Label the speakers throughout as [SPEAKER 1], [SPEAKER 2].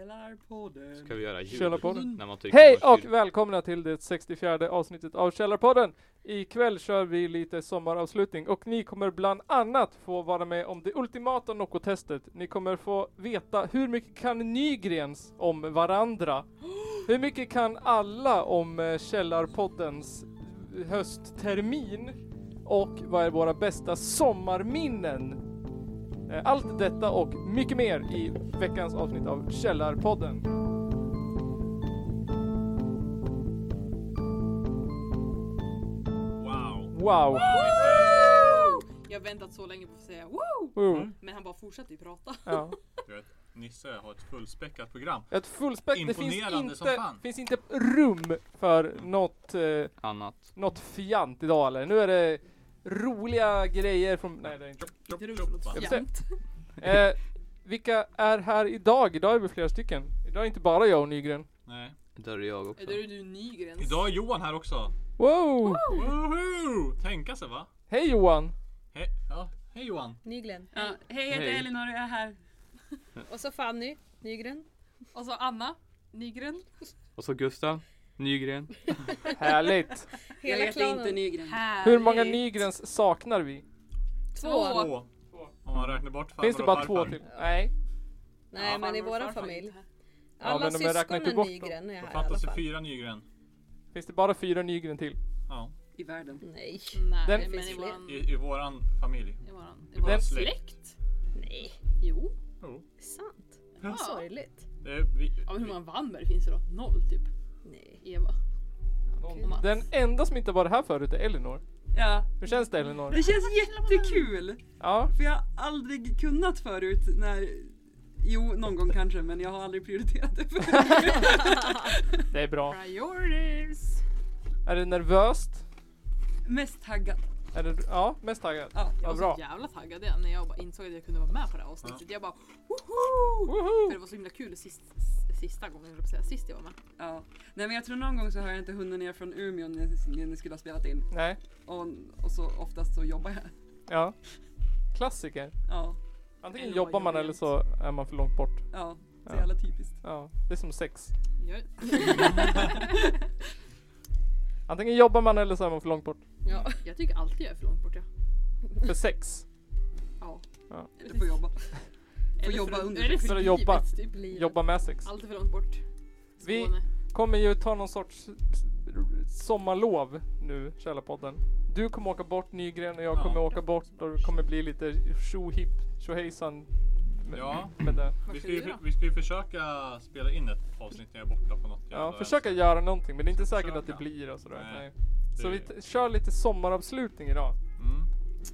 [SPEAKER 1] Källarpodden.
[SPEAKER 2] Ska vi göra ljud?
[SPEAKER 3] Källarpodden.
[SPEAKER 2] När man trycker
[SPEAKER 3] Hej
[SPEAKER 2] på
[SPEAKER 3] och
[SPEAKER 2] kyl-
[SPEAKER 3] välkomna till det 64 avsnittet av Källarpodden! Ikväll kör vi lite sommaravslutning och ni kommer bland annat få vara med om det ultimata Nocco-testet. Ni kommer få veta hur mycket kan Nygrens om varandra? Hur mycket kan alla om eh, Källarpoddens eh, hösttermin? Och vad är våra bästa sommarminnen? Eh, Allt detta och mycket mer i veckans avsnitt av Källarpodden.
[SPEAKER 2] Wow.
[SPEAKER 3] Wow!
[SPEAKER 4] Jag har väntat så länge på att få säga wow!
[SPEAKER 5] Mm.
[SPEAKER 3] Wow.
[SPEAKER 4] Men han bara fortsatte ju prata.
[SPEAKER 3] Ja.
[SPEAKER 2] Du vet, Nisse har ett fullspäckat program.
[SPEAKER 3] Ett fullspäck, det finns
[SPEAKER 2] Imponerande som
[SPEAKER 3] inte,
[SPEAKER 2] fan.
[SPEAKER 3] finns inte rum för något, eh,
[SPEAKER 2] Annat.
[SPEAKER 3] något fjant idag eller? Nu är det roliga grejer från... Nej, det är inte.
[SPEAKER 4] Inte rum för något
[SPEAKER 3] Jag får se.
[SPEAKER 4] fjant.
[SPEAKER 3] Eh, vilka är här idag? Idag är vi flera stycken. Idag är inte bara jag och Nygren.
[SPEAKER 2] Nej.
[SPEAKER 6] Där är jag också.
[SPEAKER 4] Eller är det nu Nygrens?
[SPEAKER 2] Idag är Johan här också.
[SPEAKER 3] Wow!
[SPEAKER 2] Woho! Tänka sig va?
[SPEAKER 3] Hej Johan!
[SPEAKER 2] Hej, ja. Hej Johan.
[SPEAKER 7] Nygren.
[SPEAKER 4] Ja, hej, jag heter
[SPEAKER 6] Hej.
[SPEAKER 4] Elinor och jag är här.
[SPEAKER 7] Och så Fanny Nygren.
[SPEAKER 4] Och så Anna Nygren.
[SPEAKER 6] Och så Gustav Nygren.
[SPEAKER 3] Härligt!
[SPEAKER 7] Hela
[SPEAKER 5] jag heter
[SPEAKER 7] klanen.
[SPEAKER 5] inte Nygren.
[SPEAKER 4] Härligt.
[SPEAKER 3] Hur många Nygrens saknar vi?
[SPEAKER 7] Två.
[SPEAKER 4] Två.
[SPEAKER 2] Två. Om man räknar bort farbror
[SPEAKER 3] Finns det
[SPEAKER 2] och
[SPEAKER 3] bara två
[SPEAKER 2] farfar.
[SPEAKER 3] till? Nej.
[SPEAKER 7] Nej
[SPEAKER 4] Ja,
[SPEAKER 7] men i
[SPEAKER 4] farmor och
[SPEAKER 7] våran
[SPEAKER 4] farfar är
[SPEAKER 7] familj.
[SPEAKER 4] inte här.
[SPEAKER 7] Alla
[SPEAKER 3] men de räknar inte
[SPEAKER 7] syskonen
[SPEAKER 3] bort
[SPEAKER 7] Nygren
[SPEAKER 2] Då
[SPEAKER 7] är här i alla
[SPEAKER 2] fattas det
[SPEAKER 7] fall.
[SPEAKER 2] fyra Nygren.
[SPEAKER 3] Finns det bara fyra Nygren till?
[SPEAKER 2] Ja.
[SPEAKER 5] I världen.
[SPEAKER 7] Nej.
[SPEAKER 4] Nej,
[SPEAKER 3] Den-
[SPEAKER 4] men
[SPEAKER 7] finns
[SPEAKER 4] i
[SPEAKER 7] fler.
[SPEAKER 4] våran, i
[SPEAKER 2] I, I våran familj.
[SPEAKER 4] våran, i våran
[SPEAKER 3] Den-
[SPEAKER 4] släkt.
[SPEAKER 7] Nej.
[SPEAKER 4] Jo.
[SPEAKER 2] Jo.
[SPEAKER 7] Sant.
[SPEAKER 2] Ja.
[SPEAKER 7] Sorgligt.
[SPEAKER 2] Det är vi,
[SPEAKER 4] Ja, men hur många Wammer finns det då? Noll typ.
[SPEAKER 7] Nej.
[SPEAKER 4] Eva och Mats.
[SPEAKER 3] Den enda som inte varit här förut är Elinor.
[SPEAKER 5] Ja.
[SPEAKER 3] Hur känns det Elinor?
[SPEAKER 5] Det känns jättekul!
[SPEAKER 3] Ja,
[SPEAKER 5] För jag har aldrig kunnat förut när... Jo, någon gång kanske, men jag har aldrig prioriterat det förut.
[SPEAKER 3] det är bra.
[SPEAKER 4] Priorities.
[SPEAKER 3] Är det nervöst?
[SPEAKER 5] Mest taggad.
[SPEAKER 3] Är det, ja, mest taggad.
[SPEAKER 5] Ja.
[SPEAKER 4] Jag
[SPEAKER 3] Ja,
[SPEAKER 4] var
[SPEAKER 3] bra.
[SPEAKER 4] så jävla taggad igen när jag bara insåg att jag kunde vara med på det här avsnittet. Jag bara woho! För det var så himla kul sist, sista gången, höll jag på att säga, sist jag var med.
[SPEAKER 5] Ja. Nej men jag tror någon gång så har jag inte hunnit ner från Umeå när när ni skulle ha spelat in.
[SPEAKER 3] Nej,
[SPEAKER 5] Och, och så oftast så jobbar jag.
[SPEAKER 3] ja. Klassiker.
[SPEAKER 5] Ja.
[SPEAKER 3] Antingen
[SPEAKER 4] Eller
[SPEAKER 3] jobbar
[SPEAKER 4] vad
[SPEAKER 3] man
[SPEAKER 4] gör
[SPEAKER 3] eller
[SPEAKER 4] jag?
[SPEAKER 3] så är man för långt bort.
[SPEAKER 5] Ja. Så
[SPEAKER 3] Ja.
[SPEAKER 5] jävla typiskt.
[SPEAKER 3] Ja, det är som sex.
[SPEAKER 4] Jag,
[SPEAKER 3] Antingen jobbar man eller så är man för långt bort.
[SPEAKER 7] Ja.
[SPEAKER 4] jag tycker alltid jag är för långt bort. Ja.
[SPEAKER 3] För sex.
[SPEAKER 4] Ja.
[SPEAKER 5] Du får jobba.
[SPEAKER 4] Eller för-
[SPEAKER 5] jobba under-
[SPEAKER 4] eller
[SPEAKER 3] För att
[SPEAKER 4] livet,
[SPEAKER 3] jobba.
[SPEAKER 4] typ.
[SPEAKER 7] Livet.
[SPEAKER 3] Jobba med sex.
[SPEAKER 4] Alltid för långt bort.
[SPEAKER 3] Vi-
[SPEAKER 4] Skåne.
[SPEAKER 3] Kommer ju ta någon sorts sommarlov nu, Källarpodden. Du kommer åka bort Nygren och jag
[SPEAKER 2] Ja.
[SPEAKER 3] kommer åka bort och det kommer bli lite tjohipp, tjohejsan. med-
[SPEAKER 2] Ja.
[SPEAKER 3] Med det.
[SPEAKER 4] Varför
[SPEAKER 2] vi, ska ju,
[SPEAKER 4] då?
[SPEAKER 2] vi ska ju försöka spela in ett avsnitt när jag är borta på något
[SPEAKER 3] Ja, försöka göra någonting men det är inte säkert att det
[SPEAKER 2] Försöka.
[SPEAKER 3] blir och sådär.
[SPEAKER 2] Nej.
[SPEAKER 3] Nej. Så vi t- kör lite sommaravslutning idag.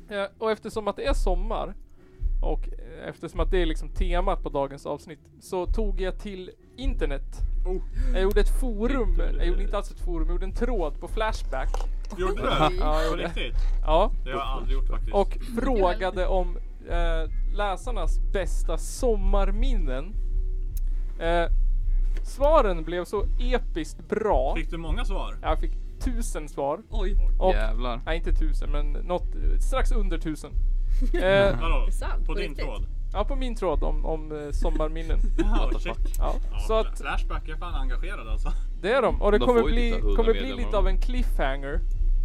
[SPEAKER 2] Mm.
[SPEAKER 3] Eh, och eftersom att det är sommar och eh, eftersom att det är liksom temat på dagens avsnitt så tog jag till internet.
[SPEAKER 2] Oh.
[SPEAKER 3] Jag gjorde ett forum,
[SPEAKER 2] Internet.
[SPEAKER 3] jag gjorde inte alls ett forum, jag gjorde en tråd på Flashback.
[SPEAKER 2] Gjorde du det?
[SPEAKER 3] Ja, jag
[SPEAKER 2] På
[SPEAKER 3] gjorde det.
[SPEAKER 2] riktigt?
[SPEAKER 3] Ja.
[SPEAKER 2] Det har jag aldrig gjort faktiskt.
[SPEAKER 3] Och frågade om eh, läsarnas bästa sommarminnen. Eh, svaren blev så episkt bra.
[SPEAKER 2] Fick du många svar?
[SPEAKER 3] Jag fick tusen svar.
[SPEAKER 5] Oj.
[SPEAKER 3] Och,
[SPEAKER 6] Jävlar.
[SPEAKER 3] nej inte tusen men något, eh, strax under tusen. Eh,
[SPEAKER 2] Vadå?
[SPEAKER 7] sant,
[SPEAKER 2] På
[SPEAKER 7] på
[SPEAKER 2] din
[SPEAKER 7] riktigt.
[SPEAKER 2] tråd?
[SPEAKER 3] Ja, på min tråd om, om eh, sommarminnen.
[SPEAKER 2] Ja,
[SPEAKER 6] What the
[SPEAKER 2] shit.
[SPEAKER 6] fuck.
[SPEAKER 3] Ja,
[SPEAKER 2] Ja,
[SPEAKER 3] så att
[SPEAKER 2] Flashback är fan engagerad alltså.
[SPEAKER 3] det är de. Och det
[SPEAKER 6] De
[SPEAKER 3] kommer
[SPEAKER 6] får ju
[SPEAKER 3] bli,
[SPEAKER 6] typ så här 100
[SPEAKER 3] kommer bli
[SPEAKER 6] medlemmar
[SPEAKER 3] lite av en cliffhanger.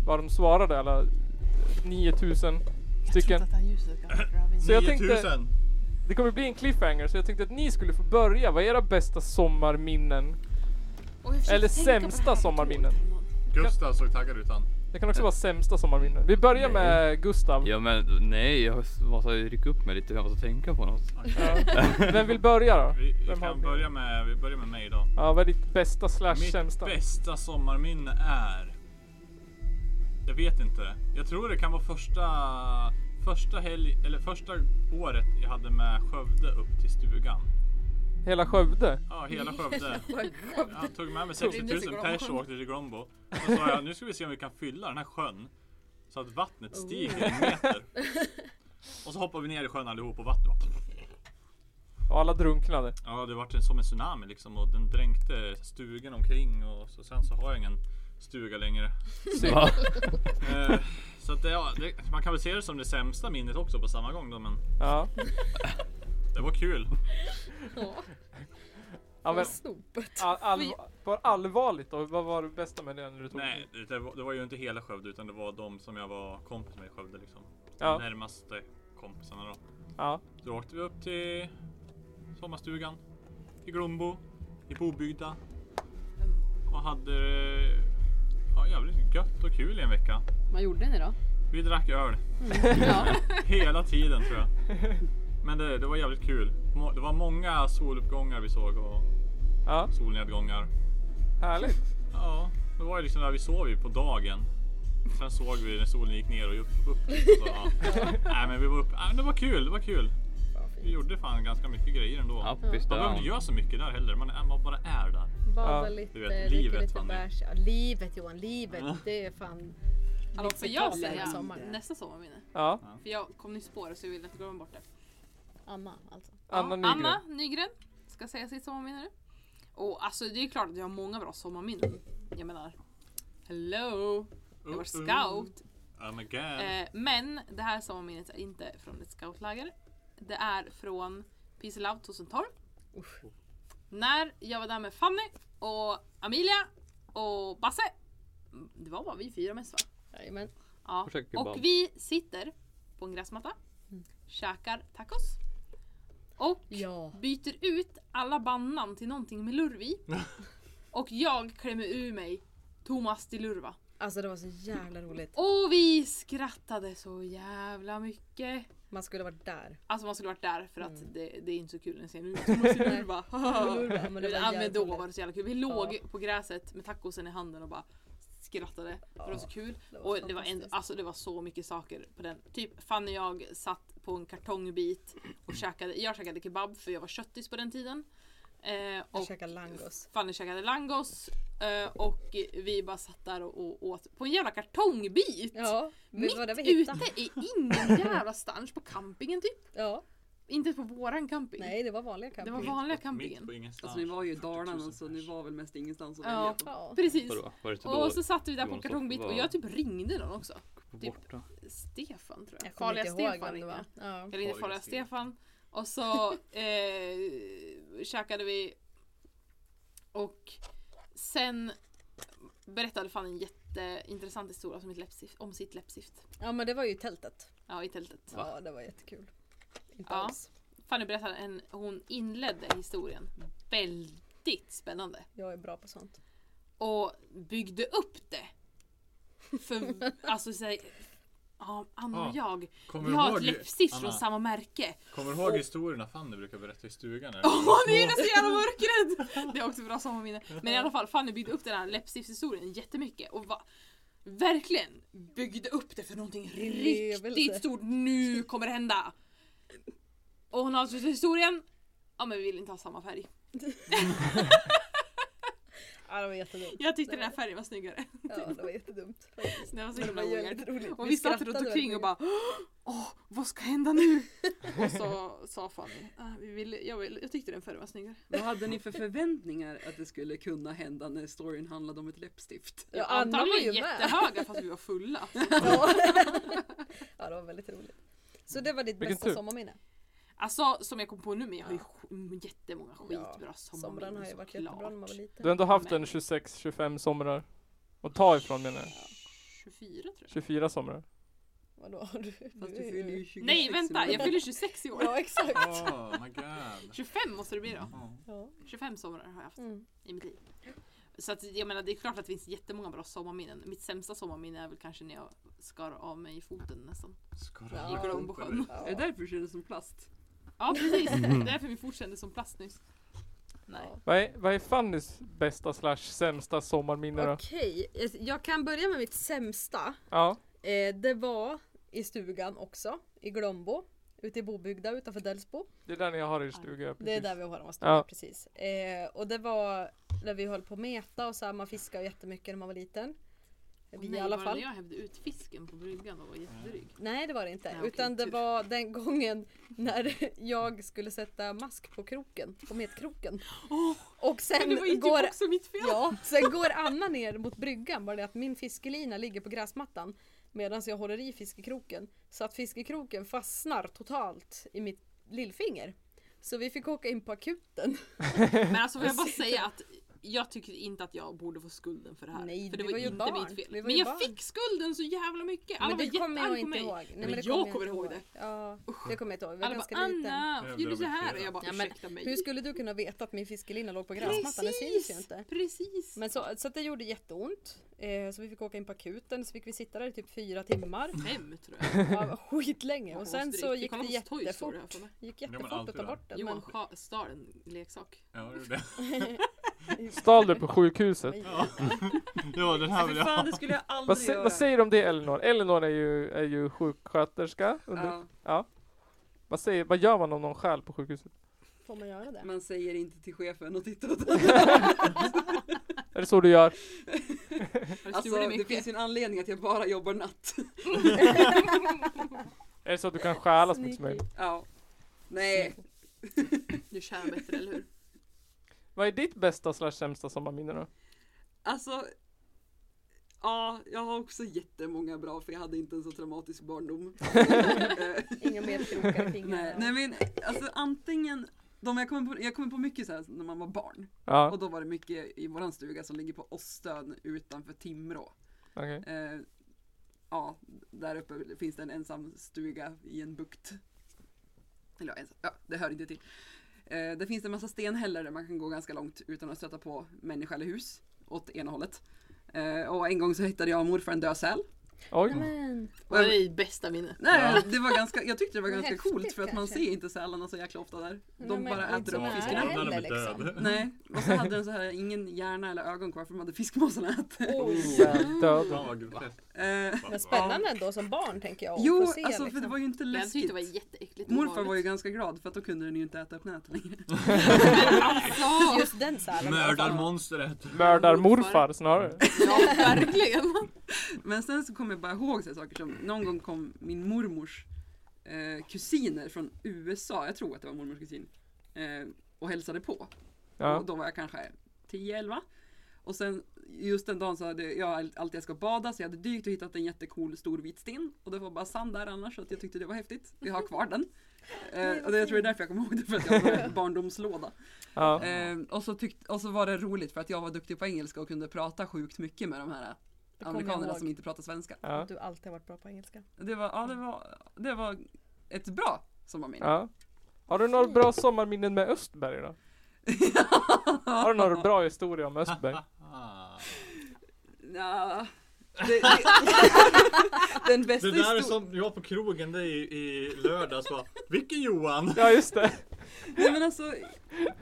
[SPEAKER 3] Vad de svarade alla 9000 stycken. Så jag tänkte,
[SPEAKER 2] 9000!
[SPEAKER 3] det kommer bli en cliffhanger så jag tänkte att ni skulle få börja. Vad är era bästa sommarminnen?
[SPEAKER 4] Och jag försöker
[SPEAKER 3] Eller
[SPEAKER 4] tänka på det här
[SPEAKER 3] sämsta
[SPEAKER 4] på
[SPEAKER 3] sommarminnen.
[SPEAKER 4] tåg.
[SPEAKER 2] Gustav såg taggad ut han.
[SPEAKER 3] Det kan också vara sämsta sommarminnen. Vi börjar med Gustav.
[SPEAKER 6] Ja men nej, jag måste rycka upp mig lite. Jag måste tänka på något.
[SPEAKER 3] Ja. Vem vill börja då?
[SPEAKER 2] Vi, vi
[SPEAKER 3] Vem har
[SPEAKER 2] kan
[SPEAKER 3] ni?
[SPEAKER 2] börja med, vi börjar med mig idag.
[SPEAKER 3] Ja, vad är ditt bästa slash
[SPEAKER 2] Mitt
[SPEAKER 3] sämsta?
[SPEAKER 2] bästa sommarminne är... Jag vet inte. Jag tror det kan vara första, första helg, eller första året jag hade med Skövde upp till stugan.
[SPEAKER 3] Hela Skövde?
[SPEAKER 2] Ja, hela Skövde. Jag tog med mig
[SPEAKER 4] Ringde
[SPEAKER 2] 60
[SPEAKER 4] till
[SPEAKER 2] 000
[SPEAKER 4] Glombo.
[SPEAKER 2] pers och åkte till Grombo. Och så sa jag, nu ska vi se om vi kan fylla den här sjön. Så att vattnet stiger en meter. Och så hoppade vi ner i sjön allihop och vattnet bara...
[SPEAKER 3] Och alla drunknade.
[SPEAKER 2] Ja, det vart en- som en tsunami liksom och den dränkte stugan omkring och så, sen så har jag ingen stuga längre.
[SPEAKER 3] Synd.
[SPEAKER 2] Eh, så att det, ja, det, man kan väl se det som det sämsta minnet också på samma gång då, men
[SPEAKER 3] Ja.
[SPEAKER 2] det var kul.
[SPEAKER 3] Ja, men,
[SPEAKER 7] Snopet.
[SPEAKER 3] all, all, var allvarligt då? Vad var det bästa med det när du tog?
[SPEAKER 2] Nej, det, det var- det var ju inte hela Skövde utan det var de som jag var kompis med i Skövde liksom.
[SPEAKER 3] Ja.
[SPEAKER 2] Närmaste kompisarna då.
[SPEAKER 3] Ja.
[SPEAKER 2] Då åkte vi upp till sommarstugan i Glombo, i Bobygda och hade eh, ja, jävligt gött och kul i en vecka.
[SPEAKER 7] Vad gjorde ni då?
[SPEAKER 2] Vi drack öl
[SPEAKER 7] Ja.
[SPEAKER 2] hela tiden tror jag. Men det, det var jävligt kul. Må- Det var många soluppgångar vi såg och
[SPEAKER 3] ja,
[SPEAKER 2] solnedgångar.
[SPEAKER 3] härligt.
[SPEAKER 2] Ja, det var ju liksom där vi sov ju på dagen. Sen såg vi när solen gick ner och upp. upp så, ja. Nej men vi var uppe. Nej, men det var kul, det var kul. Vi gjorde fan ganska mycket grejer ändå.
[SPEAKER 8] Happy
[SPEAKER 2] Man behöver inte
[SPEAKER 8] down.
[SPEAKER 2] göra så mycket där heller, man, är, man bara är där.
[SPEAKER 7] Bada
[SPEAKER 3] Ja.
[SPEAKER 7] lite,
[SPEAKER 2] Du vet,
[SPEAKER 7] dricka
[SPEAKER 2] livet,
[SPEAKER 7] lite
[SPEAKER 2] Fanny.
[SPEAKER 7] bärs. Ja, livet Johan, livet.
[SPEAKER 2] Ja.
[SPEAKER 7] Det är fan...
[SPEAKER 9] Alltså, får
[SPEAKER 7] Riktigt
[SPEAKER 9] jag
[SPEAKER 7] bra
[SPEAKER 9] säga
[SPEAKER 7] hela sommaren.
[SPEAKER 9] nästa sommarminne?
[SPEAKER 3] Ja,
[SPEAKER 9] För jag kom nyss på det så jag vill inte glömma bort det.
[SPEAKER 7] Anna alltså.
[SPEAKER 3] Anna Nygren.
[SPEAKER 9] Anna Nygren ska säga sitt sommarminne nu. Och alltså det är klart att jag har många bra sommarminnen. Jag menar, hello!
[SPEAKER 3] Mm,
[SPEAKER 9] Jag var scout.
[SPEAKER 2] Uh, Oh my god.
[SPEAKER 9] Eh, men det här sommarminnet är inte från ett scoutläger. Det är från Peace and Love 2012. När jag var där med Fanny och Amelia och Basse. Det var bara vi fyra mest va?
[SPEAKER 7] Jajamän.
[SPEAKER 9] Ja.
[SPEAKER 8] Försök kebab.
[SPEAKER 9] Och vi sitter på en gräsmatta, käkar tacos och
[SPEAKER 7] Ja.
[SPEAKER 9] byter ut alla bandnamn till någonting med lurv i. Och jag klämmer ur mig Thomas Di Lurva.
[SPEAKER 7] Alltså det var så jävla roligt.
[SPEAKER 9] Och vi skrattade så jävla mycket.
[SPEAKER 7] Man skulle ha varit där.
[SPEAKER 9] Alltså man skulle varit där för att det, det är inte så kul när jag ser nu. Thomas Di Lurva.
[SPEAKER 7] Lurva, Mm. men det var
[SPEAKER 9] ja, men
[SPEAKER 7] jävligt
[SPEAKER 9] då
[SPEAKER 7] roligt.
[SPEAKER 9] var det så jävla kul. Vi låg på gräset med tacosen i handen och bara skrattade. För det var så kul.
[SPEAKER 7] det var
[SPEAKER 9] och det var, ändå,
[SPEAKER 7] fantastiskt.
[SPEAKER 9] alltså, det var så mycket saker på den. Typ Fanny och jag satt på en kartongbit och käkade. Jag käkade kebab för jag var köttis på den tiden. Eh,
[SPEAKER 7] Och
[SPEAKER 9] och
[SPEAKER 7] käka langos.
[SPEAKER 9] Fanny käkade langos. Eh, och vi bara satt där och, och åt på en jävla kartongbit.
[SPEAKER 7] Ja,
[SPEAKER 9] Mitt
[SPEAKER 7] det var det vi hittade.
[SPEAKER 9] ute i ingen jävla stans på campingen typ.
[SPEAKER 7] Ja,
[SPEAKER 9] Inte ens på våran camping.
[SPEAKER 7] nej det var vanliga
[SPEAKER 9] Det
[SPEAKER 7] camping.
[SPEAKER 9] var vanliga
[SPEAKER 2] Mitt
[SPEAKER 9] campingen.
[SPEAKER 2] på ingenstans.
[SPEAKER 5] Alltså ni var ju i
[SPEAKER 2] 40 000
[SPEAKER 5] Dalarna så ni
[SPEAKER 2] pers.
[SPEAKER 5] var väl mest ingenstans att
[SPEAKER 9] Ja.
[SPEAKER 5] välja på.
[SPEAKER 7] Ja.
[SPEAKER 9] Precis.
[SPEAKER 8] Vadå? Var det inte då
[SPEAKER 9] Och så satt vi där på en
[SPEAKER 8] Johan sa-
[SPEAKER 9] kartongbit och
[SPEAKER 8] var-
[SPEAKER 9] jag typ ringde någon också. typ-
[SPEAKER 8] borta?
[SPEAKER 9] Stefan tror jag.
[SPEAKER 7] Jag kommer inte ihåg
[SPEAKER 9] Stefan
[SPEAKER 7] vem det
[SPEAKER 9] ringde
[SPEAKER 7] var.
[SPEAKER 9] jag.
[SPEAKER 7] Ja.
[SPEAKER 9] Jag ringde
[SPEAKER 2] Farliga
[SPEAKER 9] Farliga
[SPEAKER 2] Stefan.
[SPEAKER 9] Stefan. Och så eh, käkade vi. Och sen berättade fan en jätteintressant historia om sitt läppstift. Om sitt läppstift.
[SPEAKER 7] ja, men det var ju i tältet.
[SPEAKER 9] Ja, i tältet.
[SPEAKER 7] Ja, det var jättekul. Inte
[SPEAKER 9] Ja.
[SPEAKER 7] alls.
[SPEAKER 9] Fanny berättade en, hon inledde historien väldigt spännande.
[SPEAKER 7] Jag är bra på sånt.
[SPEAKER 9] och byggde upp det. För alltså så här, ja, Anna och jag,
[SPEAKER 2] Kommer
[SPEAKER 9] vi
[SPEAKER 2] du
[SPEAKER 9] har
[SPEAKER 2] ihåg-
[SPEAKER 9] ett läppstift
[SPEAKER 2] Anna.
[SPEAKER 9] från samma märke.
[SPEAKER 2] Kommer du ihåg historierna Fanny brukar berätta i stugan? när vi
[SPEAKER 9] Åh,
[SPEAKER 2] var
[SPEAKER 9] nu är
[SPEAKER 2] små?
[SPEAKER 9] jag så jävla mörkrädd! Det är också bra sommarminne. Men i alla fall, Fanny byggde upp den här läppstiftshistorien jättemycket och va, verkligen byggde upp det för någonting riktigt
[SPEAKER 7] Levelse.
[SPEAKER 9] stort. Nu kommer det hända! Och hon avslutar historien. Ja men vi vill inte ha samma färg.
[SPEAKER 7] Ja, det var jättedumt.
[SPEAKER 9] Jag tyckte den här färgen var snyggare.
[SPEAKER 7] Ja, det var jättedumt. faktiskt.
[SPEAKER 9] Det var så
[SPEAKER 7] Det
[SPEAKER 9] himla
[SPEAKER 7] var
[SPEAKER 9] weird.
[SPEAKER 7] jävligt roligt.
[SPEAKER 9] Och vi satt runt
[SPEAKER 7] Typ. skrattade
[SPEAKER 9] omkring och
[SPEAKER 7] verkligen.
[SPEAKER 9] bara Åh, vad ska hända nu? Och så sa Fanny, "Ah, vi vill, jag, vill, jag tyckte den förra var snyggare.
[SPEAKER 5] Vad hade ni för förväntningar att det skulle kunna hända när storyn handlade om ett läppstift?
[SPEAKER 7] Ja, Anna var ju med.
[SPEAKER 9] jättehöga fast vi var fulla.
[SPEAKER 7] Ja. ja, det var väldigt roligt. Så det var ditt
[SPEAKER 3] Vilken
[SPEAKER 7] bästa
[SPEAKER 3] tur.
[SPEAKER 7] sommarminne?
[SPEAKER 9] Alltså som jag kom på nu, men jag har ju sk- jättemånga skitbra
[SPEAKER 7] Somrarna
[SPEAKER 9] sommarminnen
[SPEAKER 7] har ju varit
[SPEAKER 9] såklart.
[SPEAKER 7] jättebra när man var liten.
[SPEAKER 3] Du har ändå haft
[SPEAKER 9] Men-
[SPEAKER 3] en 26-25 somrar. Och ta ifrån menar jag.
[SPEAKER 9] 24 tror jag.
[SPEAKER 3] 24 somrar.
[SPEAKER 7] Vadå? Du,
[SPEAKER 5] Fast
[SPEAKER 7] du
[SPEAKER 5] du
[SPEAKER 7] är
[SPEAKER 5] fyller
[SPEAKER 7] ju...
[SPEAKER 5] ju 26
[SPEAKER 9] Nej vänta,
[SPEAKER 5] nu.
[SPEAKER 9] jag fyller 26 i år.
[SPEAKER 7] Ja, exakt.
[SPEAKER 2] Oh my god.
[SPEAKER 9] 25 måste det bli då.
[SPEAKER 2] Ja.
[SPEAKER 9] 25 somrar har jag haft
[SPEAKER 7] Mm.
[SPEAKER 9] i mitt liv. Så att, jag menar det är klart att det finns jättemånga bra sommarminnen. Mitt sämsta sommarminne är väl kanske när jag skar av mig foten nästan.
[SPEAKER 2] Ska du
[SPEAKER 7] Ja.
[SPEAKER 2] ha
[SPEAKER 9] I Glombosjön.
[SPEAKER 5] Är det därför det kändes som plast?
[SPEAKER 9] Ja precis, det är därför min fot kändes som plast nyss. Nej.
[SPEAKER 7] Ja.
[SPEAKER 3] Vad är, vad är Fannys bästa slash sämsta sommarminne då?
[SPEAKER 7] Okej, jag kan börja med mitt sämsta.
[SPEAKER 3] Ja.
[SPEAKER 7] Eh, det var i stugan också, i Glombo. Ute i Bobygda utanför Delsbo.
[SPEAKER 3] Det är där ni har er stuga.
[SPEAKER 7] Det är
[SPEAKER 3] precis.
[SPEAKER 7] där vi har vår stuga
[SPEAKER 3] Ja.
[SPEAKER 7] precis. Eh, och det var när vi höll på att meta och så här, man fiskade jättemycket när man var liten.
[SPEAKER 9] Och
[SPEAKER 7] Vi
[SPEAKER 9] nej,
[SPEAKER 7] i alla
[SPEAKER 9] var
[SPEAKER 7] fall.
[SPEAKER 9] det när jag hävde ut fisken på bryggan och var jättedryg.
[SPEAKER 7] Nej det var det inte.
[SPEAKER 9] Nej, okej,
[SPEAKER 7] Utan det
[SPEAKER 4] typ.
[SPEAKER 9] tur.
[SPEAKER 7] var den gången när jag skulle sätta mask på kroken, på metkroken. och
[SPEAKER 9] Men det var ju typ
[SPEAKER 7] sen går,
[SPEAKER 9] också mitt fel!
[SPEAKER 7] ja, sen går Anna ner mot bryggan bara det att min fiskelina ligger på gräsmattan medan jag håller i fiskekroken. Så att fiskekroken fastnar totalt i mitt lillfinger. Så vi fick åka in på akuten.
[SPEAKER 4] Men alltså får jag bara säga att jag tycker inte att jag borde få skulden för det här.
[SPEAKER 7] Nej,
[SPEAKER 4] för det
[SPEAKER 7] vi
[SPEAKER 4] var,
[SPEAKER 7] var ju
[SPEAKER 4] inte
[SPEAKER 7] barn.
[SPEAKER 4] mitt fel.
[SPEAKER 7] Vi var
[SPEAKER 4] men
[SPEAKER 7] ju
[SPEAKER 4] jag
[SPEAKER 7] barn.
[SPEAKER 4] fick skulden så jävla mycket. Alla
[SPEAKER 7] men
[SPEAKER 4] var
[SPEAKER 7] det kommer
[SPEAKER 4] jättearga
[SPEAKER 7] jag
[SPEAKER 4] på
[SPEAKER 7] inte
[SPEAKER 4] mig.
[SPEAKER 7] ihåg. Nej,
[SPEAKER 4] Men
[SPEAKER 7] det
[SPEAKER 4] jag
[SPEAKER 7] jag
[SPEAKER 4] kommer
[SPEAKER 7] inte
[SPEAKER 4] ihåg det.
[SPEAKER 7] Ja, det kommer jag inte ihåg. Vi var
[SPEAKER 4] Alla
[SPEAKER 7] ganska
[SPEAKER 4] bara
[SPEAKER 7] liten.
[SPEAKER 4] Anna,
[SPEAKER 2] Ja,
[SPEAKER 4] varför
[SPEAKER 2] det
[SPEAKER 4] gjorde du
[SPEAKER 2] var
[SPEAKER 4] så här?
[SPEAKER 2] fel.
[SPEAKER 4] Och jag bara
[SPEAKER 7] Ja, men
[SPEAKER 4] ursäkta mig.
[SPEAKER 7] Hur skulle du kunna veta att min fiskelina låg på gräsmattan? Det syns ju
[SPEAKER 4] Precis!
[SPEAKER 7] inte.
[SPEAKER 4] Precis!
[SPEAKER 7] Men så, så att det gjorde jätteont. Eh, så vi fick åka in på akuten. Så fick vi sitta där i typ fyra timmar.
[SPEAKER 4] Fem tror jag.
[SPEAKER 7] Ja, skitlänge. Och sen så
[SPEAKER 4] Vi
[SPEAKER 7] gick det
[SPEAKER 4] kollade på Toy Story här
[SPEAKER 7] jättefort.
[SPEAKER 4] för mig.
[SPEAKER 7] gick
[SPEAKER 2] men
[SPEAKER 7] jättefort att
[SPEAKER 2] alltid
[SPEAKER 7] ta
[SPEAKER 2] va?
[SPEAKER 7] bort den.
[SPEAKER 4] Johan
[SPEAKER 7] Men,
[SPEAKER 4] stal- stal en leksak.
[SPEAKER 2] Ja, det gjorde jag.
[SPEAKER 3] Stal du på sjukhuset?
[SPEAKER 2] Ja. ja, den
[SPEAKER 9] Alltså,
[SPEAKER 2] här vill
[SPEAKER 5] Fy
[SPEAKER 2] jag
[SPEAKER 5] fan,
[SPEAKER 2] ha.
[SPEAKER 5] det skulle jag aldrig
[SPEAKER 3] Vad, sä-
[SPEAKER 5] göra.
[SPEAKER 3] vad säger du om det Elinor? Elinor är ju, är ju sjuksköterska. Under,
[SPEAKER 5] ja,
[SPEAKER 3] vad, säger, vad gör man om någon stjäl på sjukhuset?
[SPEAKER 7] får man göra det?
[SPEAKER 5] Man säger inte till chefen och titta åt
[SPEAKER 3] Är det så du gör?
[SPEAKER 4] Har du
[SPEAKER 5] Alltså,
[SPEAKER 4] stulit
[SPEAKER 5] det
[SPEAKER 4] mycket?
[SPEAKER 5] finns ju en anledning att jag bara jobbar natt.
[SPEAKER 3] Är det så att du kan stjäla så mycket som möjligt?
[SPEAKER 5] Ja. Nej,
[SPEAKER 4] Du tjänar bättre, eller hur?
[SPEAKER 3] Vad är ditt bästa slash sämsta sommarminne då?
[SPEAKER 5] alltså. Ja, jag har också jättemånga bra för jag hade inte en så traumatisk barndom. Eh,
[SPEAKER 7] Inga mer krokar kring
[SPEAKER 5] Nej, nej men alltså antingen de jag kommer på, jag kommer på mycket så här när man var barn.
[SPEAKER 3] Ja,
[SPEAKER 5] Och då var det mycket i våran stuga som ligger på Åstön utanför Timrå.
[SPEAKER 3] okej.
[SPEAKER 5] Eh, ja, där uppe finns det en ensam stuga i en bukt. Eller ja, ensam, ja, det hör inte till. Eh, det finns en massa stenhällar där man kan gå ganska långt utan att stöta på människa eller hus. Åt ena hållet. Eh, och en gång så hittade jag och morfar en dösäl.
[SPEAKER 3] Oj.
[SPEAKER 7] Men,
[SPEAKER 4] Det var ditt bästa minne.
[SPEAKER 5] Nej, det var ganska, jag tyckte det var
[SPEAKER 7] Men
[SPEAKER 5] ganska
[SPEAKER 7] häftigt
[SPEAKER 5] coolt för att man
[SPEAKER 7] kanske.
[SPEAKER 5] ser inte sälarna så jäkla ofta där.
[SPEAKER 7] Men
[SPEAKER 5] De
[SPEAKER 7] de är
[SPEAKER 5] bara äter
[SPEAKER 7] inte
[SPEAKER 5] upp
[SPEAKER 7] så
[SPEAKER 5] fiskarna.
[SPEAKER 7] nära.
[SPEAKER 2] Hundarna
[SPEAKER 7] händer
[SPEAKER 2] blir döda.
[SPEAKER 9] alltså.
[SPEAKER 7] liksom.
[SPEAKER 5] Nej, och så hade den så här ingen hjärna eller ögon kvar för de hade fiskmåsarna ätit.
[SPEAKER 3] Död.
[SPEAKER 2] Fan vad groteskt.
[SPEAKER 5] Eh,
[SPEAKER 7] men spännande ändå som barn tänker jag. att
[SPEAKER 5] jo,
[SPEAKER 7] få se,
[SPEAKER 5] alltså för
[SPEAKER 7] liksom.
[SPEAKER 5] det var ju inte
[SPEAKER 4] Men Jag tyckte
[SPEAKER 5] läskigt.
[SPEAKER 4] det var jätteäckligt. och
[SPEAKER 5] Morfar var ju
[SPEAKER 4] obehagligt.
[SPEAKER 5] ganska glad för att då kunde den ju inte äta upp nätet längre.
[SPEAKER 4] Ja,
[SPEAKER 7] Just den sälen.
[SPEAKER 2] Mördarmonstret.
[SPEAKER 3] Mördarmorfar snarare.
[SPEAKER 4] ja, verkligen.
[SPEAKER 5] Men sen så kommer jag bara ihåg så här saker som, någon gång kom min mormors eh, kusiner från USA, jag tror att det var mormors kusin, eh, och hälsade på.
[SPEAKER 3] Ja.
[SPEAKER 5] Och då var jag kanske 10-11. Och sen just den dagen så hade jag alltid jag ska bada så jag hade dykt och hittat en jättecool stor vit sten. Och det var bara sand där annars så att jag tyckte det var häftigt. Jag har kvar den. Eh, och det, jag tror det är därför jag kommer ihåg det, för att jag har en barndomslåda.
[SPEAKER 3] Ja.
[SPEAKER 5] Eh, och, så tyckte, och så var det roligt för att jag var duktig på engelska och kunde prata sjukt mycket med de här eh,
[SPEAKER 7] Det kommer jag
[SPEAKER 5] amerikanerna
[SPEAKER 7] ihåg.
[SPEAKER 5] som inte pratar svenska.
[SPEAKER 3] Ja.
[SPEAKER 7] Att du alltid har varit bra på engelska.
[SPEAKER 5] Det var, ja, det var, det var ett bra sommarminne.
[SPEAKER 3] ja. Har du några bra sommarminnen med Östberg då? Har du några bra historier om Östberg?
[SPEAKER 2] Ah.
[SPEAKER 5] Ja. Det, det, den bästa
[SPEAKER 2] Det där är
[SPEAKER 5] histo-
[SPEAKER 2] som jag på krogen det i, i lördags bara Vilken Johan?
[SPEAKER 3] Ja just det.
[SPEAKER 5] Nej men alltså,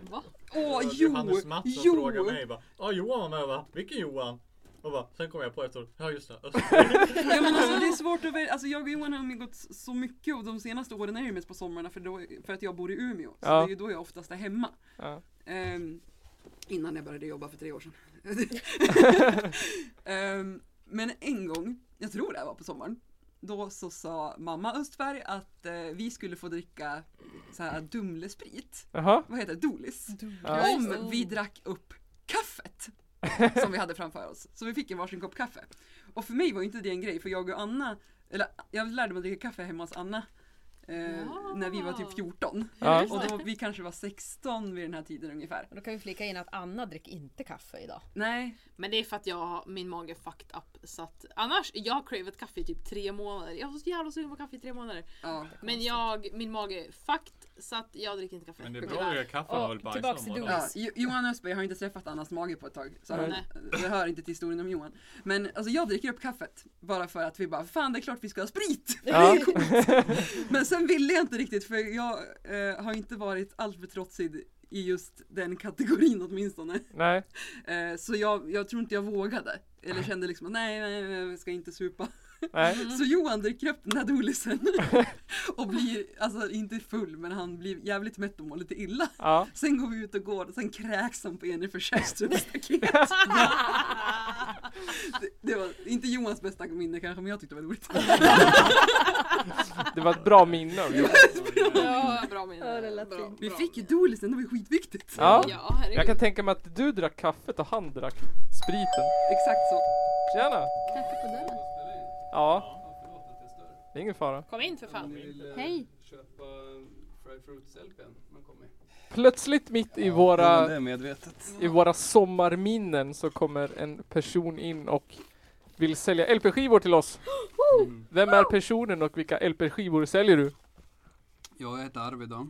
[SPEAKER 4] Va?
[SPEAKER 5] åh
[SPEAKER 2] Och
[SPEAKER 5] jo,
[SPEAKER 2] Johannes Mattsson
[SPEAKER 5] jo!
[SPEAKER 2] frågar mig bara Ja Johan var med va? Vilken Johan? Och bara, sen kom jag på efteråt, ja just det, Östberg.
[SPEAKER 5] Ja men alltså det är svårt att välja, alltså jag och Johan har umgåtts så mycket och de senaste åren är det mest på somrarna för, då, för att jag bor i Umeå. Så
[SPEAKER 3] Ja.
[SPEAKER 5] det är ju då jag oftast är hemma.
[SPEAKER 3] Ja.
[SPEAKER 5] Ehm, innan jag började jobba för tre år sedan. Ehm, men en gång, jag tror det här var på sommaren, då så sa mamma Östberg att eh, vi skulle få dricka så här Dumlesprit,
[SPEAKER 3] Jaha.
[SPEAKER 5] vad heter det, Dolis.
[SPEAKER 3] Ja.
[SPEAKER 5] Om vi drack upp kaffet som vi hade framför oss. Så vi fick en varsin kopp kaffe. Och för mig var ju inte det en grej för jag och Anna, eller jag lärde mig att dricka kaffe hemma hos Anna eh,
[SPEAKER 4] Ja.
[SPEAKER 5] när vi var typ 14.
[SPEAKER 3] Ja.
[SPEAKER 5] Och då, vi kanske var 16 vid den här tiden ungefär.
[SPEAKER 7] Och då kan vi flika in att Anna dricker inte kaffe idag.
[SPEAKER 5] Nej,
[SPEAKER 4] Men det är för att jag har min mage fucked up. Så att, annars, jag har cravat kaffe i typ tre månader. Jag var så jävla sugen på kaffe i tre månader.
[SPEAKER 5] ja.
[SPEAKER 4] Men jag, min mage är fucked så att jag dricker inte kaffe.
[SPEAKER 2] Men det är
[SPEAKER 4] Tyvärr.
[SPEAKER 2] bra att göra kaffe
[SPEAKER 7] Och
[SPEAKER 2] har väl
[SPEAKER 7] tillbaks
[SPEAKER 2] bajs
[SPEAKER 7] till
[SPEAKER 2] om och
[SPEAKER 7] Doris.
[SPEAKER 5] Ja, Jo- Johan Östberg har inte träffat Annas mage på ett tag. Så
[SPEAKER 3] Nej.
[SPEAKER 5] han, det hör inte till historien om Johan. Men alltså, jag dricker upp kaffet bara för att vi bara, fan det är klart vi ska ha sprit!
[SPEAKER 3] Ja.
[SPEAKER 5] Men sen ville jag inte riktigt för jag eh, har inte varit alltför trotsig i just den kategorin åtminstone.
[SPEAKER 3] Nej.
[SPEAKER 5] Eh, så jag, jag tror inte jag vågade. Eller kände liksom, nej, nej, nej, jag ska inte supa.
[SPEAKER 3] Nej.
[SPEAKER 5] Så Johan dricker upp den här dolisen. och blir, alltså inte full, men han blir jävligt mätt och mår lite illa.
[SPEAKER 3] Ja.
[SPEAKER 5] Sen går vi ut och går och sen kräks han på Jennifer Kärrströms staket. det, det var inte Johans bästa minne kanske, men jag tyckte det var roligt.
[SPEAKER 3] Det var ett bra minne av Johan.
[SPEAKER 4] Ja, bra minne.
[SPEAKER 7] Ja, det lät
[SPEAKER 4] Bra,
[SPEAKER 7] fint.
[SPEAKER 5] Vi
[SPEAKER 4] bra
[SPEAKER 5] fick ju
[SPEAKER 4] minne.
[SPEAKER 5] dolisen, det var ju skitviktigt.
[SPEAKER 3] Ja.
[SPEAKER 4] Ja, herregud.
[SPEAKER 3] Jag kan tänka mig att du drack kaffet och han drack spriten.
[SPEAKER 5] Exakt så.
[SPEAKER 3] Tjena!
[SPEAKER 7] Knacka på dörren.
[SPEAKER 3] Ja. Det är ingen fara.
[SPEAKER 4] Kom in för fan.
[SPEAKER 7] Hej!
[SPEAKER 1] köpa fried
[SPEAKER 5] fruktstälken man kommer.
[SPEAKER 3] Plötsligt mitt i
[SPEAKER 5] Ja,
[SPEAKER 3] våra
[SPEAKER 5] det är medvetet.
[SPEAKER 3] i våra sommarminnen så kommer en person in och vill sälja LP-skivor till oss.
[SPEAKER 5] Mm.
[SPEAKER 3] Vem är personen och vilka LP-skivor säljer du?
[SPEAKER 5] Jag heter Arvid då. Eh,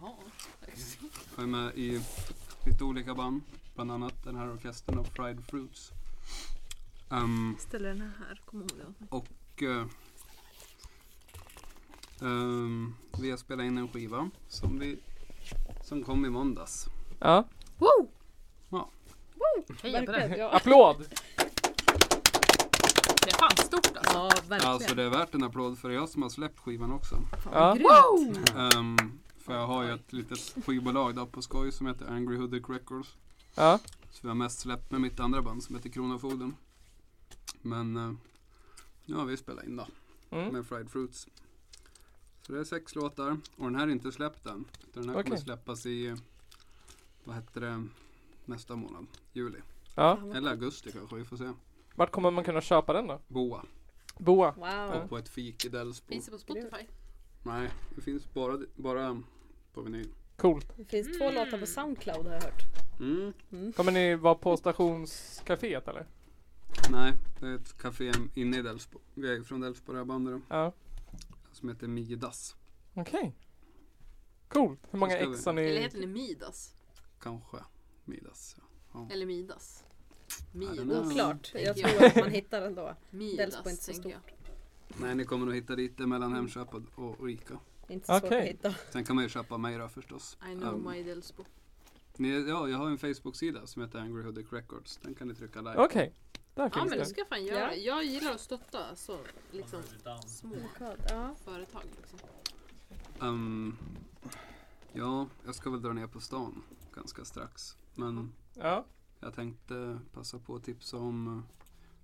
[SPEAKER 9] Jaha.
[SPEAKER 5] Jag är med i lite olika band. Bland annat den här orkestern av Fried Fruits. Ehm,
[SPEAKER 7] Ställer den här, kom ihåg det.
[SPEAKER 5] och eh, ehm, vi har spelat in en skiva som, vi, som kom i måndags.
[SPEAKER 3] Ja.
[SPEAKER 7] Wow!
[SPEAKER 9] Heja på det.
[SPEAKER 7] Verkligen, ja.
[SPEAKER 3] Applåd!
[SPEAKER 9] Det är fan stort alltså.
[SPEAKER 7] Ja, verkligen.
[SPEAKER 5] Alltså det är värt en applåd för det är jag som har släppt skivan också.
[SPEAKER 7] Fan,
[SPEAKER 3] Ja.
[SPEAKER 7] grymt.
[SPEAKER 5] Ehm, för jag har ju ett litet skivbolag där på skoj som heter Angry Hoodic Records.
[SPEAKER 3] Ja.
[SPEAKER 5] Så vi har mest släppt med mitt andra band som heter Kronofogden. Men eh, nu har vi spelat in då
[SPEAKER 3] Mm.
[SPEAKER 5] med Fried Fruits. Så det är sex låtar och den här är inte släppt än. Utan den här kommer
[SPEAKER 3] Okej.
[SPEAKER 5] släppas i, vad heter det, nästa månad. Juli.
[SPEAKER 3] ja.
[SPEAKER 7] Fan, vad-
[SPEAKER 5] Eller augusti kanske, vi får se.
[SPEAKER 3] Vart kommer man kunna köpa den då?
[SPEAKER 5] Boa.
[SPEAKER 3] Boa.
[SPEAKER 7] Wow.
[SPEAKER 5] Och på ett fik i Delsbo.
[SPEAKER 9] Finns det på Spotify?
[SPEAKER 5] Nej, det finns bara, bara på vinyl.
[SPEAKER 3] Coolt.
[SPEAKER 7] Det finns två
[SPEAKER 9] Mm.
[SPEAKER 7] låtar på Soundcloud har jag hört.
[SPEAKER 5] Mm.
[SPEAKER 3] Kommer ni vara på stationscaféet eller?
[SPEAKER 5] Nej, det är ett café inne i Delsbo. Vi är ju från Delsbo det här bandet då,
[SPEAKER 3] Ja.
[SPEAKER 5] Som heter Midas.
[SPEAKER 3] Okej. Coolt. Hur många
[SPEAKER 5] Då ska vi-
[SPEAKER 3] ex har
[SPEAKER 9] Eller
[SPEAKER 3] ni?
[SPEAKER 9] heter det Midas?
[SPEAKER 5] Kanske. Midas. ja.
[SPEAKER 9] Eller Midas?
[SPEAKER 5] Ja, den är-
[SPEAKER 9] Midas.
[SPEAKER 7] Oklart.
[SPEAKER 9] Tänker
[SPEAKER 7] Jag
[SPEAKER 9] jag.
[SPEAKER 7] tror att man hittar den då.
[SPEAKER 9] Midas
[SPEAKER 7] Dels på inte så
[SPEAKER 9] tänker jag.
[SPEAKER 5] Nej, ni kommer nog hitta dit det mellan Hemköp och- och Ica.
[SPEAKER 7] Inte så svårt
[SPEAKER 3] Okej.
[SPEAKER 7] att hitta.
[SPEAKER 5] Sen kan man ju köpa mig då förstås.
[SPEAKER 9] I know
[SPEAKER 5] Um,
[SPEAKER 9] my Delsbo.
[SPEAKER 5] ni, ja, jag har en Facebook-sida som heter Angry Hoodic Records. Den kan ni trycka like.
[SPEAKER 3] Okej. Där
[SPEAKER 9] Ja
[SPEAKER 3] finns
[SPEAKER 9] men det
[SPEAKER 3] det.
[SPEAKER 9] ska jag fan göra. Jag gillar att stötta så liksom små
[SPEAKER 7] Ja.
[SPEAKER 9] företag liksom.
[SPEAKER 5] Um, ja, jag ska väl dra ner på stan ganska strax. Men
[SPEAKER 3] Ja.
[SPEAKER 5] jag tänkte passa på att tipsa om eh,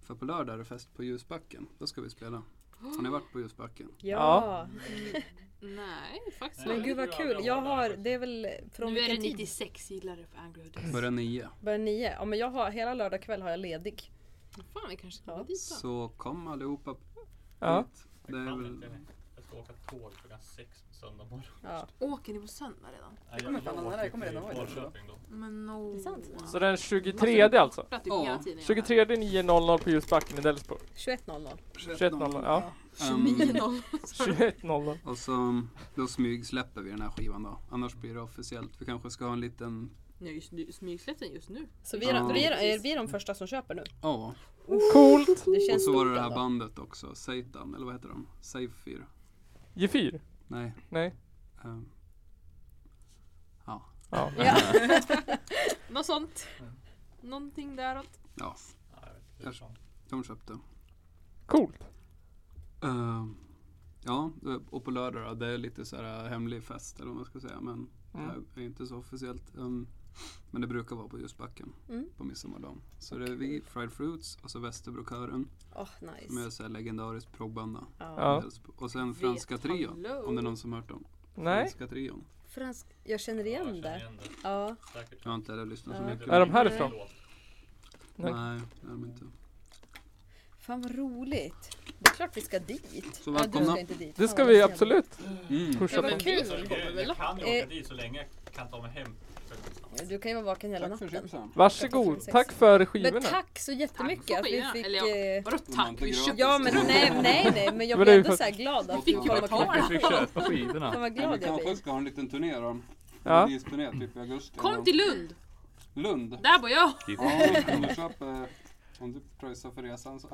[SPEAKER 5] för på lördag är det fest på Ljusbacken. Då ska vi spela. Har ni varit på Ljusbacken?
[SPEAKER 3] Ja.
[SPEAKER 7] ja.
[SPEAKER 9] Nej faktiskt
[SPEAKER 7] Men
[SPEAKER 9] inte.
[SPEAKER 7] gud vad kul. Jag har, det är väl från
[SPEAKER 9] Nu är det
[SPEAKER 7] vilken tid?
[SPEAKER 9] 96 gillare för Angry Hoodies.
[SPEAKER 5] Börjar nio.
[SPEAKER 7] Börjar nio. Ja men jag har, hela lördag kväll har jag ledig.
[SPEAKER 9] Fan vi kanske ska
[SPEAKER 7] Ja.
[SPEAKER 9] gå dit då.
[SPEAKER 5] Så kom allihopa
[SPEAKER 3] Ja.
[SPEAKER 5] hit. Det är väl
[SPEAKER 2] Jag ska åka tåg klockan sex på söndag morgon.
[SPEAKER 7] Ja.
[SPEAKER 9] Åker ni på söndag redan?
[SPEAKER 2] Nej,
[SPEAKER 10] kommer fan aldrig, jag kommer redan vara i
[SPEAKER 2] Norrköping då.
[SPEAKER 9] Men no.
[SPEAKER 7] Det är sant.
[SPEAKER 3] Så den 23 alltså?
[SPEAKER 9] Pratar typ
[SPEAKER 5] Ja.
[SPEAKER 9] hela tiden.
[SPEAKER 3] 23 9.00 på Ljusbacken i Delsbo.
[SPEAKER 7] 21.00.
[SPEAKER 3] 21.00. Ja.
[SPEAKER 5] Um,
[SPEAKER 9] 29.00.
[SPEAKER 3] 21.00.
[SPEAKER 5] och så då smygsläpper vi den här skivan då. Annars blir det officiellt. Vi kanske ska ha en liten...
[SPEAKER 9] Ni har ju smy- smygsläppt den just nu.
[SPEAKER 7] Så vi är,
[SPEAKER 5] Ja.
[SPEAKER 7] vi, är, är vi de första som köper nu.
[SPEAKER 5] Ja.
[SPEAKER 3] Coolt!
[SPEAKER 7] Det
[SPEAKER 5] Och
[SPEAKER 7] känns
[SPEAKER 5] så var det
[SPEAKER 7] stort
[SPEAKER 5] det här
[SPEAKER 7] ändå.
[SPEAKER 5] bandet också. Satan, eller vad heter de? Safir?
[SPEAKER 3] G4?
[SPEAKER 5] Nej.
[SPEAKER 3] Nej.
[SPEAKER 5] ehm,
[SPEAKER 3] Ja.
[SPEAKER 7] Ja.
[SPEAKER 9] Något sånt. Någonting däråt.
[SPEAKER 5] ja, de köpte.
[SPEAKER 3] Coolt.
[SPEAKER 5] Ehm, ja, och på lördag då, det är lite så här eh, hemlig fest eller vad man ska säga. Men
[SPEAKER 3] Mm.
[SPEAKER 5] det är inte så officiellt. Ehm, men det brukar vara på ljusbacken
[SPEAKER 7] Mm.
[SPEAKER 5] på midsommardagen. Så det är vi, Fried Fruits och så Västerbrokören
[SPEAKER 7] Åh
[SPEAKER 5] som är
[SPEAKER 7] nice.
[SPEAKER 5] så här legendariskt proggband. då.
[SPEAKER 3] Ja.
[SPEAKER 7] Ja.
[SPEAKER 5] Och sen Franska
[SPEAKER 9] Vet
[SPEAKER 5] Trion.
[SPEAKER 9] hallå.
[SPEAKER 5] Om det är någon som hört dem.
[SPEAKER 3] Nej.
[SPEAKER 5] Franska Trion.
[SPEAKER 7] Fransk, jag känner igen det. Ja.
[SPEAKER 5] Jag har inte heller lyssnat så
[SPEAKER 7] Ja.
[SPEAKER 5] mycket.
[SPEAKER 3] Är de härifrån?
[SPEAKER 5] Nej,
[SPEAKER 3] Nej.
[SPEAKER 5] det är de inte.
[SPEAKER 7] Fan vad roligt. Det är klart vi ska dit.
[SPEAKER 5] Så
[SPEAKER 7] ja, du
[SPEAKER 5] välkomna.
[SPEAKER 7] ska inte dit.
[SPEAKER 3] Det
[SPEAKER 7] Fan,
[SPEAKER 3] ska
[SPEAKER 7] vad
[SPEAKER 3] vi
[SPEAKER 7] synd.
[SPEAKER 3] absolut
[SPEAKER 5] Mm.
[SPEAKER 3] pusha på.
[SPEAKER 9] kul.
[SPEAKER 2] Så
[SPEAKER 9] kommer
[SPEAKER 2] grejen,
[SPEAKER 9] väl
[SPEAKER 2] jag
[SPEAKER 9] upp.
[SPEAKER 2] kan ju åka
[SPEAKER 7] Eh.
[SPEAKER 2] dit så länge jag kan ta mig hem.
[SPEAKER 7] Du kan ju vara vaken hela
[SPEAKER 5] Tack för
[SPEAKER 7] natten.
[SPEAKER 5] chipsen.
[SPEAKER 3] Varsågod. Tack för
[SPEAKER 7] Men
[SPEAKER 3] skivorna.
[SPEAKER 7] tack så jättemycket
[SPEAKER 9] Tack
[SPEAKER 7] att
[SPEAKER 9] för
[SPEAKER 7] vi
[SPEAKER 9] skivorna.
[SPEAKER 7] fick...
[SPEAKER 9] Eller ja.
[SPEAKER 7] eh,
[SPEAKER 9] Vadå tack? Vi köpte
[SPEAKER 7] Ja men nej, nej, nej, men jag
[SPEAKER 3] Men
[SPEAKER 7] blir
[SPEAKER 3] det är ju
[SPEAKER 7] ändå
[SPEAKER 3] för-
[SPEAKER 7] så här glad. att-
[SPEAKER 5] Vi fick ju
[SPEAKER 7] Fan, vad
[SPEAKER 9] betala.
[SPEAKER 7] glad-
[SPEAKER 5] fick köpa
[SPEAKER 7] Fan
[SPEAKER 5] skidorna.
[SPEAKER 7] vad glad jag blir.
[SPEAKER 5] ska ha en liten turné då.
[SPEAKER 3] Ja.
[SPEAKER 5] Release-turné typ i augusti.
[SPEAKER 9] Kom till Lund!
[SPEAKER 5] Lund.
[SPEAKER 9] Där bor jag!
[SPEAKER 8] Typ.
[SPEAKER 5] Ja, om du köper... Om du pröjsar för resan så.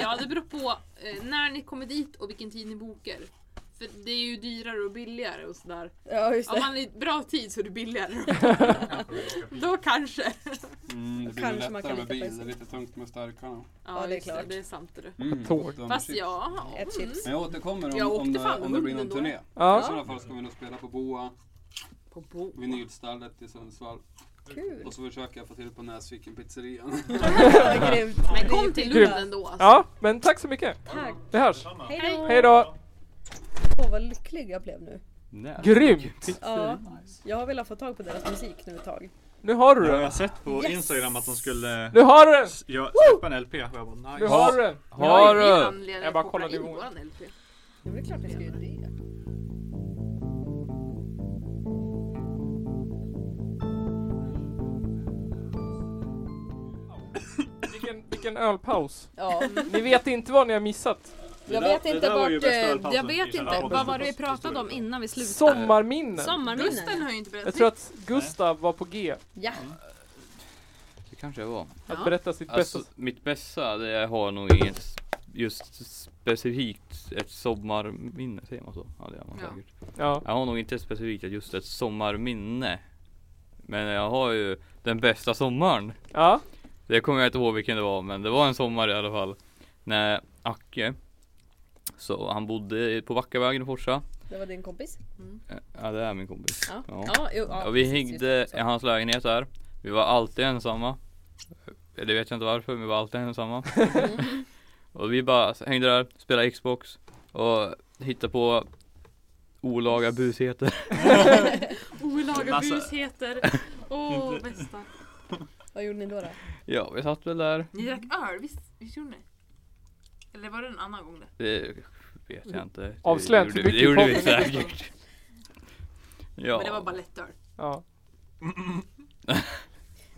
[SPEAKER 9] Ja det beror på eh, när ni kommer dit och vilken tid ni bokar. För det är ju dyrare och billigare och sådär.
[SPEAKER 7] Ja just
[SPEAKER 9] Om
[SPEAKER 7] det.
[SPEAKER 9] man är i bra tid så är det billigare. Då kanske.
[SPEAKER 5] Mm, det blir
[SPEAKER 7] Kanske
[SPEAKER 5] lättare
[SPEAKER 7] man kan
[SPEAKER 5] med
[SPEAKER 7] lita på
[SPEAKER 5] bil.
[SPEAKER 7] det.
[SPEAKER 5] Det är lite tungt med starkarna.
[SPEAKER 9] Ja,
[SPEAKER 7] det är
[SPEAKER 9] just
[SPEAKER 7] klart.
[SPEAKER 9] Det är sant det.
[SPEAKER 5] Mm,
[SPEAKER 3] Tåg.
[SPEAKER 5] gott om
[SPEAKER 9] Fast
[SPEAKER 5] chips.
[SPEAKER 9] ja. mm.
[SPEAKER 7] Ett chips.
[SPEAKER 5] Men jag återkommer
[SPEAKER 9] Jag
[SPEAKER 5] om, om,
[SPEAKER 9] åkte
[SPEAKER 5] det,
[SPEAKER 9] fan
[SPEAKER 5] om det blir någon
[SPEAKER 9] hunden då.
[SPEAKER 5] turné. I
[SPEAKER 3] Ja.
[SPEAKER 5] sådana fall ska vi nog spela på Boa,
[SPEAKER 9] På bo.
[SPEAKER 5] Vinylstallet i Sundsvall.
[SPEAKER 11] Mm.
[SPEAKER 7] Kul.
[SPEAKER 5] Och så försöker jag få till på Näsviken pizzerian.
[SPEAKER 7] Ja, grymt.
[SPEAKER 9] Men kom till Lund ändå alltså.
[SPEAKER 3] Ja, men tack så mycket.
[SPEAKER 7] Tack.
[SPEAKER 3] Vi hörs.
[SPEAKER 7] Hej då.
[SPEAKER 3] Hej då.
[SPEAKER 7] Åh vad lycklig jag blev nu.
[SPEAKER 3] Grymt.
[SPEAKER 7] Ja. Jag har velat få tag på deras musik nu ett tag.
[SPEAKER 3] Nu har du
[SPEAKER 2] Jag har
[SPEAKER 3] den.
[SPEAKER 2] sett på
[SPEAKER 7] Yes.
[SPEAKER 2] Instagram att de skulle
[SPEAKER 3] Nu har du den.
[SPEAKER 2] jag, släppa en LP. Och jag bara, nice.
[SPEAKER 3] Nu har du den. Har du. Jag bara kollade
[SPEAKER 9] i
[SPEAKER 3] i våran.
[SPEAKER 9] våran LP.
[SPEAKER 7] Det är väl klart jag ska göra det.
[SPEAKER 3] fick en ölpaus.
[SPEAKER 7] Ja.
[SPEAKER 3] Ni vet inte vad ni har missat.
[SPEAKER 7] Jag
[SPEAKER 11] Det
[SPEAKER 7] vet
[SPEAKER 11] det
[SPEAKER 7] inte
[SPEAKER 11] var ju
[SPEAKER 7] vart,
[SPEAKER 11] bästa
[SPEAKER 7] eh,
[SPEAKER 11] ölpausen
[SPEAKER 9] Jag vet
[SPEAKER 11] i hela
[SPEAKER 9] inte,
[SPEAKER 11] podden.
[SPEAKER 9] vad var det vi pratade om innan vi slutade?
[SPEAKER 3] Sommarminnen.
[SPEAKER 9] Sommarminnen.
[SPEAKER 7] Gusten
[SPEAKER 9] Gusten har ju inte
[SPEAKER 3] Jag
[SPEAKER 9] berättat
[SPEAKER 3] tror att Gustav var på G.
[SPEAKER 7] Ja.
[SPEAKER 8] Det kanske jag var.
[SPEAKER 3] Att
[SPEAKER 9] Ja.
[SPEAKER 3] berätta sitt bästa.
[SPEAKER 8] Alltså, mitt bästa, det jag har nog inget s- just specifikt ett sommarminne, säger man så? Ja, det gör man
[SPEAKER 9] Ja.
[SPEAKER 8] säkert.
[SPEAKER 3] Ja.
[SPEAKER 8] Jag har nog inte specifikt just ett sommarminne. Men jag har ju den bästa sommaren.
[SPEAKER 3] Ja.
[SPEAKER 8] Det kommer jag inte ihåg vilken det var, men det var en sommar i alla fall. När Acke, så han bodde på Backavägen i Forsa.
[SPEAKER 7] Det var din kompis?
[SPEAKER 8] Ja, det är min kompis.
[SPEAKER 7] Ja.
[SPEAKER 8] Ja.
[SPEAKER 7] jo, ja,
[SPEAKER 8] och vi
[SPEAKER 7] precis, just
[SPEAKER 8] hängde
[SPEAKER 7] det.
[SPEAKER 8] i hans lägenhet där. Vi var alltid ensamma. Det vet jag inte varför, men vi var alltid ensamma.
[SPEAKER 7] Mm.
[SPEAKER 8] och vi bara hängde där, spelade Xbox och hittade på olaga busheter.
[SPEAKER 9] olaga
[SPEAKER 2] Massa-
[SPEAKER 9] busheter. Åh, bästa.
[SPEAKER 7] Vad gjorde ni då? då?
[SPEAKER 8] ja, vi satt väl där.
[SPEAKER 9] Ni drack öl, visst, visst gjorde ni? Eller var det en annan gång det?
[SPEAKER 8] Det vet jag inte. Det
[SPEAKER 3] Avslöja inte
[SPEAKER 8] gjorde
[SPEAKER 3] för
[SPEAKER 8] vi-
[SPEAKER 3] mycket
[SPEAKER 8] Det gjorde vi
[SPEAKER 3] i podden.
[SPEAKER 8] säkert. ja.
[SPEAKER 9] Men det var bara lättöl.
[SPEAKER 3] ja.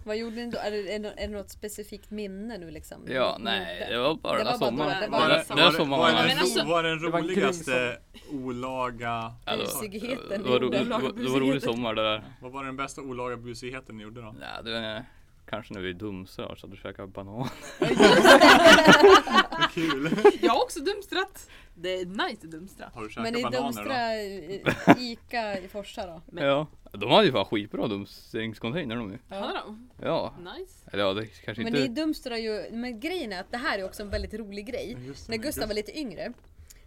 [SPEAKER 7] Vad gjorde ni då? Är det, är det- är det något specifikt minne nu liksom?
[SPEAKER 8] Ja,
[SPEAKER 7] Något
[SPEAKER 8] nej,
[SPEAKER 7] minne?
[SPEAKER 8] det var bara
[SPEAKER 7] Det
[SPEAKER 8] den här
[SPEAKER 7] var bara
[SPEAKER 8] sommaren.
[SPEAKER 7] då- det
[SPEAKER 8] Den
[SPEAKER 7] var
[SPEAKER 8] där-
[SPEAKER 7] bara
[SPEAKER 8] den där
[SPEAKER 2] Var, det- var,
[SPEAKER 9] sommaren.
[SPEAKER 8] sommaren.
[SPEAKER 9] Ja,
[SPEAKER 2] den
[SPEAKER 9] men
[SPEAKER 2] ro-
[SPEAKER 9] alltså-
[SPEAKER 2] var den
[SPEAKER 3] Det var en
[SPEAKER 2] roligaste olaga...
[SPEAKER 8] Ja, det var-
[SPEAKER 7] Busigheten
[SPEAKER 8] det var
[SPEAKER 7] i
[SPEAKER 8] rolig-
[SPEAKER 7] olaga
[SPEAKER 8] det var rolig
[SPEAKER 7] busigheten.
[SPEAKER 8] sommar det där.
[SPEAKER 2] Vad var den bästa olaga busigheten ni gjorde då?
[SPEAKER 7] Ah.
[SPEAKER 8] Nej, det var kanske när vi dumsade så att du käkade banan.
[SPEAKER 2] Vad kul!
[SPEAKER 9] Jag har också dumstrat. Det är nice dumstrat.
[SPEAKER 2] Har du
[SPEAKER 7] Men i
[SPEAKER 2] käkat bananer då?
[SPEAKER 7] Dumstra i- Ica i Forsa då?
[SPEAKER 9] Men-
[SPEAKER 8] Ja. De hade ju fan skitbra dumstringscontainer de ju.
[SPEAKER 9] Hade de?
[SPEAKER 8] Ja.
[SPEAKER 9] Nice.
[SPEAKER 8] Eller ja, det kanske
[SPEAKER 7] Men
[SPEAKER 8] inte...
[SPEAKER 7] i Dumstra ju, men grejen är att det här är också en väldigt rolig grej.
[SPEAKER 2] Just det,
[SPEAKER 7] När
[SPEAKER 2] men
[SPEAKER 7] Gustav var lite yngre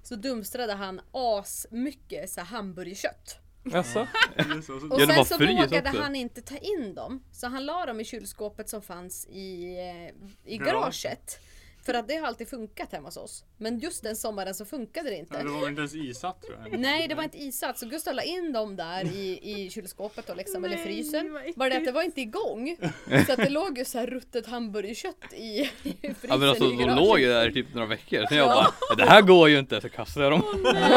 [SPEAKER 7] så dumstrade han as mycket så här hamburgerkött.
[SPEAKER 3] Alltså.
[SPEAKER 2] Just det, och så-
[SPEAKER 7] Och
[SPEAKER 8] Ja, det var
[SPEAKER 7] sen så
[SPEAKER 8] frys
[SPEAKER 7] vågade
[SPEAKER 8] också.
[SPEAKER 7] han inte ta in dem. Så han la dem i kylskåpet som fanns i, eh, i
[SPEAKER 2] Garage.
[SPEAKER 7] garaget. För att det har alltid funkat hemma hos oss. Men just den sommaren så funkade det
[SPEAKER 2] Ja, Det
[SPEAKER 7] inte.
[SPEAKER 2] var väl inte ens isatt tror jag?
[SPEAKER 7] Nej, det var inte isatt. Så Gustav la in dem där i, i kylskåpet och liksom, eller frysen. Bara det att det var inte igång. Så att det låg ju så här ruttet hamburgerkött i, i frysen
[SPEAKER 8] Ja men alltså
[SPEAKER 7] i
[SPEAKER 8] de
[SPEAKER 7] garaget.
[SPEAKER 8] låg ju där i typ några veckor. Sen jag
[SPEAKER 7] Ja.
[SPEAKER 8] bara, det här går ju inte. Så kastade jag dem.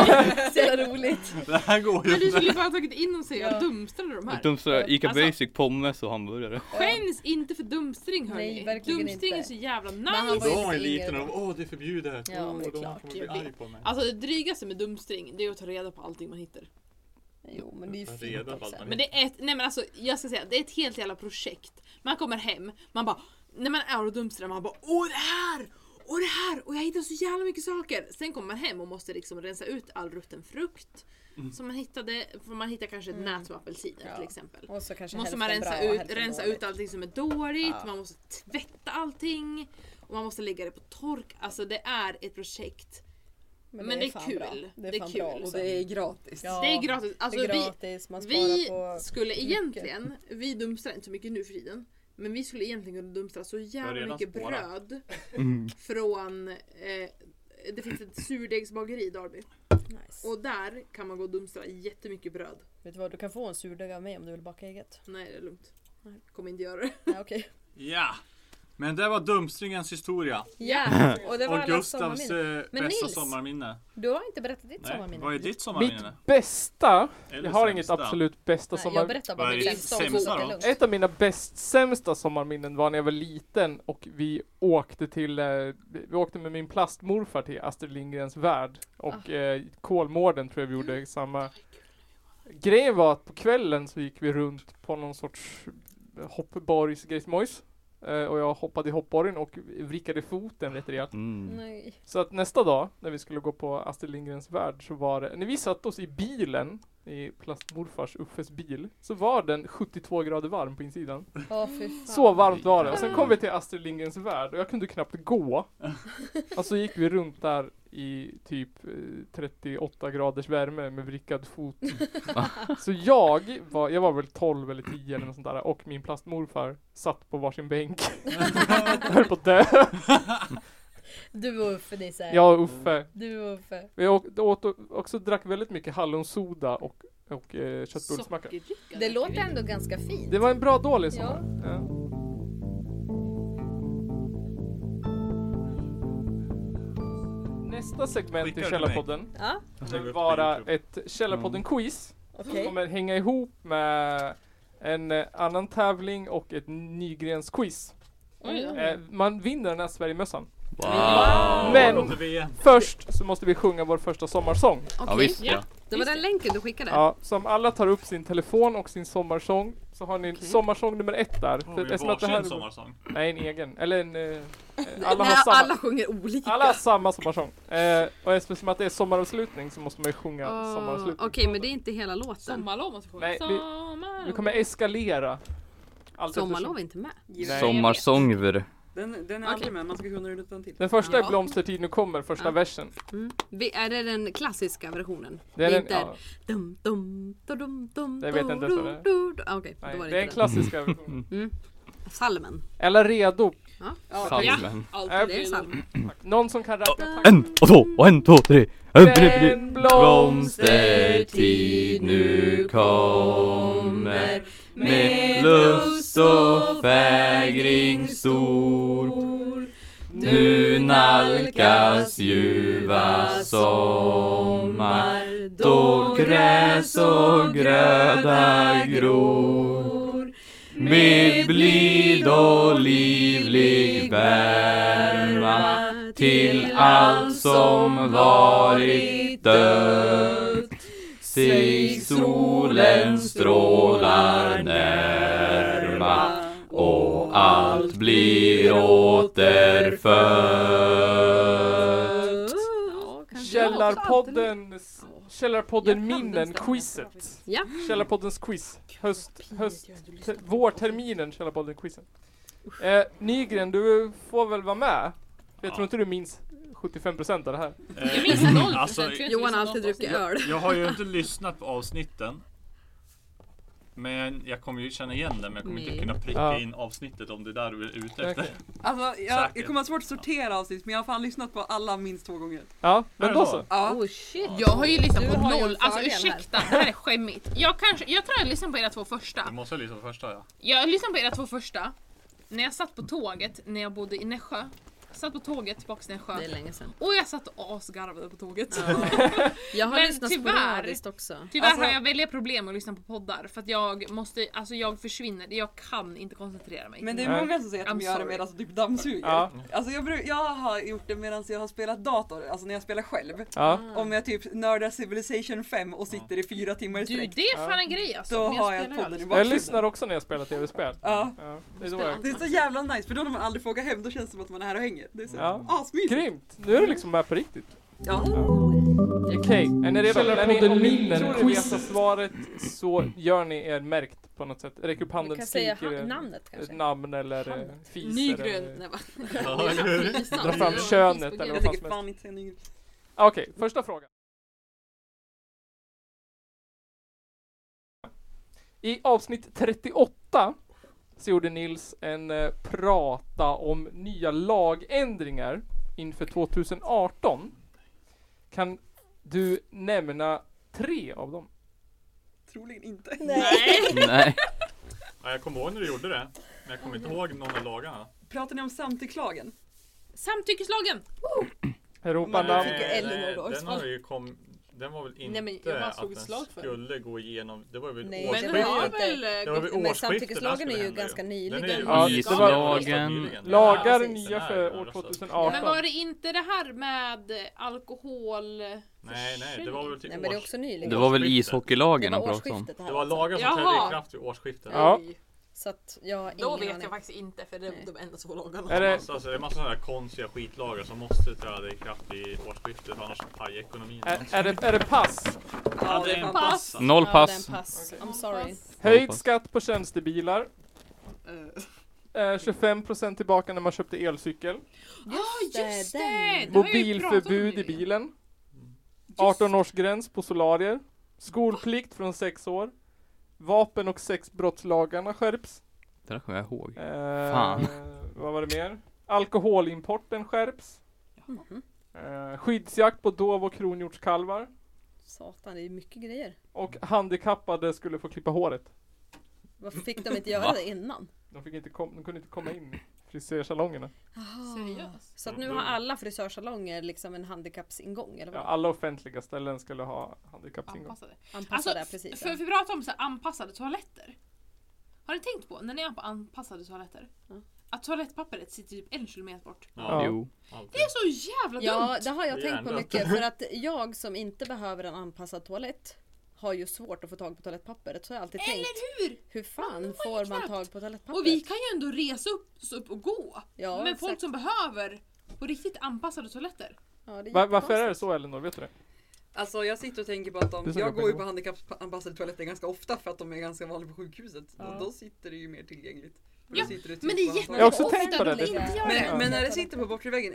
[SPEAKER 7] Så jävla roligt.
[SPEAKER 2] Det här går ju
[SPEAKER 9] Men du
[SPEAKER 2] inte!
[SPEAKER 9] skulle ju bara ha tagit in dem säger jag.
[SPEAKER 7] Ja.
[SPEAKER 9] Dumstrade de här?
[SPEAKER 8] Dumstrade jag Ica
[SPEAKER 9] Alltså-
[SPEAKER 8] Basic, pommes och hamburgare.
[SPEAKER 9] Skäms inte för dumstring hörni.
[SPEAKER 7] Nej, verkligen
[SPEAKER 9] dumstring
[SPEAKER 7] inte.
[SPEAKER 9] är så jävla
[SPEAKER 7] han
[SPEAKER 9] nice.
[SPEAKER 7] var ju
[SPEAKER 2] Då var jag
[SPEAKER 7] lite
[SPEAKER 2] liten
[SPEAKER 7] yngre
[SPEAKER 2] och åh det är förbjudet!
[SPEAKER 7] Ja,
[SPEAKER 2] Åh,
[SPEAKER 7] men det är
[SPEAKER 2] de
[SPEAKER 7] klart,
[SPEAKER 2] kommer bli
[SPEAKER 7] jag
[SPEAKER 2] arg på mig.
[SPEAKER 9] Alltså det drygaste med dumstring det är att ta reda på allting man hittar.
[SPEAKER 7] Jo, men det är ju fint
[SPEAKER 2] Alltså, Redan
[SPEAKER 7] också.
[SPEAKER 2] allt man
[SPEAKER 9] Men det är ett, nej men alltså jag ska säga, det är ett helt jävla projekt. Man kommer hem, man bara, när man är och dumstrar man bara åh det här! Och det här! Och jag hittar så jävla mycket saker! Sen kommer man hem och måste liksom rensa ut all rutten frukt
[SPEAKER 12] Mm.
[SPEAKER 9] som man hittade, för man hittar kanske ett nät med apelsiner
[SPEAKER 7] Mm. Ja.
[SPEAKER 9] till exempel.
[SPEAKER 7] Och så kanske
[SPEAKER 9] måste man
[SPEAKER 7] hälften
[SPEAKER 9] rensa
[SPEAKER 7] bra och
[SPEAKER 9] ut,
[SPEAKER 7] hälften
[SPEAKER 9] rensa
[SPEAKER 7] dåligt.
[SPEAKER 9] ut allting som är dåligt,
[SPEAKER 7] Ja.
[SPEAKER 9] man måste tvätta allting och man måste lägga det på tork. Alltså det är ett projekt. Men det är
[SPEAKER 7] fan
[SPEAKER 9] kul.
[SPEAKER 7] bra.
[SPEAKER 9] Det är
[SPEAKER 7] fan
[SPEAKER 9] kul.
[SPEAKER 7] bra
[SPEAKER 9] Och
[SPEAKER 12] Och
[SPEAKER 7] också.
[SPEAKER 12] det är gratis.
[SPEAKER 7] Ja.
[SPEAKER 9] det är gratis. Alltså,
[SPEAKER 7] det är
[SPEAKER 9] vi,
[SPEAKER 7] gratis, man sparar
[SPEAKER 9] vi
[SPEAKER 7] på...
[SPEAKER 9] skulle egentligen, vi dumstrar inte så mycket nu för tiden, men vi skulle egentligen kunna dumstra så
[SPEAKER 2] har
[SPEAKER 9] jävla
[SPEAKER 2] redan
[SPEAKER 9] mycket
[SPEAKER 2] sparat.
[SPEAKER 9] bröd från, eh, det finns ett surdegsbageri i Darby
[SPEAKER 7] Nice.
[SPEAKER 9] och där kan man gå och dumstra jättemycket bröd.
[SPEAKER 7] Vet du vad, du kan få en surdeg av mig om du vill baka eget.
[SPEAKER 9] Nej det är lugnt. Kommer inte göra det.
[SPEAKER 7] Ja, okej.
[SPEAKER 2] Ja! Men det var dumstringens historia.
[SPEAKER 7] Ja, och det var
[SPEAKER 2] Och
[SPEAKER 7] alla
[SPEAKER 2] Gustavs
[SPEAKER 7] sommarminnen.
[SPEAKER 2] eh,
[SPEAKER 7] Men
[SPEAKER 2] bästa
[SPEAKER 7] Nils,
[SPEAKER 2] sommarminne.
[SPEAKER 7] Du har inte berättat ditt
[SPEAKER 2] Nej,
[SPEAKER 7] sommarminne.
[SPEAKER 2] vad är ditt sommarminne? liksom
[SPEAKER 3] Mitt bästa.
[SPEAKER 2] Eller
[SPEAKER 3] Jag har inget
[SPEAKER 2] sämsta?
[SPEAKER 3] absolut bästa
[SPEAKER 7] Nej, jag
[SPEAKER 3] sommar...
[SPEAKER 7] berättar
[SPEAKER 2] Vad
[SPEAKER 7] bara
[SPEAKER 2] är
[SPEAKER 7] mitt
[SPEAKER 2] ditt
[SPEAKER 7] sämsta också,
[SPEAKER 2] sämsta
[SPEAKER 7] så att det är
[SPEAKER 2] då?
[SPEAKER 7] lugnt.
[SPEAKER 3] Ett av mina bäst sämsta sommarminnen var när jag var liten och vi åkte till, eh, vi åkte med min plastmorfar till Astrid Lindgrens värld
[SPEAKER 7] Ah.
[SPEAKER 3] och eh, Kolmården tror jag vi
[SPEAKER 7] Mm.
[SPEAKER 3] gjorde samma. Grejen var att på kvällen så gick vi runt på någon sorts hoppborgsgrejsmojs eh, och jag hoppade i hoppborgen och vrickade foten rätt rejält.
[SPEAKER 8] Mm.
[SPEAKER 7] Nej.
[SPEAKER 3] Så att nästa dag, när vi skulle gå på Astrid Lindgrens Värld, så var det, när vi satte oss i bilen, i plastmorfars Uffes bil, så var den 72 grader varm på insidan.
[SPEAKER 7] Åh fy fan.
[SPEAKER 3] Så varmt var det. Och sen kom vi till Astrid Lindgrens Värld och jag kunde knappt gå. Och så gick vi runt där i typ eh, 38 graders värme med vrickad fot. Så jag var, jag var väl 12 eller 10 eller något sånt där och min plastmorfar satt på varsin bänk. Höll på att dö.
[SPEAKER 7] Du och Uffe Nisse.
[SPEAKER 3] Jag och Uffe.
[SPEAKER 7] Du och Uffe.
[SPEAKER 3] Vi åt, åt också drack väldigt mycket hallonsoda och, och eh, köttbullsmacka.
[SPEAKER 9] Sockerdricka.
[SPEAKER 7] Det låter ändå ganska fint.
[SPEAKER 3] Det var en bra dålig sommar. Ja. Nästa segment
[SPEAKER 2] Skickar
[SPEAKER 3] i
[SPEAKER 2] du
[SPEAKER 3] Källarpodden
[SPEAKER 7] Ja,
[SPEAKER 3] kommer vara ett Källarpodden-quiz som
[SPEAKER 7] okej.
[SPEAKER 3] kommer hänga ihop med en eh, annan tävling och ett Nygrens quiz.
[SPEAKER 4] Oj
[SPEAKER 5] Mm.
[SPEAKER 4] då.
[SPEAKER 3] Eh, man vinner den här Sverigemössan.
[SPEAKER 8] Wow!
[SPEAKER 3] Men-
[SPEAKER 2] Låter vi-
[SPEAKER 3] Först så måste vi sjunga vår första sommarsång.
[SPEAKER 8] Ja
[SPEAKER 5] Okej,
[SPEAKER 8] visst ja.
[SPEAKER 5] det var den länken du skickade.
[SPEAKER 3] Ja, så om alla tar upp sin telefon och sin sommarsång så har ni sommarsång nummer ett där.
[SPEAKER 2] Har
[SPEAKER 3] För
[SPEAKER 2] vi
[SPEAKER 3] eftersom att det här
[SPEAKER 2] varsin
[SPEAKER 3] är-
[SPEAKER 2] sommarsång?
[SPEAKER 3] Nej, en egen. Eller en... eh, eh, alla
[SPEAKER 5] alla,
[SPEAKER 3] har samma.
[SPEAKER 5] alla sjunger olika.
[SPEAKER 3] Alla har samma sommarsång. Eh, och eftersom att det är sommaravslutning så måste man ju sjunga
[SPEAKER 5] Åh, Okej,
[SPEAKER 3] sommaravslutning.
[SPEAKER 5] men det är inte hela låten.
[SPEAKER 4] Sommarlov måste vi sjunga.
[SPEAKER 3] Nej, vi-
[SPEAKER 4] Sommarlov.
[SPEAKER 3] Vi kommer eskalera. Allt
[SPEAKER 5] Sommarlov är
[SPEAKER 3] eftersom.
[SPEAKER 5] inte med.
[SPEAKER 3] Nej.
[SPEAKER 8] Sommarsånger.
[SPEAKER 1] Den, den är
[SPEAKER 5] Okej.
[SPEAKER 1] aldrig med, man ska kunna den utan till.
[SPEAKER 3] Den första är
[SPEAKER 5] Ja.
[SPEAKER 3] Blomstertid nu kommer, första
[SPEAKER 5] Ja.
[SPEAKER 3] versen.
[SPEAKER 5] Mm. Vi- Är det den klassiska versionen?
[SPEAKER 3] Det är, den,
[SPEAKER 5] inte
[SPEAKER 3] ja,
[SPEAKER 5] dum, dum, dum, dum, dum,
[SPEAKER 3] Jag vet inte ens vad det är.
[SPEAKER 5] dum, dum. Ah, Okej,
[SPEAKER 3] nej,
[SPEAKER 5] då var
[SPEAKER 3] det,
[SPEAKER 5] det,
[SPEAKER 3] är en
[SPEAKER 5] inte den.
[SPEAKER 3] klassisk version.
[SPEAKER 5] Salmen.
[SPEAKER 3] Alla redo?
[SPEAKER 8] Salmen.
[SPEAKER 4] Allt
[SPEAKER 3] Äh,
[SPEAKER 4] är
[SPEAKER 5] Det är
[SPEAKER 4] det.
[SPEAKER 5] en salm.
[SPEAKER 3] Någon som kan rappa? tack.
[SPEAKER 8] En och två och en två tre.
[SPEAKER 3] Den
[SPEAKER 8] Blomstertid nu kommer med lust och fägring stor. Nu nalkas ljuva sommar då gräs och gröda gror. Med blid och livlig värma till allt som varit dött. Sig solen strålar närma och allt blir återfött.
[SPEAKER 5] Ja, kanske.
[SPEAKER 3] Källarpodden, Källarpodden
[SPEAKER 4] Jag kan den
[SPEAKER 3] minnen,
[SPEAKER 4] stämma.
[SPEAKER 3] quizet.
[SPEAKER 5] Ja.
[SPEAKER 3] Källarpoddens quiz. Höst, höst, te, vårterminen Källarpodden quizen. Eh, Nygren, du får väl vara med? Jag
[SPEAKER 2] Ja.
[SPEAKER 3] tror inte du minns 75% av det här.
[SPEAKER 2] Eh,
[SPEAKER 4] Jag minns noll
[SPEAKER 2] alltså,
[SPEAKER 4] procent. Jag tror
[SPEAKER 5] Johan
[SPEAKER 4] inte
[SPEAKER 5] har
[SPEAKER 4] vi
[SPEAKER 5] alltid
[SPEAKER 4] ska
[SPEAKER 5] druckit öl.
[SPEAKER 2] Jag har ju inte lyssnat på avsnitten. Men jag kommer ju känna igen det men jag kommer
[SPEAKER 5] Nej.
[SPEAKER 2] inte kunna pricka
[SPEAKER 3] Ja.
[SPEAKER 2] in avsnittet om det är där du är ute efter.
[SPEAKER 3] Okej.
[SPEAKER 1] Alltså jag,
[SPEAKER 2] Säkert.
[SPEAKER 1] jag kommer ha svårt att sortera avsnitt men jag har fan lyssnat på alla minst två gånger.
[SPEAKER 3] Ja, men
[SPEAKER 2] Här
[SPEAKER 3] då
[SPEAKER 2] var.
[SPEAKER 3] så.
[SPEAKER 1] Ja.
[SPEAKER 5] Oh shit.
[SPEAKER 4] Jag har ju lyssnat
[SPEAKER 7] Du
[SPEAKER 4] på
[SPEAKER 7] har ju
[SPEAKER 4] noll,
[SPEAKER 7] en
[SPEAKER 4] alltså
[SPEAKER 7] fördel här.
[SPEAKER 4] ursäkta, det här är skämmigt. Jag, kanske, jag tror jag lyssnade på era två
[SPEAKER 2] Du
[SPEAKER 4] första.
[SPEAKER 2] måste ha lyssnat på första ja.
[SPEAKER 4] Jag lyssnade på era två första när jag satt på tåget när jag bodde i Nässjö. Satt på tåget tillbaka till
[SPEAKER 5] Det är
[SPEAKER 4] Nässjö
[SPEAKER 5] länge sedan.
[SPEAKER 4] och jag satt och asgarvade på tåget.
[SPEAKER 5] Jag har
[SPEAKER 4] Men
[SPEAKER 5] lyssnat
[SPEAKER 4] tyvärr-
[SPEAKER 5] sporadiskt också.
[SPEAKER 4] Tyvärr
[SPEAKER 1] Alltså-
[SPEAKER 4] har jag väldiga problem med att lyssna på poddar för att jag måste, alltså jag försvinner, jag kan inte koncentrera mig.
[SPEAKER 1] Men det
[SPEAKER 3] Nej.
[SPEAKER 1] är många som säger att
[SPEAKER 4] I'm
[SPEAKER 1] de gör det
[SPEAKER 4] sorry.
[SPEAKER 1] medan de typ dammsuger.
[SPEAKER 3] Ja.
[SPEAKER 1] Alltså jag, bru- jag har gjort det medan jag har spelat dator, alltså när jag spelar själv.
[SPEAKER 3] Ja.
[SPEAKER 1] Om jag typ nördar Civilization 5 och sitter i fyra timmar i
[SPEAKER 4] Du
[SPEAKER 1] sträck.
[SPEAKER 4] det är fan en grej alltså.
[SPEAKER 1] Då
[SPEAKER 4] men
[SPEAKER 1] har jag
[SPEAKER 4] spelar
[SPEAKER 1] podden i
[SPEAKER 4] aldrig.
[SPEAKER 3] Jag
[SPEAKER 1] bakgrunden.
[SPEAKER 3] lyssnar också när jag spelar tv-spel.
[SPEAKER 1] Ja.
[SPEAKER 3] Ja, det är så jag.
[SPEAKER 1] Det är så jävla nice för då när man aldrig får åka hem då känns det som att man är här och hänger. Det är så
[SPEAKER 3] Ja.
[SPEAKER 1] asmysigt.
[SPEAKER 3] Grymt! Nu är du liksom med på riktigt.
[SPEAKER 1] Ja.
[SPEAKER 3] Okej, är ni redo? Är ni, om ni inte tror ni vet svaret så gör ni er märkt på något sätt. Räck upp
[SPEAKER 7] Du
[SPEAKER 3] handen,
[SPEAKER 7] kan säga
[SPEAKER 3] skriker
[SPEAKER 7] ha-
[SPEAKER 3] er-
[SPEAKER 7] namnet
[SPEAKER 3] ett
[SPEAKER 7] kanske.
[SPEAKER 3] namn eller eh,
[SPEAKER 7] Handen.
[SPEAKER 3] fiser.
[SPEAKER 4] Nygren.
[SPEAKER 3] eller-
[SPEAKER 4] Nej, va?
[SPEAKER 2] ja eller hur?
[SPEAKER 3] Dra fram könet eller
[SPEAKER 1] Jag
[SPEAKER 3] vad fan
[SPEAKER 1] tänker
[SPEAKER 3] som helst.
[SPEAKER 1] fan inte säga något.
[SPEAKER 3] Ah, Okej, första frågan. I avsnitt 38 så gjorde Nils en eh, prata om nya lagändringar inför 2018. Kan du nämna tre av dem?
[SPEAKER 1] Troligen inte.
[SPEAKER 8] Nej.
[SPEAKER 2] ja. Jag kommer ihåg när du gjorde det. Men jag kommer inte ihåg någon av lagarna.
[SPEAKER 1] Pratar ni om samtycklagen?
[SPEAKER 4] Samtyckeslagen!
[SPEAKER 3] Europa
[SPEAKER 2] Nej,
[SPEAKER 3] namn.
[SPEAKER 7] fick ju Ellen
[SPEAKER 2] nej,
[SPEAKER 7] några år
[SPEAKER 2] Eh, den har ju kom... Den var väl inte
[SPEAKER 4] Nej, men jag bara slog
[SPEAKER 2] att
[SPEAKER 4] ett
[SPEAKER 2] den
[SPEAKER 4] slag för den.
[SPEAKER 2] skulle gå igenom. Det var väl
[SPEAKER 7] Nej,
[SPEAKER 2] årsskiftet.
[SPEAKER 4] Men den har
[SPEAKER 7] inte-
[SPEAKER 4] väl...
[SPEAKER 2] Det var vid
[SPEAKER 7] Men
[SPEAKER 2] årsskiftet
[SPEAKER 7] samtyckeslagen
[SPEAKER 2] det
[SPEAKER 7] är ju
[SPEAKER 2] skulle hända
[SPEAKER 7] ganska
[SPEAKER 2] Den är
[SPEAKER 7] nyligen.
[SPEAKER 2] ju
[SPEAKER 3] Ja,
[SPEAKER 2] nyligen.
[SPEAKER 3] det var-
[SPEAKER 8] Lagen.
[SPEAKER 2] Nyligen.
[SPEAKER 3] Lagar
[SPEAKER 7] precis.
[SPEAKER 3] nya
[SPEAKER 2] Den är
[SPEAKER 3] för
[SPEAKER 2] ju
[SPEAKER 3] år
[SPEAKER 2] alltså-
[SPEAKER 3] 2018.
[SPEAKER 4] Men var det inte det här med alkohol...
[SPEAKER 2] Nej, nej, det var väl till
[SPEAKER 7] Nej men det är
[SPEAKER 2] års...
[SPEAKER 7] också nyligen.
[SPEAKER 8] Det var väl ishockeylagen han
[SPEAKER 7] Det var
[SPEAKER 8] pratade om?
[SPEAKER 7] årsskiftet här.
[SPEAKER 2] Det var lagar som trädde
[SPEAKER 4] Jaha.
[SPEAKER 2] i kraft vid årsskiftet.
[SPEAKER 3] Ja.
[SPEAKER 4] Oj,
[SPEAKER 7] Så att jag har
[SPEAKER 4] Då
[SPEAKER 7] ingen
[SPEAKER 4] vet jag
[SPEAKER 7] aning.
[SPEAKER 4] faktiskt inte för det är de enda två lagarna.
[SPEAKER 3] Är det,
[SPEAKER 2] Massa, alltså, det är massa sådana här konstiga skitlagar som måste träda i kraft vid årsskiftet annars pajar ekonomin.
[SPEAKER 3] är, är, det, är det pass?
[SPEAKER 1] Ja, det är fan
[SPEAKER 4] Pass!
[SPEAKER 8] Noll
[SPEAKER 7] Ja, det är en
[SPEAKER 8] pass.
[SPEAKER 7] pass.
[SPEAKER 4] Mm.
[SPEAKER 7] I'm sorry.
[SPEAKER 3] Höjd skatt på tjänstebilar. Eh, 25% tillbaka när man köpte elcykel.
[SPEAKER 4] Ja Ah, just det! det har jag ju pratat om
[SPEAKER 3] Mobilförbud
[SPEAKER 4] ju.
[SPEAKER 3] i bilen. 18-årsgräns på solarier. Skolplikt från 6 år. Vapen och sexbrottslagarna skärps.
[SPEAKER 8] Det där kommer jag ihåg.
[SPEAKER 3] Eh,
[SPEAKER 8] Fan.
[SPEAKER 3] Vad var det mer? Alkoholimporten skärps. Eh, skyddsjakt på dov och kronhjortskalvar.
[SPEAKER 7] Satan, det är mycket grejer.
[SPEAKER 3] Och handikappade skulle få klippa håret.
[SPEAKER 7] Varför fick de inte göra
[SPEAKER 8] Va?
[SPEAKER 7] det innan?
[SPEAKER 3] De, fick inte kom- de kunde inte komma in i frisersalongerna.
[SPEAKER 4] Seriöst?
[SPEAKER 7] Så att nu har alla frisörsalonger liksom en handikappsingång eller
[SPEAKER 3] Mm. Ja,
[SPEAKER 7] vad?
[SPEAKER 3] alla offentliga ställen skulle ha handikappsingång.
[SPEAKER 4] Anpassade. Alltså,
[SPEAKER 7] Anpassade, precis.
[SPEAKER 4] för,
[SPEAKER 7] Ja.
[SPEAKER 4] för vi pratar om så här, anpassade toaletter. Har ni tänkt på, när ni är på anpassade toaletter,
[SPEAKER 7] Mm.
[SPEAKER 4] att toalettpappret sitter typ en kilometer bort.
[SPEAKER 3] Ja.
[SPEAKER 8] Jo.
[SPEAKER 4] Det är så jävla dumt!
[SPEAKER 7] Ja, det har jag tänkt på
[SPEAKER 2] Hjärndött.
[SPEAKER 7] mycket. För att jag som inte behöver en anpassad toalett har ju svårt att få tag på toalettpapperet. Så har jag alltid tänkt,
[SPEAKER 4] Eller hur?
[SPEAKER 7] hur
[SPEAKER 4] Man
[SPEAKER 7] fan
[SPEAKER 4] får
[SPEAKER 7] får
[SPEAKER 4] ju
[SPEAKER 7] man
[SPEAKER 4] knappt.
[SPEAKER 7] tag på toalettpapperet?
[SPEAKER 4] Och vi kan ju ändå resa upp, så upp och gå.
[SPEAKER 7] Ja,
[SPEAKER 4] Men
[SPEAKER 7] exakt.
[SPEAKER 4] folk som behöver på riktigt anpassade toaletter.
[SPEAKER 7] Ja, det är
[SPEAKER 3] Va- varför är
[SPEAKER 7] jättekonstigt.
[SPEAKER 3] det så Elinor? Vet du det?
[SPEAKER 5] Alltså jag sitter och tänker på att
[SPEAKER 3] Det är
[SPEAKER 5] de,
[SPEAKER 3] så
[SPEAKER 5] jag
[SPEAKER 3] jobbiga
[SPEAKER 5] går ju
[SPEAKER 3] gå.
[SPEAKER 5] på handikappanpassade toaletter ganska ofta för att de är ganska vanliga på sjukhuset. Och då sitter det ju mer tillgängligt. För då
[SPEAKER 4] Ja,
[SPEAKER 5] sitter det typ
[SPEAKER 4] Men det är
[SPEAKER 5] på handtag.
[SPEAKER 3] Jag har också
[SPEAKER 4] jätteofta
[SPEAKER 3] tänkt på det.
[SPEAKER 4] de inte gör det.
[SPEAKER 5] Men, men när det sitter på bortre väggen,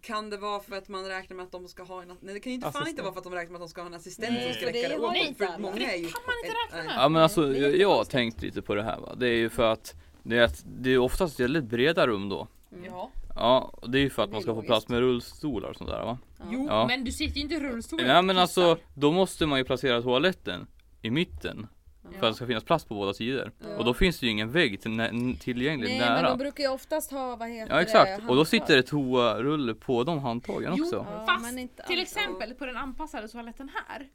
[SPEAKER 5] kan det vara för att man räknar med att de ska ha en... Nej det kan ju inte fan
[SPEAKER 3] Assistent.
[SPEAKER 5] inte vara för att de räknar med att de ska ha en assistent
[SPEAKER 2] Nej.
[SPEAKER 5] som ska
[SPEAKER 7] För det
[SPEAKER 5] räcka det
[SPEAKER 7] har
[SPEAKER 5] åt dem.
[SPEAKER 7] inte alla.
[SPEAKER 5] För många är ju...
[SPEAKER 4] Det kan man inte räkna med.
[SPEAKER 8] Ja men alltså
[SPEAKER 7] Det
[SPEAKER 8] jag,
[SPEAKER 7] är
[SPEAKER 8] jag har
[SPEAKER 7] jättekonstigt.
[SPEAKER 8] tänkt lite på det här va. Det är ju för att det är, att, det är oftast väldigt breda rum då.
[SPEAKER 5] Ja.
[SPEAKER 8] Ja, och det är ju för att
[SPEAKER 7] Det
[SPEAKER 8] man
[SPEAKER 7] är
[SPEAKER 8] ska få
[SPEAKER 7] logiskt.
[SPEAKER 8] plats med rullstolar och sånt där va.
[SPEAKER 4] Jo,
[SPEAKER 8] Ja.
[SPEAKER 4] men du sitter ju inte i rullstol.
[SPEAKER 8] Nej men alltså, då måste man ju placera toaletten i mitten. För att det ska finnas plats på båda sidor. Och då finns det ju ingen vägg till nä- tillgänglig
[SPEAKER 7] Nej, men
[SPEAKER 8] nära.
[SPEAKER 7] de brukar ju oftast ha, vad heter
[SPEAKER 8] Ja
[SPEAKER 7] det,
[SPEAKER 8] exakt, och då
[SPEAKER 7] handtag.
[SPEAKER 8] sitter det toarulle på de handtagen
[SPEAKER 4] Jo.
[SPEAKER 8] också.
[SPEAKER 7] Ja,
[SPEAKER 4] Fast
[SPEAKER 7] men inte
[SPEAKER 4] Till
[SPEAKER 7] alls.
[SPEAKER 4] exempel på den anpassade toaletten här.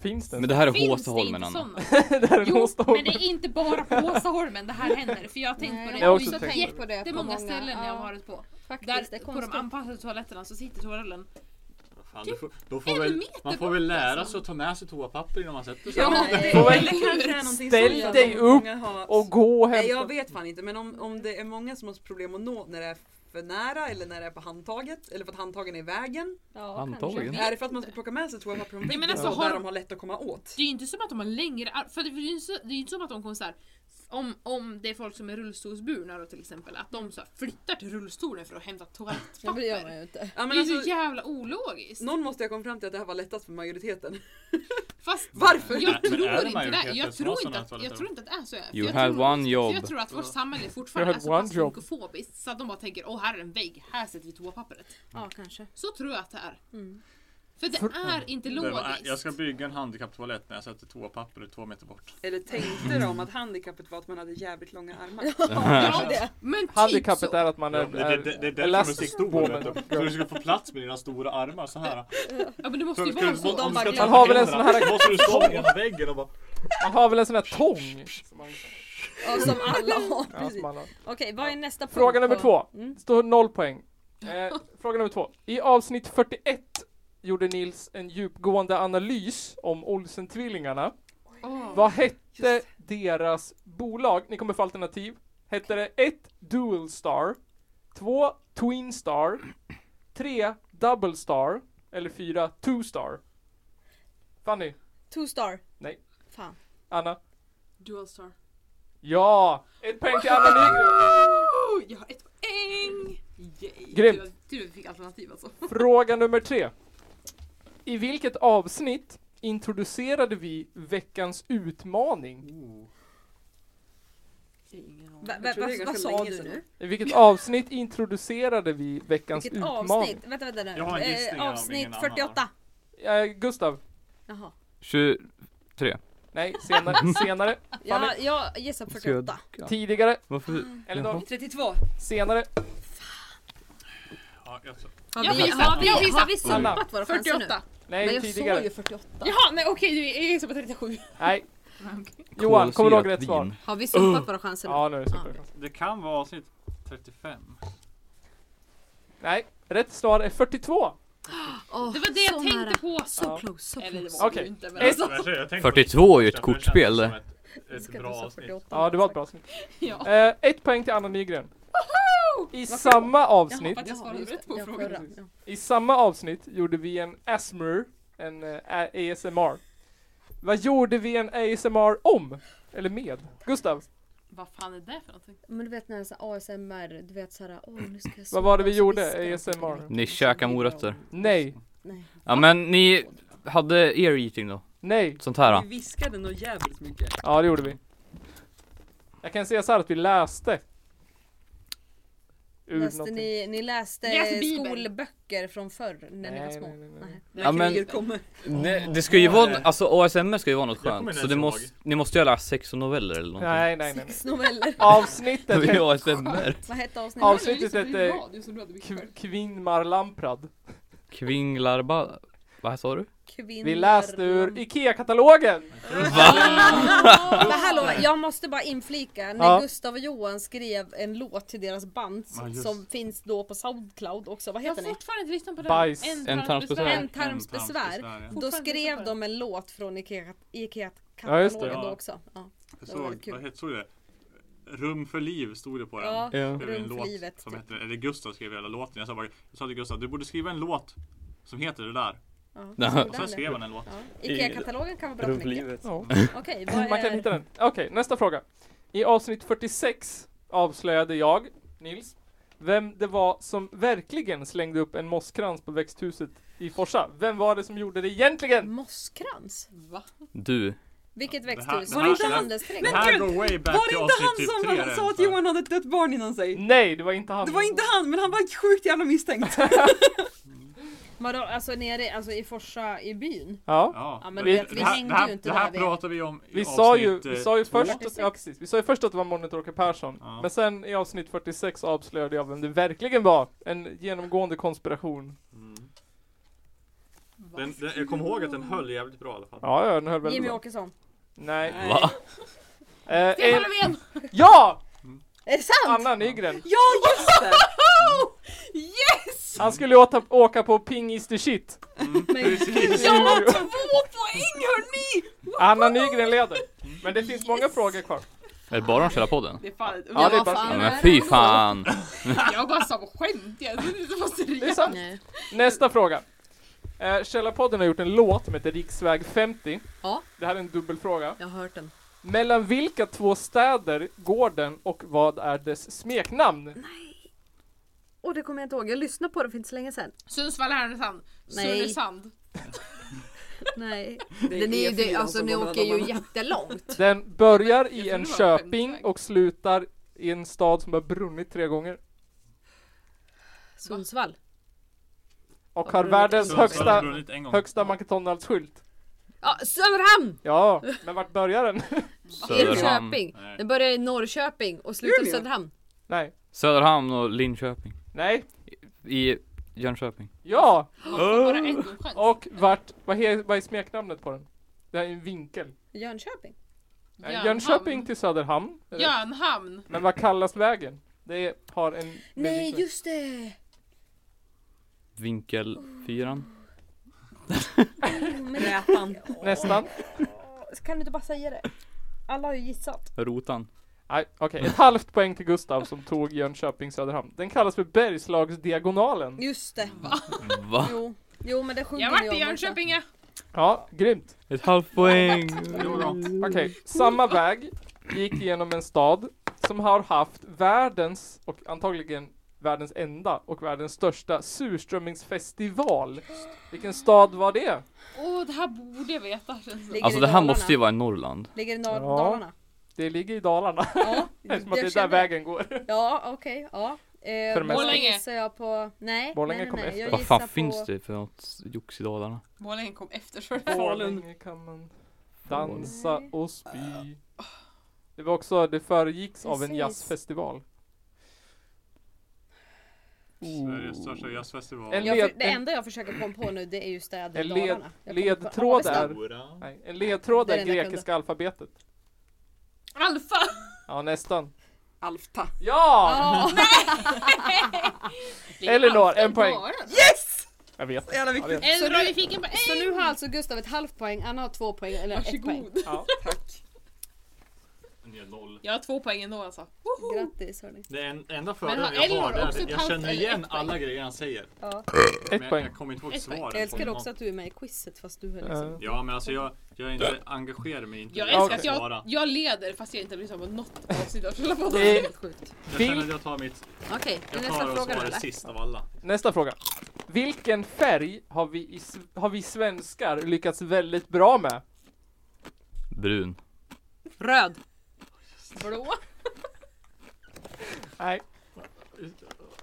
[SPEAKER 3] Finns det?
[SPEAKER 8] Men det här är
[SPEAKER 4] Finns det
[SPEAKER 8] Håstaholmen
[SPEAKER 4] inte
[SPEAKER 8] Anna.
[SPEAKER 4] sådana?
[SPEAKER 3] det här är en
[SPEAKER 4] Jo, men
[SPEAKER 3] åstad.
[SPEAKER 4] det är inte bara på Åsaholmen det här händer. För jag har tänkt på det.
[SPEAKER 7] Nej,
[SPEAKER 3] Jag har
[SPEAKER 4] Och
[SPEAKER 3] också
[SPEAKER 4] jag
[SPEAKER 3] tänkt
[SPEAKER 4] tänkt
[SPEAKER 7] på det.
[SPEAKER 4] Det är
[SPEAKER 7] på
[SPEAKER 4] många
[SPEAKER 7] många.
[SPEAKER 4] ställen jag
[SPEAKER 7] Ja.
[SPEAKER 4] har varit på.
[SPEAKER 7] Faktiskt, det är
[SPEAKER 4] Där på de
[SPEAKER 7] konstigt.
[SPEAKER 4] anpassade toaletterna så sitter toarullen
[SPEAKER 2] Fan, du får, då
[SPEAKER 4] Typ en
[SPEAKER 2] får väl,
[SPEAKER 4] meter
[SPEAKER 2] man får
[SPEAKER 4] bort,
[SPEAKER 2] väl lära
[SPEAKER 4] alltså.
[SPEAKER 2] sig att ta med sig toapapper innan man sätter sig.
[SPEAKER 5] Ja,
[SPEAKER 7] Nej.
[SPEAKER 5] det,
[SPEAKER 3] Får väl-
[SPEAKER 5] eller kanske är någonting
[SPEAKER 3] Ställ
[SPEAKER 5] sånt att
[SPEAKER 3] dig
[SPEAKER 5] de-
[SPEAKER 3] upp
[SPEAKER 5] många har-
[SPEAKER 3] Och gå och
[SPEAKER 5] Nej,
[SPEAKER 3] hämta.
[SPEAKER 5] jag vet fan inte, men om, om det är många som har problem att nå när det är för nära eller när det är på handtaget eller för att handtagen är i vägen.
[SPEAKER 7] Ja,
[SPEAKER 8] Antagligen.
[SPEAKER 7] kanske.
[SPEAKER 5] Är det för att man ska plocka med sig toapapper från väggen
[SPEAKER 4] men alltså,
[SPEAKER 5] och
[SPEAKER 4] har-
[SPEAKER 5] där de har lätt att komma åt?
[SPEAKER 4] Det är ju inte som att de har längre ar- för det är ju inte, så- det är ju inte som att de kommer såhär om, om det är folk som är rullstolsburna då till exempel, att de så här flyttar till rullstolen för att hämta
[SPEAKER 7] Ja,
[SPEAKER 4] toalettpapper.
[SPEAKER 7] det gör man
[SPEAKER 4] Det
[SPEAKER 7] ju inte.
[SPEAKER 5] Ja,
[SPEAKER 4] är
[SPEAKER 5] men
[SPEAKER 4] ju så
[SPEAKER 5] alltså,
[SPEAKER 4] jävla ologiskt.
[SPEAKER 5] någon måste jag komma fram till att det här var lättast för majoriteten.
[SPEAKER 4] Fast
[SPEAKER 5] Varför?
[SPEAKER 4] jag
[SPEAKER 2] Men är
[SPEAKER 4] tror
[SPEAKER 2] det
[SPEAKER 4] inte det.
[SPEAKER 2] majoriteten
[SPEAKER 4] Jag
[SPEAKER 2] som
[SPEAKER 4] tror
[SPEAKER 2] har
[SPEAKER 4] inte
[SPEAKER 2] sådana
[SPEAKER 4] att, jag
[SPEAKER 2] toaletter?
[SPEAKER 4] tror inte att det är så. För
[SPEAKER 8] You
[SPEAKER 4] jag
[SPEAKER 8] had
[SPEAKER 4] tror,
[SPEAKER 8] one job.
[SPEAKER 4] för Jag tror att vårt samhälle
[SPEAKER 3] You
[SPEAKER 4] fortfarande är
[SPEAKER 3] had
[SPEAKER 4] så pass
[SPEAKER 3] one job.
[SPEAKER 4] funkofobiskt så att de bara tänker åh här är en vägg, här sätter vi toapappret.
[SPEAKER 2] Mm.
[SPEAKER 7] Ja, kanske.
[SPEAKER 4] Så tror jag att det är.
[SPEAKER 7] Mm.
[SPEAKER 4] För det är inte
[SPEAKER 2] Det var- äh,
[SPEAKER 4] logiskt.
[SPEAKER 2] Jag ska bygga en handikapptoalett när jag sätter toapappret två meter bort.
[SPEAKER 5] Eller tänkte de att handikappet var att man hade jävligt långa armar?
[SPEAKER 4] ja, men typ
[SPEAKER 3] Handikappet
[SPEAKER 4] så.
[SPEAKER 3] är att man är,
[SPEAKER 2] Ja, det, det, det, det är därför de är så
[SPEAKER 3] elastisk
[SPEAKER 2] stor.
[SPEAKER 3] woman.
[SPEAKER 2] vet du. För du ska få plats med dina stora armar så här.
[SPEAKER 4] Ja men det måste
[SPEAKER 2] Ska-
[SPEAKER 4] ju
[SPEAKER 2] ska-
[SPEAKER 4] vara
[SPEAKER 2] om du
[SPEAKER 5] de
[SPEAKER 4] så.
[SPEAKER 2] ska
[SPEAKER 5] bara-
[SPEAKER 2] ta
[SPEAKER 5] Man
[SPEAKER 3] har väl
[SPEAKER 2] händerna,
[SPEAKER 3] en sån här-
[SPEAKER 2] så Måste du stå mot väggen och bara...
[SPEAKER 3] Man har väl en sån här tång? Som man,
[SPEAKER 7] Ja, som alla har.
[SPEAKER 3] ja,
[SPEAKER 7] Precis.
[SPEAKER 3] som man har.
[SPEAKER 7] Okej, vad är nästa punkt?
[SPEAKER 3] Fråga nummer
[SPEAKER 7] på-
[SPEAKER 3] två.
[SPEAKER 7] Mm.
[SPEAKER 3] Står noll poäng. Eh, fråga nummer två. I avsnitt 41 gjorde Nils en djupgående analys om Olsen-tvillingarna.
[SPEAKER 4] Åh.
[SPEAKER 3] Vad hette deras bolag? Ni kommer få alternativ. Hette det 1. Dual Star 2. Twin Star 3. Double Star eller 4. Two Star? Fanny,
[SPEAKER 7] Two star.
[SPEAKER 3] Nej.
[SPEAKER 7] Fan.
[SPEAKER 3] Anna.
[SPEAKER 4] Dual star.
[SPEAKER 3] Ja! Ett poäng till Anna Nygren.
[SPEAKER 4] Oh, jag har ett poäng! Yay.
[SPEAKER 3] Grymt.
[SPEAKER 4] Tur- Tur att vi fick alternativ alltså.
[SPEAKER 3] Fråga nummer tre. I vilket avsnitt introducerade vi veckans utmaning?
[SPEAKER 7] Va,
[SPEAKER 5] Jag
[SPEAKER 7] va,
[SPEAKER 5] tror det är
[SPEAKER 7] va, vad
[SPEAKER 5] ganska
[SPEAKER 7] sa
[SPEAKER 5] länge
[SPEAKER 7] du
[SPEAKER 5] sedan.
[SPEAKER 7] nu?
[SPEAKER 3] I vilket avsnitt introducerade vi veckans
[SPEAKER 7] Vilket
[SPEAKER 3] utmaning?
[SPEAKER 7] avsnitt? Vänta, vänta nu.
[SPEAKER 2] Jag har en
[SPEAKER 7] Eh,
[SPEAKER 2] gissning här om ingen
[SPEAKER 7] avsnitt
[SPEAKER 2] annan
[SPEAKER 7] 48.
[SPEAKER 3] Eh, Gustav?
[SPEAKER 7] Jaha.
[SPEAKER 8] 23.
[SPEAKER 3] Nej, senare. senare.
[SPEAKER 7] Ja, jag gissar på 48.
[SPEAKER 3] Tidigare.
[SPEAKER 4] Ah.
[SPEAKER 8] Varför?
[SPEAKER 3] Elinor?
[SPEAKER 5] 32!
[SPEAKER 3] Senare.
[SPEAKER 2] Ja, jag tror.
[SPEAKER 7] Har
[SPEAKER 4] Jag
[SPEAKER 7] vi,
[SPEAKER 4] gissar.
[SPEAKER 7] har vi,
[SPEAKER 4] Jag
[SPEAKER 7] har
[SPEAKER 4] gissar.
[SPEAKER 7] vi
[SPEAKER 3] Anna.
[SPEAKER 7] sumpat våra chanser nu?
[SPEAKER 4] 48.
[SPEAKER 7] Men
[SPEAKER 3] Nej,
[SPEAKER 7] jag såg
[SPEAKER 3] tidigare.
[SPEAKER 7] ju 48.
[SPEAKER 4] Jaha, nej okej, du är ju som på 37.
[SPEAKER 3] Nej. Johan, kommer du ihåg rätt svar?
[SPEAKER 7] Har vi sumpat våra chanser nu?
[SPEAKER 3] Ja, nu är det super.
[SPEAKER 2] Det kan vara avsnitt 35.
[SPEAKER 3] Nej, rätt svar är 42.
[SPEAKER 7] Åh,
[SPEAKER 4] Det var det jag
[SPEAKER 7] så
[SPEAKER 4] tänkte
[SPEAKER 7] nära.
[SPEAKER 4] på.
[SPEAKER 7] Så
[SPEAKER 3] Ja.
[SPEAKER 7] close, så
[SPEAKER 4] Eller det
[SPEAKER 7] close.
[SPEAKER 4] var
[SPEAKER 3] Okej.
[SPEAKER 4] det ju inte men
[SPEAKER 3] Ett.
[SPEAKER 4] alltså.
[SPEAKER 8] 42 är ju ett kortspel det.
[SPEAKER 2] Ett bra avsnitt.
[SPEAKER 3] Ja, det var ett bra avsnitt.
[SPEAKER 4] Ja.
[SPEAKER 3] Eh, ett poäng till Anna Nygren. I samma avsnitt
[SPEAKER 4] Jag svarade rätt på frågan.
[SPEAKER 3] I samma avsnitt gjorde vi en ASMR, en eh, A- ASMR. Vad gjorde vi en ASMR om? Eller med? Gustav,
[SPEAKER 4] Vad fan är det för någonting?
[SPEAKER 7] Men du vet när så här ASMR, du vet såhär, åh nu ska jag
[SPEAKER 3] Vad var det
[SPEAKER 7] sova",
[SPEAKER 3] vi
[SPEAKER 7] så
[SPEAKER 3] gjorde,
[SPEAKER 7] viskar de till
[SPEAKER 3] ASMR?
[SPEAKER 7] dig.
[SPEAKER 8] Ni käkar morötter.
[SPEAKER 3] nej,
[SPEAKER 7] Nej.
[SPEAKER 8] Ja men ni hade ear eating då?
[SPEAKER 3] nej.
[SPEAKER 8] Sånt här?
[SPEAKER 5] Vi viskade nog jävligt mycket.
[SPEAKER 3] Ja, det gjorde vi. Jag kan säga så här att vi läste. Ur
[SPEAKER 7] Läste
[SPEAKER 3] någonting.
[SPEAKER 7] ni, ni läste
[SPEAKER 4] Läste Bibeln.
[SPEAKER 7] skolböcker från förr när ni var
[SPEAKER 3] Nej,
[SPEAKER 7] små?
[SPEAKER 3] nej, nej, nej.
[SPEAKER 7] Nej.
[SPEAKER 5] När
[SPEAKER 8] Ja, men-
[SPEAKER 5] kriget kommer.
[SPEAKER 8] Det, det ska ju vara, alltså ASMR ska ju vara något
[SPEAKER 2] Jag kommer
[SPEAKER 8] skönt.
[SPEAKER 2] inte
[SPEAKER 8] Så det
[SPEAKER 2] ens
[SPEAKER 8] måste, ni måste ju ha läst sex noveller eller någonting.
[SPEAKER 3] Nej, nej, nej. nej.
[SPEAKER 7] Sex noveller.
[SPEAKER 3] Avsnittet
[SPEAKER 8] Det är
[SPEAKER 3] hette
[SPEAKER 8] ju ASMR.
[SPEAKER 7] Vad hette avsnittet?
[SPEAKER 3] Ja. Avsnittet
[SPEAKER 4] Det är ju
[SPEAKER 3] heter-
[SPEAKER 4] radio som du hade mycket
[SPEAKER 3] Kv-
[SPEAKER 4] för.
[SPEAKER 3] Kvinnmar Lamprad.
[SPEAKER 8] Kvinglarba... Vad sa du?
[SPEAKER 7] kvinnor.
[SPEAKER 3] Vi läste ur IKEA-katalogen!
[SPEAKER 7] Men hallå, jag måste bara inflika. När
[SPEAKER 3] Ja.
[SPEAKER 7] Gustav och Johan skrev en låt till deras band
[SPEAKER 2] Ja, just.
[SPEAKER 7] som finns då på Soundcloud också. Vad
[SPEAKER 4] Jag
[SPEAKER 7] heter
[SPEAKER 4] har
[SPEAKER 7] ni?
[SPEAKER 4] fortfarande inte lyssnat på den.
[SPEAKER 3] Bajs.
[SPEAKER 8] En tarms besvär.
[SPEAKER 7] En tarms besvär.
[SPEAKER 2] ja.
[SPEAKER 7] Då
[SPEAKER 4] Fortfarande
[SPEAKER 7] skrev
[SPEAKER 4] utanför.
[SPEAKER 7] de en låt från Ikea-
[SPEAKER 3] Ja, just det,
[SPEAKER 7] IKEA-katalogen
[SPEAKER 2] ja.
[SPEAKER 7] då också. Ja.
[SPEAKER 2] Jag
[SPEAKER 7] Det var väldigt
[SPEAKER 2] såg,
[SPEAKER 7] kul.
[SPEAKER 2] vad hette, såg du det? Rum för liv stod det på den.
[SPEAKER 7] Ja.
[SPEAKER 8] Ja.
[SPEAKER 2] skrev en
[SPEAKER 7] Rum för
[SPEAKER 2] låt
[SPEAKER 7] livet,
[SPEAKER 2] Som
[SPEAKER 7] typ.
[SPEAKER 2] heter, eller Gustav skrev hela låten. Jag sa, bara, jag sa till Gustav, du borde skriva en låt som heter det där.
[SPEAKER 7] Ja.
[SPEAKER 8] Ja.
[SPEAKER 7] så
[SPEAKER 2] Och
[SPEAKER 7] gjorde
[SPEAKER 2] sen
[SPEAKER 7] han det.
[SPEAKER 2] skrev han en låt.
[SPEAKER 7] Ja. IKEA-katalogen kan vara bra för mycket.
[SPEAKER 3] Ja.
[SPEAKER 7] Okej,
[SPEAKER 3] Man
[SPEAKER 7] vad
[SPEAKER 3] kan
[SPEAKER 7] är...
[SPEAKER 3] hitta den. Okej, nästa fråga. I avsnitt 46 avslöjade jag, Nils, vem det var som verkligen slängde upp en mosskrans på växthuset i Forsa. Vem var det som gjorde det egentligen?
[SPEAKER 7] Mosskrans?
[SPEAKER 4] Va?
[SPEAKER 8] Du.
[SPEAKER 7] Vilket
[SPEAKER 2] Det här-
[SPEAKER 7] växthus?
[SPEAKER 2] det
[SPEAKER 7] Var
[SPEAKER 2] här-
[SPEAKER 7] inte
[SPEAKER 2] det här-
[SPEAKER 7] handelsträdgården?
[SPEAKER 2] Det här går way back
[SPEAKER 5] Var
[SPEAKER 2] till
[SPEAKER 5] det inte han
[SPEAKER 2] avsnitt
[SPEAKER 5] som
[SPEAKER 2] typ tre
[SPEAKER 5] sa att
[SPEAKER 2] redan.
[SPEAKER 5] Johan hade ett dött barn inom sig?
[SPEAKER 3] Nej, det var inte han.
[SPEAKER 5] Det var inte han, men han var sjukt jävla misstänkt.
[SPEAKER 7] Vadå, alltså nere alltså i Forsa i byn?
[SPEAKER 3] Ja.
[SPEAKER 2] Ja,
[SPEAKER 7] Ja, men
[SPEAKER 2] det-
[SPEAKER 7] du vet,
[SPEAKER 2] det
[SPEAKER 7] vi
[SPEAKER 2] här-
[SPEAKER 7] hängde
[SPEAKER 2] det här-
[SPEAKER 7] ju inte
[SPEAKER 2] Det här
[SPEAKER 7] där, vi-
[SPEAKER 2] pratar vi om i
[SPEAKER 3] Vi sa, ju,
[SPEAKER 2] avsnitt,
[SPEAKER 3] vi
[SPEAKER 2] eh,
[SPEAKER 3] sa ju först, att,
[SPEAKER 7] 46.
[SPEAKER 3] ja, precis. Vi sa ju först att det var Monitor Persson.
[SPEAKER 2] Ja.
[SPEAKER 3] Men sen i avsnitt 46 avslöjade jag vem det verkligen var. En genomgående konspiration.
[SPEAKER 2] mm. Den, den, jag kommer ihåg att den höll jävligt bra i alla fall.
[SPEAKER 3] Ja, ja, den höll väldigt
[SPEAKER 7] Jimmy
[SPEAKER 3] bra.
[SPEAKER 7] Åkesson.
[SPEAKER 3] Nej.
[SPEAKER 8] Va?
[SPEAKER 3] Eh,
[SPEAKER 4] Stefan
[SPEAKER 3] en,
[SPEAKER 4] Löfven!
[SPEAKER 3] ja!
[SPEAKER 7] Är det sant?
[SPEAKER 3] Anna Nygren.
[SPEAKER 5] Ja just det!
[SPEAKER 3] Han skulle åka, åka på Ping is the shit.
[SPEAKER 2] Mm, Precis!
[SPEAKER 4] Jag har två poäng hörni!
[SPEAKER 3] Anna Nygren leder. Men det finns många frågor kvar.
[SPEAKER 8] Är det bara de som spelar podden?
[SPEAKER 5] Det är fan,
[SPEAKER 3] Ja, det är
[SPEAKER 4] vad
[SPEAKER 3] bara-
[SPEAKER 8] Ja,
[SPEAKER 4] fan
[SPEAKER 8] men
[SPEAKER 4] är
[SPEAKER 8] fy
[SPEAKER 4] det?
[SPEAKER 8] fan!
[SPEAKER 4] Jag bara sa på skämt, jag trodde inte det var
[SPEAKER 3] Det är
[SPEAKER 4] seriöst.
[SPEAKER 3] sant.
[SPEAKER 7] Nej.
[SPEAKER 3] Nästa fråga. Eh, Källarpodden har gjort en låt som heter Riksväg 50.
[SPEAKER 7] Ja.
[SPEAKER 3] Det här är en dubbelfråga.
[SPEAKER 7] Jag har hört den.
[SPEAKER 3] Mellan vilka två städer går den och vad är dess smeknamn?
[SPEAKER 7] Och det kommer jag inte ihåg, jag lyssnade på det för inte så länge sedan.
[SPEAKER 4] Sundsvall, Härnösand,
[SPEAKER 7] Nej.
[SPEAKER 4] Sunnesand.
[SPEAKER 7] Nej.
[SPEAKER 5] Det är
[SPEAKER 3] E
[SPEAKER 7] ni, det,
[SPEAKER 5] E4
[SPEAKER 7] alltså
[SPEAKER 5] som
[SPEAKER 7] ni
[SPEAKER 5] går mellan
[SPEAKER 7] åker ju
[SPEAKER 5] dem.
[SPEAKER 7] jättelångt.
[SPEAKER 3] Den börjar i
[SPEAKER 4] trodde
[SPEAKER 3] en
[SPEAKER 4] det var en
[SPEAKER 3] köping
[SPEAKER 4] skämtväg.
[SPEAKER 3] och slutar i en stad som har brunnit tre gånger.
[SPEAKER 7] Sundsvall.
[SPEAKER 3] Och
[SPEAKER 7] Har
[SPEAKER 3] har
[SPEAKER 7] brunnit
[SPEAKER 3] världens
[SPEAKER 7] en
[SPEAKER 2] Sundsvall har
[SPEAKER 3] högsta,
[SPEAKER 2] brunnit en gång.
[SPEAKER 3] högsta McDonalds-skylt.
[SPEAKER 7] Ja, Söderhamn!
[SPEAKER 3] Ja, men vart börjar den?
[SPEAKER 8] Söderhamn.
[SPEAKER 7] Linköping.
[SPEAKER 2] Nej.
[SPEAKER 7] Den börjar i Norrköping och slutar i
[SPEAKER 5] Umeå.
[SPEAKER 7] Söderhamn.
[SPEAKER 3] Nej.
[SPEAKER 8] Söderhamn och Linköping.
[SPEAKER 3] Nej.
[SPEAKER 8] I Jönköping.
[SPEAKER 3] Ja!
[SPEAKER 4] Man får bara en gång chans.
[SPEAKER 3] Äh. Och vart, vad, he, vad är smeknamnet på den? Det här är en vinkel.
[SPEAKER 7] Jönköping.
[SPEAKER 3] Eh,
[SPEAKER 4] Jönhamn.
[SPEAKER 3] Jönköping till Söderhamn. är det.
[SPEAKER 4] Jönhamn.
[SPEAKER 3] Men vad kallas vägen? Det har en...
[SPEAKER 7] Nej, just det!
[SPEAKER 8] Vinkelfyran.
[SPEAKER 7] Men,
[SPEAKER 5] Rätan.
[SPEAKER 3] Nästan.
[SPEAKER 7] kan du inte bara säga det? Alla har ju gissat.
[SPEAKER 8] Rotan.
[SPEAKER 3] Nej, okej. Ett halvt poäng till Gustav som tog Jönköping Söderhamn. Den kallas för Bergslagsdiagonalen.
[SPEAKER 7] Just det.
[SPEAKER 8] Va?
[SPEAKER 7] Jo, jo men det sjunger
[SPEAKER 4] Jag
[SPEAKER 7] ju
[SPEAKER 4] vart i
[SPEAKER 7] om också.
[SPEAKER 4] Jönköping ja.
[SPEAKER 3] Ja, grymt.
[SPEAKER 8] Ett halvt poäng!
[SPEAKER 2] Det var bra.
[SPEAKER 3] Okej,
[SPEAKER 7] Mm.
[SPEAKER 3] samma väg gick genom en stad som har haft världens, och antagligen världens enda och världens största surströmmingsfestival. Vilken stad var det?
[SPEAKER 4] Åh det här borde jag veta känns det som.
[SPEAKER 7] Ligger
[SPEAKER 8] Alltså
[SPEAKER 7] i
[SPEAKER 8] det här
[SPEAKER 7] Dalarna.
[SPEAKER 8] måste ju vara i Norrland.
[SPEAKER 7] Ligger i
[SPEAKER 3] Ja.
[SPEAKER 7] Nor- Dalarna.
[SPEAKER 3] Det ligger i Dalarna.
[SPEAKER 7] Ja,
[SPEAKER 3] Eftersom att
[SPEAKER 7] jag
[SPEAKER 3] det är där
[SPEAKER 7] känner-
[SPEAKER 3] vägen går.
[SPEAKER 7] Ja, okej. ja. Eh,
[SPEAKER 3] För det mesta.
[SPEAKER 7] då
[SPEAKER 4] Borlänge.
[SPEAKER 7] gissar jag på... Nej,
[SPEAKER 3] Borlänge
[SPEAKER 7] nej,
[SPEAKER 3] kommer
[SPEAKER 7] nej, nej.
[SPEAKER 3] efter.
[SPEAKER 7] Jag
[SPEAKER 8] Vad
[SPEAKER 7] gissar
[SPEAKER 8] fan finns
[SPEAKER 7] på-
[SPEAKER 8] det för något jox i Dalarna?
[SPEAKER 4] Målingen kom efter så
[SPEAKER 3] Borlänge kan man dansa och spy. Det var också, det föregicks av en
[SPEAKER 7] Precis.
[SPEAKER 3] jazzfestival.
[SPEAKER 2] Sveriges största jazzfestival.
[SPEAKER 3] En
[SPEAKER 7] Jag,
[SPEAKER 3] led-
[SPEAKER 7] för- det
[SPEAKER 3] en-
[SPEAKER 7] enda jag försöker komma på nu det är ju städer i
[SPEAKER 3] En led-
[SPEAKER 7] Dalarna. Jag kommer inte på
[SPEAKER 3] ledtråd
[SPEAKER 7] Avesta.
[SPEAKER 3] är-
[SPEAKER 2] Stora.
[SPEAKER 3] Nej, en ledtråd
[SPEAKER 7] Det är
[SPEAKER 3] är
[SPEAKER 7] den jag
[SPEAKER 3] grekiska alfabetet.
[SPEAKER 4] Alfa!
[SPEAKER 3] Ja, nästan.
[SPEAKER 5] Alfta.
[SPEAKER 3] Ja!
[SPEAKER 7] Ja,
[SPEAKER 3] Elinor, en poäng.
[SPEAKER 5] Yes!
[SPEAKER 3] Jag vet.
[SPEAKER 5] Jävla
[SPEAKER 3] Jag vet.
[SPEAKER 5] viktigt.
[SPEAKER 7] Så
[SPEAKER 4] Elinor
[SPEAKER 7] nu-
[SPEAKER 4] vi fick en poäng.
[SPEAKER 7] så nu har alltså Gustav ett halvt poäng, Anna har två poäng, eller ett poäng.
[SPEAKER 5] Varsågod.
[SPEAKER 3] Ja.
[SPEAKER 5] Tack.
[SPEAKER 2] Ni är noll.
[SPEAKER 4] Jag har två poäng ändå alltså.
[SPEAKER 7] Grattis hörni.
[SPEAKER 2] Det är en, enda
[SPEAKER 4] har
[SPEAKER 2] fördelen jag har
[SPEAKER 4] Elinor
[SPEAKER 2] det är
[SPEAKER 4] också
[SPEAKER 2] att
[SPEAKER 4] ett
[SPEAKER 2] jag
[SPEAKER 4] halvt
[SPEAKER 2] känner
[SPEAKER 4] eller
[SPEAKER 2] igen
[SPEAKER 4] ett poäng?
[SPEAKER 2] alla grejer han säger. Men
[SPEAKER 3] Ett
[SPEAKER 2] jag,
[SPEAKER 3] poäng.
[SPEAKER 2] jag kommer inte ihåg
[SPEAKER 4] Ett poäng.
[SPEAKER 2] svaret.
[SPEAKER 7] Jag älskar
[SPEAKER 2] på
[SPEAKER 7] också
[SPEAKER 2] någon-
[SPEAKER 7] att du är med i quizet fast du är liksom...
[SPEAKER 3] Eh,
[SPEAKER 2] Ja men alltså jag, jag är inte engagerad mig inte.
[SPEAKER 4] Jag
[SPEAKER 2] i
[SPEAKER 4] älskar
[SPEAKER 2] att
[SPEAKER 4] att jag,
[SPEAKER 2] svara.
[SPEAKER 4] jag leder fast jag inte bryr mig om något avsnitt av Källarpodden.
[SPEAKER 3] Eh,
[SPEAKER 7] Sjukt.
[SPEAKER 2] Jag känner att jag tar mitt,
[SPEAKER 7] Okej, är
[SPEAKER 2] jag
[SPEAKER 7] nästa
[SPEAKER 2] tar och
[SPEAKER 7] fråga då
[SPEAKER 2] svarar
[SPEAKER 7] eller?
[SPEAKER 2] sist av alla.
[SPEAKER 3] Nästa fråga. Vilken färg har vi, i, s- har vi svenskar lyckats väldigt bra med?
[SPEAKER 8] Brun.
[SPEAKER 7] Röd.
[SPEAKER 4] Blå.
[SPEAKER 3] Nej.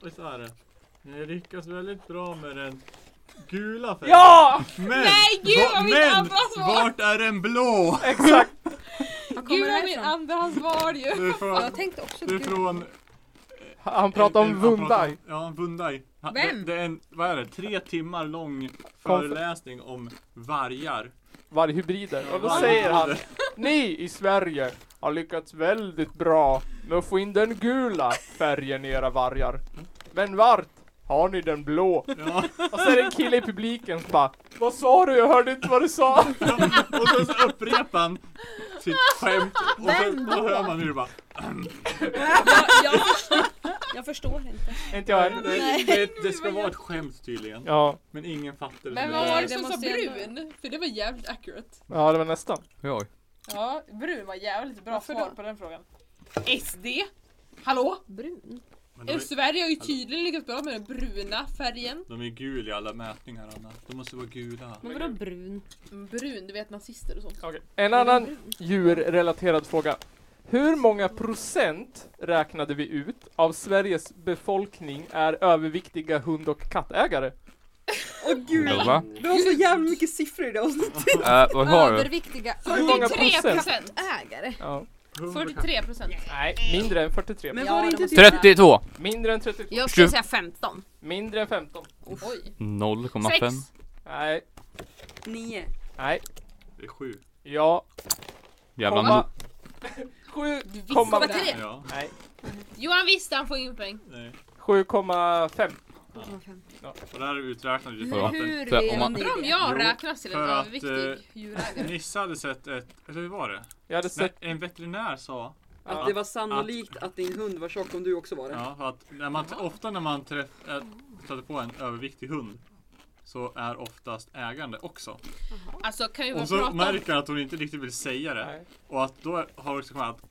[SPEAKER 2] Och så är det. Ni lyckas väldigt bra med den gula färgen.
[SPEAKER 3] Ja!
[SPEAKER 2] Men,
[SPEAKER 4] Nej, gud,
[SPEAKER 2] va-
[SPEAKER 4] vad mitt
[SPEAKER 2] men,
[SPEAKER 4] andra svar!
[SPEAKER 2] vart är den blå?
[SPEAKER 3] Exakt!
[SPEAKER 7] kommer
[SPEAKER 4] Gud
[SPEAKER 7] det
[SPEAKER 4] vad min
[SPEAKER 7] härifrån?
[SPEAKER 4] andrahandsvar ju.
[SPEAKER 2] Du är från,
[SPEAKER 7] Jag tänkte också...
[SPEAKER 2] du är
[SPEAKER 7] Gud.
[SPEAKER 2] från
[SPEAKER 3] Han pratar om
[SPEAKER 2] han pratar
[SPEAKER 3] Vundai.
[SPEAKER 2] om- Ja, Vundai. Ha-
[SPEAKER 7] Vem?
[SPEAKER 2] Det, det är en, vad är det, tre timmar lång föreläsning om vargar.
[SPEAKER 3] varghybrider. Och då
[SPEAKER 2] Vargar.
[SPEAKER 3] säger han Ni i Sverige har lyckats väldigt bra med att få in den gula färgen i era vargar. Men vart har ni den blå?
[SPEAKER 2] Ja.
[SPEAKER 3] Och så är det en kille i publiken som bara Vad sa du? Jag hörde inte vad du sa.
[SPEAKER 2] Och sen så upprepar han sitt skämt. Och sen då hör man hur det bara.
[SPEAKER 7] Jag, jag, förstår, jag förstår inte.
[SPEAKER 3] inte jag heller.
[SPEAKER 2] Det, det, det ska vara ett skämt tydligen.
[SPEAKER 3] Ja,
[SPEAKER 2] Men ingen fattar
[SPEAKER 9] Men
[SPEAKER 2] det.
[SPEAKER 9] vad var det
[SPEAKER 7] Det
[SPEAKER 9] som sa
[SPEAKER 7] måste jag ändå-
[SPEAKER 9] brun? För det var jävligt accurate.
[SPEAKER 3] ja det var nästan.
[SPEAKER 8] Oj.
[SPEAKER 9] Ja, brun var jävligt bra
[SPEAKER 7] Varför
[SPEAKER 9] svar
[SPEAKER 7] då?
[SPEAKER 9] på den frågan. SD? Hallå?
[SPEAKER 7] Brun?
[SPEAKER 2] Men de,
[SPEAKER 9] Eh,
[SPEAKER 2] är,
[SPEAKER 9] Sverige har ju tydligen lyckats bra med den bruna färgen.
[SPEAKER 2] de är gula i alla mätningar Anna. De måste vara gula.
[SPEAKER 7] Men vadå brun?
[SPEAKER 9] Brun, du vet nazister och sånt.
[SPEAKER 3] En annan djurrelaterad fråga. Hur många procent räknade vi ut av Sveriges befolkning är överviktiga hund och kattägare?
[SPEAKER 1] Åh gud!
[SPEAKER 8] Jobba.
[SPEAKER 1] Du har så jävla mycket siffror i det avsnittet.
[SPEAKER 8] Äh, vad har du?
[SPEAKER 7] Överviktiga
[SPEAKER 3] Hur många
[SPEAKER 9] 43 procent!
[SPEAKER 7] ägare.
[SPEAKER 3] Ja.
[SPEAKER 9] 43 procent.
[SPEAKER 3] Nej, mindre än 43.
[SPEAKER 1] Men
[SPEAKER 7] Ja,
[SPEAKER 1] var det
[SPEAKER 7] det
[SPEAKER 1] inte
[SPEAKER 7] måste
[SPEAKER 1] typ...
[SPEAKER 7] jag-
[SPEAKER 8] 32!
[SPEAKER 3] Mindre än 32.
[SPEAKER 8] skulle
[SPEAKER 7] Jag skulle
[SPEAKER 8] Tjugo-
[SPEAKER 7] säga 15.
[SPEAKER 3] Mindre än 15.
[SPEAKER 9] Oj.
[SPEAKER 8] 0,5.
[SPEAKER 9] 6.
[SPEAKER 3] Nej,
[SPEAKER 1] Nio.
[SPEAKER 3] nej,
[SPEAKER 2] Det är sju.
[SPEAKER 3] ja,
[SPEAKER 8] Jävla
[SPEAKER 3] komma.
[SPEAKER 8] no-
[SPEAKER 3] 7,
[SPEAKER 9] Du visste
[SPEAKER 3] Komma
[SPEAKER 9] vad
[SPEAKER 3] med.
[SPEAKER 9] det är.
[SPEAKER 2] Ja.
[SPEAKER 3] nej,
[SPEAKER 9] Johan visste han får ingen poäng.
[SPEAKER 2] Nej.
[SPEAKER 3] 7,5.
[SPEAKER 2] Och det här är uträknat utifrån
[SPEAKER 8] Ja.
[SPEAKER 2] att
[SPEAKER 7] Hur
[SPEAKER 8] Så om
[SPEAKER 7] vet
[SPEAKER 8] man-
[SPEAKER 7] ni
[SPEAKER 9] Undrar om
[SPEAKER 7] det?
[SPEAKER 9] jag
[SPEAKER 2] Jo,
[SPEAKER 9] räknas till en
[SPEAKER 2] för att, eh,
[SPEAKER 9] överviktig djurägare.
[SPEAKER 2] Nisse hade sett ett, eller hur var det?
[SPEAKER 3] Jag hade
[SPEAKER 2] Nej,
[SPEAKER 3] sett...
[SPEAKER 2] en veterinär sa
[SPEAKER 1] Att det var sannolikt att din hund var tjock om du också var det.
[SPEAKER 2] Ja, för att när man, ofta när man träff, äh, stöter på en överviktig hund så är oftast ägande också.
[SPEAKER 9] Alltså kan vi bara
[SPEAKER 2] Och så
[SPEAKER 9] prata om...
[SPEAKER 2] märker han att hon inte riktigt vill säga det.
[SPEAKER 3] Nej.
[SPEAKER 2] Och att då har det också kommit att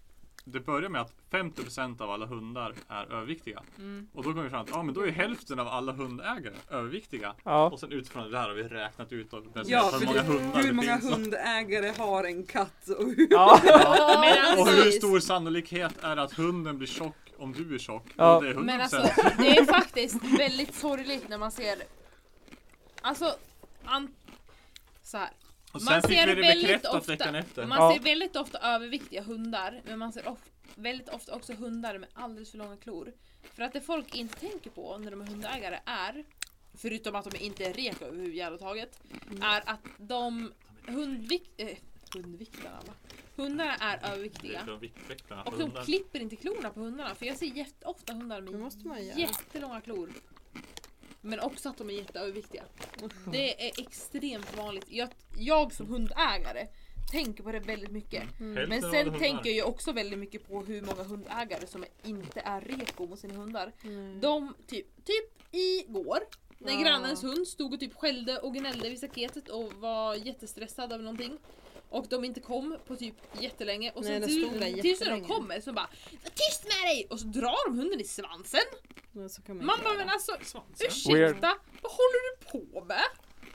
[SPEAKER 2] det börjar med att 50% av alla hundar är överviktiga.
[SPEAKER 1] Mm.
[SPEAKER 2] Och då kommer vi fram att ja, men då är hälften av alla hundägare överviktiga.
[SPEAKER 3] Ja,
[SPEAKER 2] Och sen utifrån det där har vi räknat ut av det-
[SPEAKER 1] Ja,
[SPEAKER 2] hur
[SPEAKER 1] för
[SPEAKER 2] många
[SPEAKER 1] det-
[SPEAKER 2] hundar
[SPEAKER 1] Hur
[SPEAKER 2] det
[SPEAKER 1] många
[SPEAKER 2] finns.
[SPEAKER 1] hundägare har en katt? Och hur...
[SPEAKER 3] ja,
[SPEAKER 9] Men
[SPEAKER 2] Och hur
[SPEAKER 9] alltså,
[SPEAKER 2] stor sannolikhet är det att hunden blir tjock om du är tjock?
[SPEAKER 3] Ja.
[SPEAKER 2] Och det är 100%.
[SPEAKER 9] men alltså det är faktiskt väldigt sorgligt när man ser... Alltså... An... Så här.
[SPEAKER 2] och
[SPEAKER 9] man
[SPEAKER 2] sen fick
[SPEAKER 9] ser
[SPEAKER 2] vi det
[SPEAKER 9] väldigt
[SPEAKER 2] bekräftat
[SPEAKER 9] ofta-
[SPEAKER 2] veckan efter.
[SPEAKER 9] Man
[SPEAKER 3] Ja.
[SPEAKER 9] ser väldigt ofta överviktiga hundar, men man ser of- väldigt ofta också hundar med alldeles för långa klor. För att det folk inte tänker på när de är hundägare är, förutom att de inte är reko överhuvudtaget,
[SPEAKER 1] Mm.
[SPEAKER 9] är att de hundvik- eh, hundviktarna, va? hundarna är
[SPEAKER 2] Det är
[SPEAKER 9] överviktiga.
[SPEAKER 2] från viktväktarna.
[SPEAKER 9] Och de
[SPEAKER 2] Hundar.
[SPEAKER 9] klipper inte klorna på hundarna, för jag ser jätteofta hundar med
[SPEAKER 7] Det måste man göra.
[SPEAKER 9] jättelånga klor. Men också att de är jätteöverviktiga. Det är extremt vanligt. Jag, jag som hundägare tänker på det väldigt mycket. Men
[SPEAKER 2] Hälften av alla
[SPEAKER 9] sen
[SPEAKER 2] Mm. hundar.
[SPEAKER 9] tänker jag ju också väldigt mycket på hur många hundägare som inte är reko mot sina hundar. De, typ, typ igår, när
[SPEAKER 7] Ja.
[SPEAKER 9] grannens hund stod och typ skällde och gnällde vid staketet och var jättestressad av någonting. Och de inte kom på typ jättelänge och
[SPEAKER 7] Nej,
[SPEAKER 9] sen
[SPEAKER 7] de
[SPEAKER 9] till-
[SPEAKER 7] stod där
[SPEAKER 9] tills när de
[SPEAKER 7] jättelänge.
[SPEAKER 9] kommer så bara Tyst med dig! Och så drar de hunden i svansen.
[SPEAKER 7] Men så kan man
[SPEAKER 9] Man
[SPEAKER 7] inte
[SPEAKER 9] bara
[SPEAKER 7] göra.
[SPEAKER 9] men alltså
[SPEAKER 2] Svansen.
[SPEAKER 9] ursäkta,
[SPEAKER 3] Weird.
[SPEAKER 9] vad håller du på med?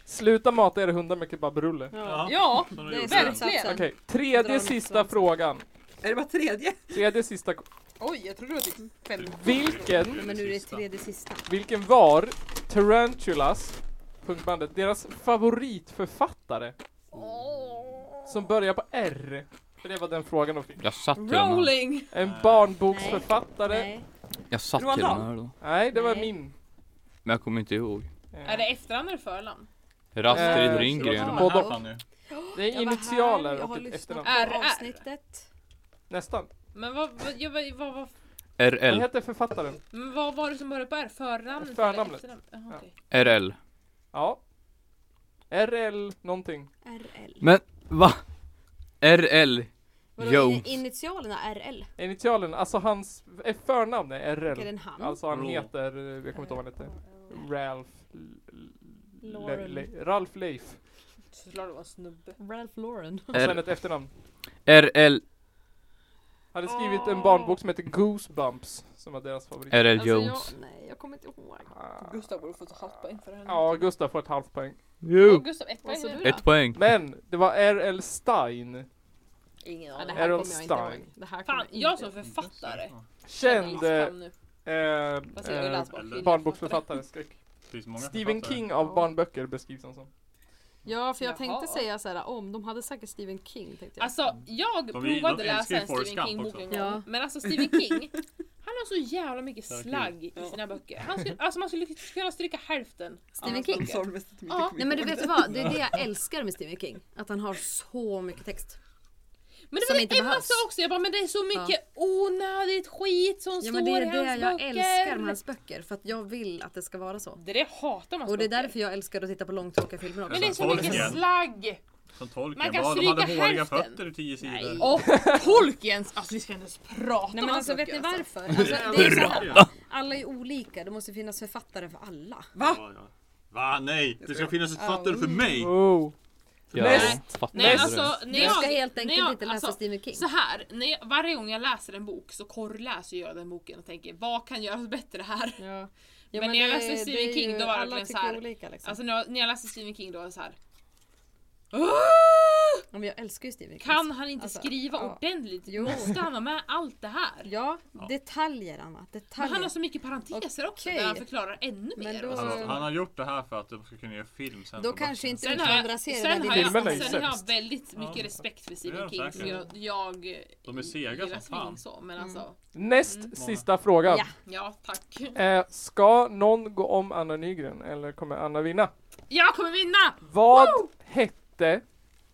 [SPEAKER 3] sluta mata era hundar med kebabrulle.
[SPEAKER 2] Ja.
[SPEAKER 9] Ja,
[SPEAKER 2] de har
[SPEAKER 7] Det är
[SPEAKER 2] gjort
[SPEAKER 9] verkligen.
[SPEAKER 2] det.
[SPEAKER 7] slutsatsen.
[SPEAKER 3] Okej,
[SPEAKER 7] Dra
[SPEAKER 3] tredje
[SPEAKER 7] något
[SPEAKER 3] sista
[SPEAKER 7] sånt.
[SPEAKER 3] frågan.
[SPEAKER 1] Är det bara tredje?
[SPEAKER 3] Tredje sista.
[SPEAKER 9] oj jag trodde det var typ fem.
[SPEAKER 3] Vilken,
[SPEAKER 7] Men nu är det tredje sista.
[SPEAKER 3] vilken var Tarantulas, punkbandet, deras favoritförfattare? Som börjar på R. För det var den frågan de fick.
[SPEAKER 8] Jag satt i den här.
[SPEAKER 9] Rolling!
[SPEAKER 3] En
[SPEAKER 2] Nej.
[SPEAKER 3] barnboksförfattare. Nej,
[SPEAKER 7] Nej.
[SPEAKER 8] Jag satt i
[SPEAKER 1] Roald
[SPEAKER 8] den
[SPEAKER 1] Dahl.
[SPEAKER 8] här då.
[SPEAKER 3] det var
[SPEAKER 7] Nej.
[SPEAKER 3] min.
[SPEAKER 8] Men jag kommer inte ihåg.
[SPEAKER 9] Är det efterhand eller förnamn?
[SPEAKER 8] Rastrid
[SPEAKER 3] Eh,
[SPEAKER 2] Ska
[SPEAKER 8] Ringgren.
[SPEAKER 2] jag
[SPEAKER 3] Både
[SPEAKER 2] vara
[SPEAKER 3] och.
[SPEAKER 2] här, Fanny?
[SPEAKER 3] Det är
[SPEAKER 7] Jag var här,
[SPEAKER 3] initialer
[SPEAKER 7] jag
[SPEAKER 3] och
[SPEAKER 7] har
[SPEAKER 3] ett
[SPEAKER 7] lyssnat
[SPEAKER 3] efternamn.
[SPEAKER 9] efternamn.
[SPEAKER 7] på
[SPEAKER 9] RR.
[SPEAKER 7] avsnittet.
[SPEAKER 3] Nästan.
[SPEAKER 9] Men vad, vad, jag, vad, vad, vad,
[SPEAKER 3] Vad
[SPEAKER 8] RL.
[SPEAKER 3] heter författaren?
[SPEAKER 9] men vad var det som började på R? Förnamnet?
[SPEAKER 3] Förnamnet.
[SPEAKER 9] eller efternamn? Jaha,
[SPEAKER 3] Ja.
[SPEAKER 9] okej.
[SPEAKER 8] RL.
[SPEAKER 3] Ja. RL någonting.
[SPEAKER 7] RL.
[SPEAKER 8] Men va? RL.
[SPEAKER 7] Vadå,
[SPEAKER 8] Yo.
[SPEAKER 7] in- initialerna RL?
[SPEAKER 3] Initialen, alltså hans eh, förnamn är
[SPEAKER 7] Är det
[SPEAKER 3] RL.
[SPEAKER 7] en han?
[SPEAKER 3] Alltså han
[SPEAKER 2] Raw.
[SPEAKER 3] heter, eh, jag kommer inte ihåg vad han heter. Ralph... L- L-
[SPEAKER 7] Lauren.
[SPEAKER 3] Le- Ralph Leif.
[SPEAKER 9] Såklart det var en snubbe.
[SPEAKER 7] Ralph Lauren.
[SPEAKER 3] Och sen
[SPEAKER 8] R-
[SPEAKER 3] ett efternamn.
[SPEAKER 8] RL.
[SPEAKER 3] Han hade skrivit en barnbok som heter Goosebumps. Som var deras favorit.
[SPEAKER 8] RL
[SPEAKER 9] Alltså, jag-
[SPEAKER 8] Jones.
[SPEAKER 7] Nej, jag kommer inte ihåg.
[SPEAKER 3] Ah.
[SPEAKER 9] Gustav borde fått halvpoäng för det här.
[SPEAKER 3] Ja, Gustav får ett halvt poäng.
[SPEAKER 9] Och
[SPEAKER 8] Jo.
[SPEAKER 9] Gustav, ett
[SPEAKER 7] Vad
[SPEAKER 9] poäng
[SPEAKER 7] sa
[SPEAKER 9] och
[SPEAKER 7] du
[SPEAKER 9] du
[SPEAKER 8] Ett
[SPEAKER 9] då?
[SPEAKER 8] poäng.
[SPEAKER 3] Men det var R.L. Stein.
[SPEAKER 9] Ingen
[SPEAKER 7] Ja, det
[SPEAKER 9] aning.
[SPEAKER 7] här
[SPEAKER 3] Errol
[SPEAKER 7] kommer jag inte
[SPEAKER 3] Stein.
[SPEAKER 7] ihåg. Det här kommer
[SPEAKER 9] Fan,
[SPEAKER 7] inte
[SPEAKER 9] jag som
[SPEAKER 7] ihåg.
[SPEAKER 9] författare.
[SPEAKER 3] Känd eh,
[SPEAKER 9] Skam nu.
[SPEAKER 3] eh,
[SPEAKER 9] Fast jag har ju
[SPEAKER 3] eh,
[SPEAKER 9] läst
[SPEAKER 2] eller-
[SPEAKER 9] bort
[SPEAKER 3] barnboksförfattare. Skräck.
[SPEAKER 2] Det finns många
[SPEAKER 3] Stephen
[SPEAKER 2] författare.
[SPEAKER 3] King av barnböcker beskrivs han som.
[SPEAKER 7] Ja, för jag
[SPEAKER 9] Jaha.
[SPEAKER 7] tänkte säga så här om, de hade säkert Stephen King tänkte jag.
[SPEAKER 9] Alltså jag
[SPEAKER 2] De är-
[SPEAKER 9] provade
[SPEAKER 2] de älskar
[SPEAKER 9] läsa
[SPEAKER 2] ju
[SPEAKER 9] en
[SPEAKER 2] Forrest Gump
[SPEAKER 9] Stephen King bok en
[SPEAKER 2] också.
[SPEAKER 9] gång.
[SPEAKER 7] Mm. Ja.
[SPEAKER 9] Men alltså Stephen King, han har
[SPEAKER 4] så jävla mycket
[SPEAKER 2] Tack.
[SPEAKER 4] slagg i sina böcker. Han skulle, alltså man skulle kunna stryka hälften.
[SPEAKER 7] Stephen King.
[SPEAKER 1] De sålde mest mycket
[SPEAKER 4] Ja,
[SPEAKER 7] Nej men du vet vad, det är det jag älskar med Stephen King. Att han har så mycket text.
[SPEAKER 4] Men det
[SPEAKER 7] Som
[SPEAKER 4] var
[SPEAKER 7] inte
[SPEAKER 4] det Emma
[SPEAKER 7] behövs.
[SPEAKER 4] sa också, jag bara men det är så mycket onödigt skit som
[SPEAKER 7] Ja
[SPEAKER 4] står
[SPEAKER 7] men det
[SPEAKER 4] i
[SPEAKER 7] är
[SPEAKER 4] hans
[SPEAKER 7] det jag
[SPEAKER 4] böcker.
[SPEAKER 7] älskar med hans böcker. För att jag vill att det ska vara så.
[SPEAKER 4] Det där hatar man
[SPEAKER 7] Och det är
[SPEAKER 4] böcker.
[SPEAKER 7] därför jag älskar att titta på långtråkiga filmer också.
[SPEAKER 4] Men det är så
[SPEAKER 2] Tolkien.
[SPEAKER 4] mycket slagg!
[SPEAKER 2] Som
[SPEAKER 4] Man
[SPEAKER 2] tolken
[SPEAKER 4] kan
[SPEAKER 2] var. De hade
[SPEAKER 4] stryka
[SPEAKER 2] håriga
[SPEAKER 4] hälften.
[SPEAKER 2] fötter i tio sidor.
[SPEAKER 4] Nej. Och Tolkiens! Alltså vi ska inte ens prata
[SPEAKER 7] Nej
[SPEAKER 4] om
[SPEAKER 7] men
[SPEAKER 4] hans
[SPEAKER 7] alltså vet ni
[SPEAKER 4] böcker, alltså.
[SPEAKER 7] varför? Alltså, det är så här, alla är olika, det måste finnas författare för alla.
[SPEAKER 2] Ja, ja. Va? Nej! Det ska finnas ett fattare för mig!
[SPEAKER 3] Oh.
[SPEAKER 8] Jag
[SPEAKER 3] Nej.
[SPEAKER 8] fattar
[SPEAKER 4] Nej
[SPEAKER 8] inte det.
[SPEAKER 4] alltså, när
[SPEAKER 7] Jag ska
[SPEAKER 4] jag,
[SPEAKER 7] helt
[SPEAKER 4] när
[SPEAKER 7] enkelt
[SPEAKER 4] jag-
[SPEAKER 7] inte läsa
[SPEAKER 4] alltså,
[SPEAKER 7] Stephen King.
[SPEAKER 4] så här, när jag, varje gång jag läser en bok så korrläser jag den boken och tänker vad kan göras bättre här?
[SPEAKER 7] Ja.
[SPEAKER 4] Men när jag
[SPEAKER 7] det-
[SPEAKER 4] läste Stephen
[SPEAKER 7] det är
[SPEAKER 4] King,
[SPEAKER 7] ju-
[SPEAKER 4] då var det
[SPEAKER 7] alla
[SPEAKER 4] verkligen
[SPEAKER 7] tycker
[SPEAKER 4] så här-
[SPEAKER 7] Olika, liksom.
[SPEAKER 4] Alltså när jag, när jag läste Stephen King då var det så här.
[SPEAKER 7] ja, men jag älskar ju Stephen King.
[SPEAKER 4] Kan han inte
[SPEAKER 7] Alltså,
[SPEAKER 4] skriva
[SPEAKER 7] ja.
[SPEAKER 4] ordentligt?
[SPEAKER 7] Jo.
[SPEAKER 4] Måste han ha med allt det här?
[SPEAKER 7] Ja, detaljer Anna. Detaljer.
[SPEAKER 4] Men han har så mycket parenteser också
[SPEAKER 7] Okej.
[SPEAKER 4] där han förklarar ännu
[SPEAKER 7] Men
[SPEAKER 4] mer.
[SPEAKER 7] då-
[SPEAKER 4] Alltså,
[SPEAKER 2] Alltså, han har gjort det här för att de ska kunna göra film sen.
[SPEAKER 7] Då
[SPEAKER 2] på böckerna.
[SPEAKER 7] kanske inte
[SPEAKER 4] Sen
[SPEAKER 7] den
[SPEAKER 4] har
[SPEAKER 7] andra
[SPEAKER 4] jag, sen
[SPEAKER 7] serien
[SPEAKER 4] har
[SPEAKER 7] är
[SPEAKER 4] jag,
[SPEAKER 3] Filmen är ju
[SPEAKER 4] sen har jag
[SPEAKER 3] sämst.
[SPEAKER 4] väldigt
[SPEAKER 2] Ja.
[SPEAKER 4] mycket respekt för
[SPEAKER 2] Det är
[SPEAKER 4] Stephen
[SPEAKER 2] de
[SPEAKER 4] King. Så jag,
[SPEAKER 2] säkert.
[SPEAKER 4] jag eh,
[SPEAKER 2] De är sega
[SPEAKER 4] gillar
[SPEAKER 2] som
[SPEAKER 4] Stephen
[SPEAKER 2] fan.
[SPEAKER 4] King Så,
[SPEAKER 7] Mm.
[SPEAKER 4] men alltså,
[SPEAKER 3] Näst
[SPEAKER 9] Mm.
[SPEAKER 3] sista fråga.
[SPEAKER 7] Ja.
[SPEAKER 4] ja tack.
[SPEAKER 3] Eh, ska någon gå om Anna Nygren eller kommer Anna vinna?
[SPEAKER 4] Jag kommer vinna!
[SPEAKER 3] Vad hette,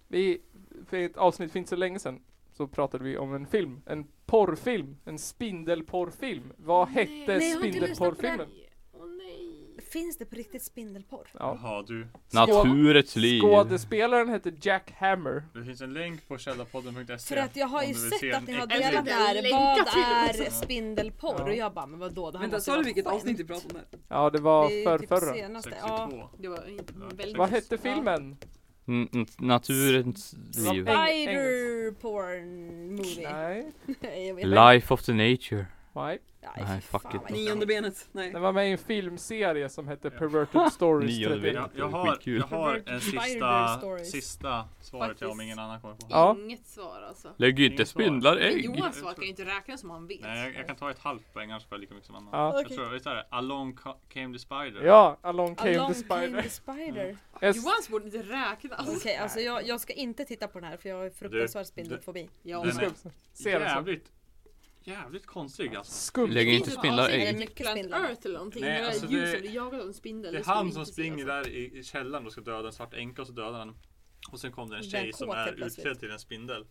[SPEAKER 3] vi, för ett avsnitt för inte så länge sedan, så pratade vi om en film, en porrfilm, en spindelporrfilm. Vad hette
[SPEAKER 7] Nej, jag har inte lyssnat på den.
[SPEAKER 3] spindelporrfilmen?
[SPEAKER 4] Åh nej.
[SPEAKER 7] Finns det på riktigt spindelporr?
[SPEAKER 3] Ja.
[SPEAKER 2] Jaha du.
[SPEAKER 8] Naturets liv.
[SPEAKER 3] Skådespelaren hette Jack Hammer.
[SPEAKER 2] Det finns en länk på källarpodden.se.
[SPEAKER 7] För att jag har
[SPEAKER 2] om
[SPEAKER 7] ju
[SPEAKER 2] du vill
[SPEAKER 7] sett
[SPEAKER 2] se
[SPEAKER 7] att
[SPEAKER 2] en
[SPEAKER 7] ni har
[SPEAKER 2] äcklig-
[SPEAKER 7] delat det
[SPEAKER 4] Jag
[SPEAKER 7] här.
[SPEAKER 4] länkar
[SPEAKER 7] Vad
[SPEAKER 4] till
[SPEAKER 7] är spindelporr? Och jag bara, men vadå? Det här
[SPEAKER 1] Vänta,
[SPEAKER 7] måste
[SPEAKER 1] sa du
[SPEAKER 7] vara
[SPEAKER 1] vilket
[SPEAKER 7] skämt.
[SPEAKER 1] avsnitt vi pratade om? Där?
[SPEAKER 3] Ja, det
[SPEAKER 7] Det
[SPEAKER 3] var
[SPEAKER 7] är ju
[SPEAKER 3] förr,
[SPEAKER 7] typ
[SPEAKER 3] förra.
[SPEAKER 7] senaste. Ja.
[SPEAKER 2] 62.
[SPEAKER 4] Det var väldigt...
[SPEAKER 3] Vad hette filmen?
[SPEAKER 8] N- n- Naturens Mm, liv.
[SPEAKER 3] Eng-
[SPEAKER 7] Spider porn movie.
[SPEAKER 3] Nej,
[SPEAKER 7] Nej, jag vet inte.
[SPEAKER 8] Life of the nature.
[SPEAKER 3] nej.
[SPEAKER 7] Nej,
[SPEAKER 8] Nej,
[SPEAKER 7] fy
[SPEAKER 8] fuck
[SPEAKER 7] fan,
[SPEAKER 8] it.
[SPEAKER 7] vad
[SPEAKER 1] Nionde benet? Nej.
[SPEAKER 3] Den var med i en filmserie som hette
[SPEAKER 2] Ja.
[SPEAKER 3] Perverted Stories
[SPEAKER 8] Nionde
[SPEAKER 3] 31.
[SPEAKER 2] Jag, jag, har,
[SPEAKER 8] Skitkul.
[SPEAKER 2] jag har en
[SPEAKER 7] Spider
[SPEAKER 2] sista,
[SPEAKER 7] stories.
[SPEAKER 2] sista svaret jag om
[SPEAKER 4] Faktiskt.
[SPEAKER 2] ingen annan kommer på.
[SPEAKER 3] Ja.
[SPEAKER 7] Mm.
[SPEAKER 4] Inget svar alltså.
[SPEAKER 8] Lägg inte
[SPEAKER 2] Inget svar.
[SPEAKER 8] spindlar
[SPEAKER 4] Men
[SPEAKER 8] ägg.
[SPEAKER 4] Johans svar kan ju inte räknas som han vet.
[SPEAKER 2] Nej, jag, jag kan ta ett halvt poäng annars får jag lika mycket som annan.
[SPEAKER 3] Ja.
[SPEAKER 2] Jag tror, visst är det? Along ca- came the spider.
[SPEAKER 3] ja, Along
[SPEAKER 7] Along
[SPEAKER 3] came the spider.
[SPEAKER 7] spider.
[SPEAKER 3] Es-
[SPEAKER 4] Johans borde inte räknas.
[SPEAKER 9] Mm.
[SPEAKER 7] Okej, alltså jag, jag ska inte titta på den här för jag har fruktansvärd spindelfobi.
[SPEAKER 4] Ja.
[SPEAKER 2] Den
[SPEAKER 3] Du ska
[SPEAKER 2] är
[SPEAKER 3] se den sen.
[SPEAKER 2] jävligt, jävligt konstig alltså.
[SPEAKER 3] Skumt.
[SPEAKER 8] Lägg inte spindlar
[SPEAKER 7] avsnitt.
[SPEAKER 8] ägg.
[SPEAKER 7] mycket spindlar.
[SPEAKER 4] Earth eller någonting.
[SPEAKER 2] Nej,
[SPEAKER 4] Nej,
[SPEAKER 2] alltså
[SPEAKER 4] alltså
[SPEAKER 2] det-
[SPEAKER 4] djur som blir jagade av en spindel.
[SPEAKER 2] Det är
[SPEAKER 4] ska vi
[SPEAKER 2] han
[SPEAKER 4] inte
[SPEAKER 2] som
[SPEAKER 4] se,
[SPEAKER 2] springer
[SPEAKER 4] alltså.
[SPEAKER 2] där i, i källaren och ska döda en svart änka och så dödar han. Och sen kom det en
[SPEAKER 7] Den
[SPEAKER 2] tjej som
[SPEAKER 7] kåt
[SPEAKER 2] är
[SPEAKER 7] helt plötsligt.
[SPEAKER 2] utklädd till en spindel.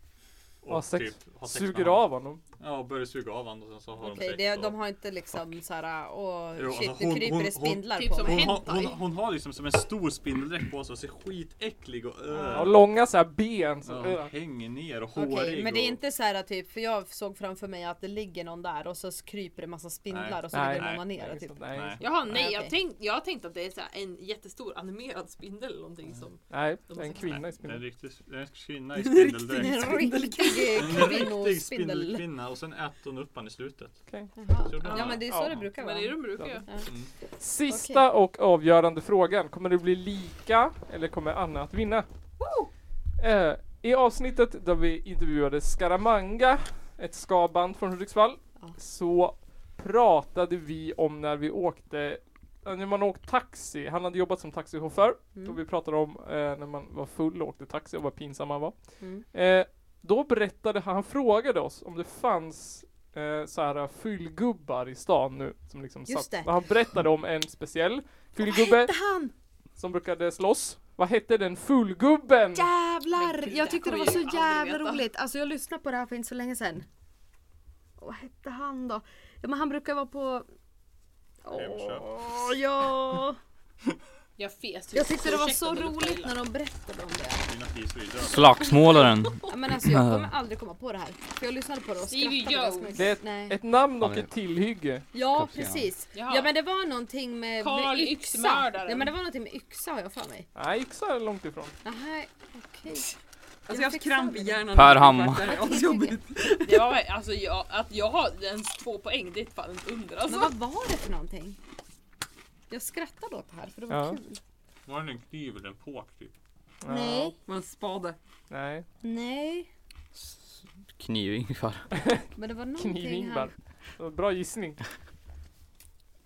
[SPEAKER 2] typ
[SPEAKER 3] Har sex.
[SPEAKER 2] har sex med
[SPEAKER 3] Suger
[SPEAKER 2] honom.
[SPEAKER 3] av honom.
[SPEAKER 2] Ja, och börjar suga av honom och sen så har de
[SPEAKER 7] Okej, det-
[SPEAKER 2] sex.
[SPEAKER 7] de
[SPEAKER 2] och-
[SPEAKER 7] har inte liksom såhär, åh
[SPEAKER 2] Jo,
[SPEAKER 7] shit,
[SPEAKER 2] alltså
[SPEAKER 7] nu
[SPEAKER 2] hon-
[SPEAKER 7] kryper
[SPEAKER 2] hon-
[SPEAKER 7] det spindlar
[SPEAKER 4] hon-
[SPEAKER 7] på
[SPEAKER 4] typ som
[SPEAKER 7] mig.
[SPEAKER 2] Hon, har,
[SPEAKER 4] Hentai.
[SPEAKER 2] hon, hon har liksom som en stor spindeldräkt på sig och ser skitäcklig och öh.
[SPEAKER 3] Och långa så här ben. Så,
[SPEAKER 2] Ja, och hänger ner och hårig.
[SPEAKER 7] Okej, men det är
[SPEAKER 2] och-
[SPEAKER 7] inte så här typ, för jag såg framför mig att det ligger någon där och så kryper det massa spindlar
[SPEAKER 2] Nej.
[SPEAKER 7] och så
[SPEAKER 3] Nej.
[SPEAKER 7] ligger
[SPEAKER 2] Nej.
[SPEAKER 7] någon ner typ.
[SPEAKER 3] nej, nej.
[SPEAKER 2] Nej.
[SPEAKER 4] Jaha, nej,
[SPEAKER 7] Nej,
[SPEAKER 4] jag,
[SPEAKER 7] okej.
[SPEAKER 4] tänk, jag har tänkt att det är så här en jättestor animerad spindel eller någonting som...
[SPEAKER 3] nej, det är en
[SPEAKER 4] Nej.
[SPEAKER 3] kvinna i
[SPEAKER 2] Det är en
[SPEAKER 3] spindeln.
[SPEAKER 2] riktig det är en kvinna i
[SPEAKER 7] Det
[SPEAKER 2] spindeldräkt.
[SPEAKER 7] är En riktig
[SPEAKER 2] En riktig
[SPEAKER 7] kvinnospindel.
[SPEAKER 2] spindelkvinna och sen äter hon upp han i slutet.
[SPEAKER 3] Okej.
[SPEAKER 7] Jaha.
[SPEAKER 2] Så blir
[SPEAKER 7] Ja
[SPEAKER 2] han-
[SPEAKER 7] men det är så
[SPEAKER 3] Ja.
[SPEAKER 7] det brukar
[SPEAKER 4] Men
[SPEAKER 7] vara.
[SPEAKER 4] det är de brukar göra.
[SPEAKER 3] Sista och avgörande frågan. Kommer det bli lika eller kommer Anna att vinna? Eh, I avsnittet där vi intervjuade Skaramanga, ett skaband från Hudiksvall,
[SPEAKER 7] Ja.
[SPEAKER 3] så pratade vi om när vi åkte eh, när man åkte taxi, han hade jobbat som taxichaufför.
[SPEAKER 7] Mm.
[SPEAKER 3] Då vi pratade om eh, när man var full och åkte taxi och vad pinsam man var.
[SPEAKER 7] Mm.
[SPEAKER 3] Eh, då berättade han, han frågade oss om det fanns eh, så här fyllgubbar i stan nu. Som liksom
[SPEAKER 7] Just
[SPEAKER 3] satt.
[SPEAKER 7] det.
[SPEAKER 3] Han berättade om en speciell
[SPEAKER 7] Vad
[SPEAKER 3] fyllgubbe
[SPEAKER 7] hette han?
[SPEAKER 3] som brukade slåss. Vad hette den fullgubben?
[SPEAKER 4] Men
[SPEAKER 7] Jävlar!
[SPEAKER 4] gud,
[SPEAKER 7] Jag
[SPEAKER 4] det
[SPEAKER 7] tyckte det var
[SPEAKER 4] kommer
[SPEAKER 7] så
[SPEAKER 4] jag aldrig
[SPEAKER 7] jävla
[SPEAKER 4] veta.
[SPEAKER 7] roligt. Alltså jag lyssnade på det här för inte så länge sedan. Och Vad hette han då? Ja men han brukar vara på...
[SPEAKER 2] Hemköp.
[SPEAKER 7] Åh ja!
[SPEAKER 4] Jag fes
[SPEAKER 7] Jag tyckte det var
[SPEAKER 4] Ursäkta
[SPEAKER 7] så
[SPEAKER 4] om det luktar
[SPEAKER 7] roligt
[SPEAKER 4] illa.
[SPEAKER 7] när de berättade om det.
[SPEAKER 2] Mina priser är ju döda.
[SPEAKER 8] Slagsmålaren.
[SPEAKER 7] Ja, men alltså jag kommer aldrig komma på det här. För jag lyssnade på det och
[SPEAKER 4] Stevie
[SPEAKER 7] skrattade ganska
[SPEAKER 4] Jones.
[SPEAKER 7] mycket.
[SPEAKER 3] Det är ett,
[SPEAKER 7] Nej.
[SPEAKER 3] ett namn
[SPEAKER 8] Ja,
[SPEAKER 3] och
[SPEAKER 8] men-
[SPEAKER 3] ett tillhygge.
[SPEAKER 7] Ja
[SPEAKER 8] Kapten.
[SPEAKER 7] precis.
[SPEAKER 4] Jaha.
[SPEAKER 7] Ja men det var någonting med,
[SPEAKER 4] Karl
[SPEAKER 7] med yxa.
[SPEAKER 4] Yxmördaren.
[SPEAKER 7] Ja men det var någonting med yxa har jag för mig.
[SPEAKER 3] Nej, yxa är långt ifrån.
[SPEAKER 7] Nej, okej.
[SPEAKER 1] Alltså jag har haft kramp i hjärnan.
[SPEAKER 8] Per
[SPEAKER 1] Det är
[SPEAKER 8] Hammar.
[SPEAKER 1] faktiskt asjobbigt.
[SPEAKER 4] Det var alltså jag, att jag har ens två poäng det är fan ett under
[SPEAKER 7] Men
[SPEAKER 4] alltså.
[SPEAKER 7] vad var det för någonting? Jag skrattade åt det här för det var
[SPEAKER 3] Ja.
[SPEAKER 7] kul.
[SPEAKER 2] Var det en kniv eller en påk typ?
[SPEAKER 7] Nej,
[SPEAKER 1] Man spade.
[SPEAKER 3] Ja, nej.
[SPEAKER 7] nej.
[SPEAKER 8] Knivingvar.
[SPEAKER 7] Men det var någonting
[SPEAKER 3] Knivingvar.
[SPEAKER 7] här.
[SPEAKER 3] Bra gissning.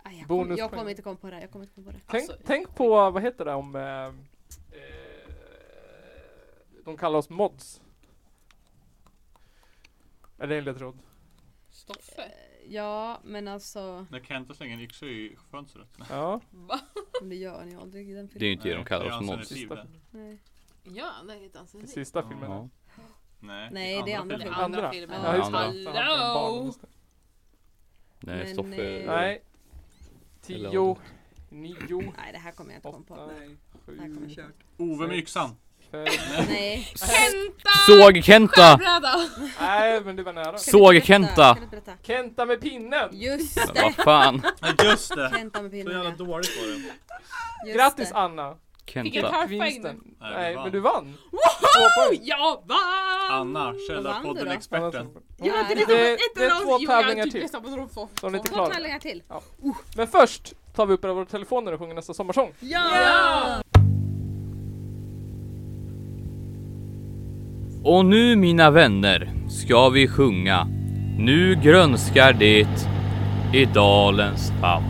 [SPEAKER 7] Aj, jag, kom,
[SPEAKER 3] Bonuspoäng.
[SPEAKER 7] jag kommer inte komma på det här. Jag kommer inte komma på det.
[SPEAKER 3] Tänk,
[SPEAKER 4] Alltså-
[SPEAKER 3] tänk på, vad heter det om... Eh, eh, de kallar oss mods. Är det en ledtråd?
[SPEAKER 4] Stoffe?
[SPEAKER 7] Ja, men alltså.
[SPEAKER 2] När Kenta slänger en yxa i fönstret.
[SPEAKER 3] Ja.
[SPEAKER 4] Va?
[SPEAKER 7] Det gör ni aldrig i den
[SPEAKER 8] Det är ju
[SPEAKER 7] filmen.
[SPEAKER 8] inte det de kallar
[SPEAKER 2] är alltså
[SPEAKER 8] oss
[SPEAKER 2] hans
[SPEAKER 8] någonsin.
[SPEAKER 2] initiativ det.
[SPEAKER 7] Nej.
[SPEAKER 4] Ja, det heter hans
[SPEAKER 3] I
[SPEAKER 4] namn.
[SPEAKER 3] sista filmen.
[SPEAKER 8] Ja.
[SPEAKER 2] Nej,
[SPEAKER 7] Nej,
[SPEAKER 2] i
[SPEAKER 7] det är andra
[SPEAKER 2] filmen.
[SPEAKER 4] Den
[SPEAKER 3] filmen.
[SPEAKER 4] andra
[SPEAKER 3] Andra.
[SPEAKER 4] filmen.
[SPEAKER 8] Ja, just det.
[SPEAKER 3] Fan, barn,
[SPEAKER 4] Hallå!
[SPEAKER 3] just det.
[SPEAKER 8] Nej,
[SPEAKER 7] Men,
[SPEAKER 8] Stoffe.
[SPEAKER 7] eh,
[SPEAKER 3] Nej.
[SPEAKER 8] Eller
[SPEAKER 3] Tio.
[SPEAKER 8] vad?
[SPEAKER 3] Nio.
[SPEAKER 7] Nej, det här kommer jag inte komma på.
[SPEAKER 3] Åtta.
[SPEAKER 5] Nej,
[SPEAKER 7] Det här kommer jag inte
[SPEAKER 5] kört.
[SPEAKER 7] ihåg.
[SPEAKER 2] Ove med yxan.
[SPEAKER 3] Fem.
[SPEAKER 7] Nej.
[SPEAKER 4] Kenta!
[SPEAKER 8] Såg Kenta!
[SPEAKER 4] Skärbräda!
[SPEAKER 3] Nej, men det var nära.
[SPEAKER 8] Såg Kenta!
[SPEAKER 7] Kan du berätta?
[SPEAKER 3] Kenta med pinnen!
[SPEAKER 7] Just
[SPEAKER 8] Men
[SPEAKER 7] det.
[SPEAKER 8] Vad fan?
[SPEAKER 2] Nej just det!
[SPEAKER 7] Kenta med
[SPEAKER 2] Så jävla
[SPEAKER 7] pinnen.
[SPEAKER 2] dåligt var det.
[SPEAKER 7] ja.
[SPEAKER 3] Grattis
[SPEAKER 7] Just
[SPEAKER 3] Anna!
[SPEAKER 4] Fick en
[SPEAKER 8] Kenta.
[SPEAKER 4] perfekt.
[SPEAKER 3] Vinsten.
[SPEAKER 2] Nej, vi
[SPEAKER 3] Nej,
[SPEAKER 2] vann.
[SPEAKER 3] men du vann! Två poäng!
[SPEAKER 4] Jag vann!
[SPEAKER 2] Anna,
[SPEAKER 7] Vad vann du då?
[SPEAKER 2] källarpodden-experten.
[SPEAKER 4] Ja, det, är
[SPEAKER 3] Det- det är
[SPEAKER 4] inte någon-
[SPEAKER 3] två
[SPEAKER 4] jo,
[SPEAKER 3] tävlingar
[SPEAKER 7] typ.
[SPEAKER 4] Jag tycker
[SPEAKER 3] till.
[SPEAKER 4] samma som de får.
[SPEAKER 3] Så är ni inte
[SPEAKER 7] det.
[SPEAKER 3] klara.
[SPEAKER 7] Två tävlingar till.
[SPEAKER 3] Men först tar vi upp era våra telefoner och sjunger nästa sommarsång.
[SPEAKER 4] Ja!
[SPEAKER 8] Och nu mina vänner ska vi sjunga Nu grönskar det i dalens famn.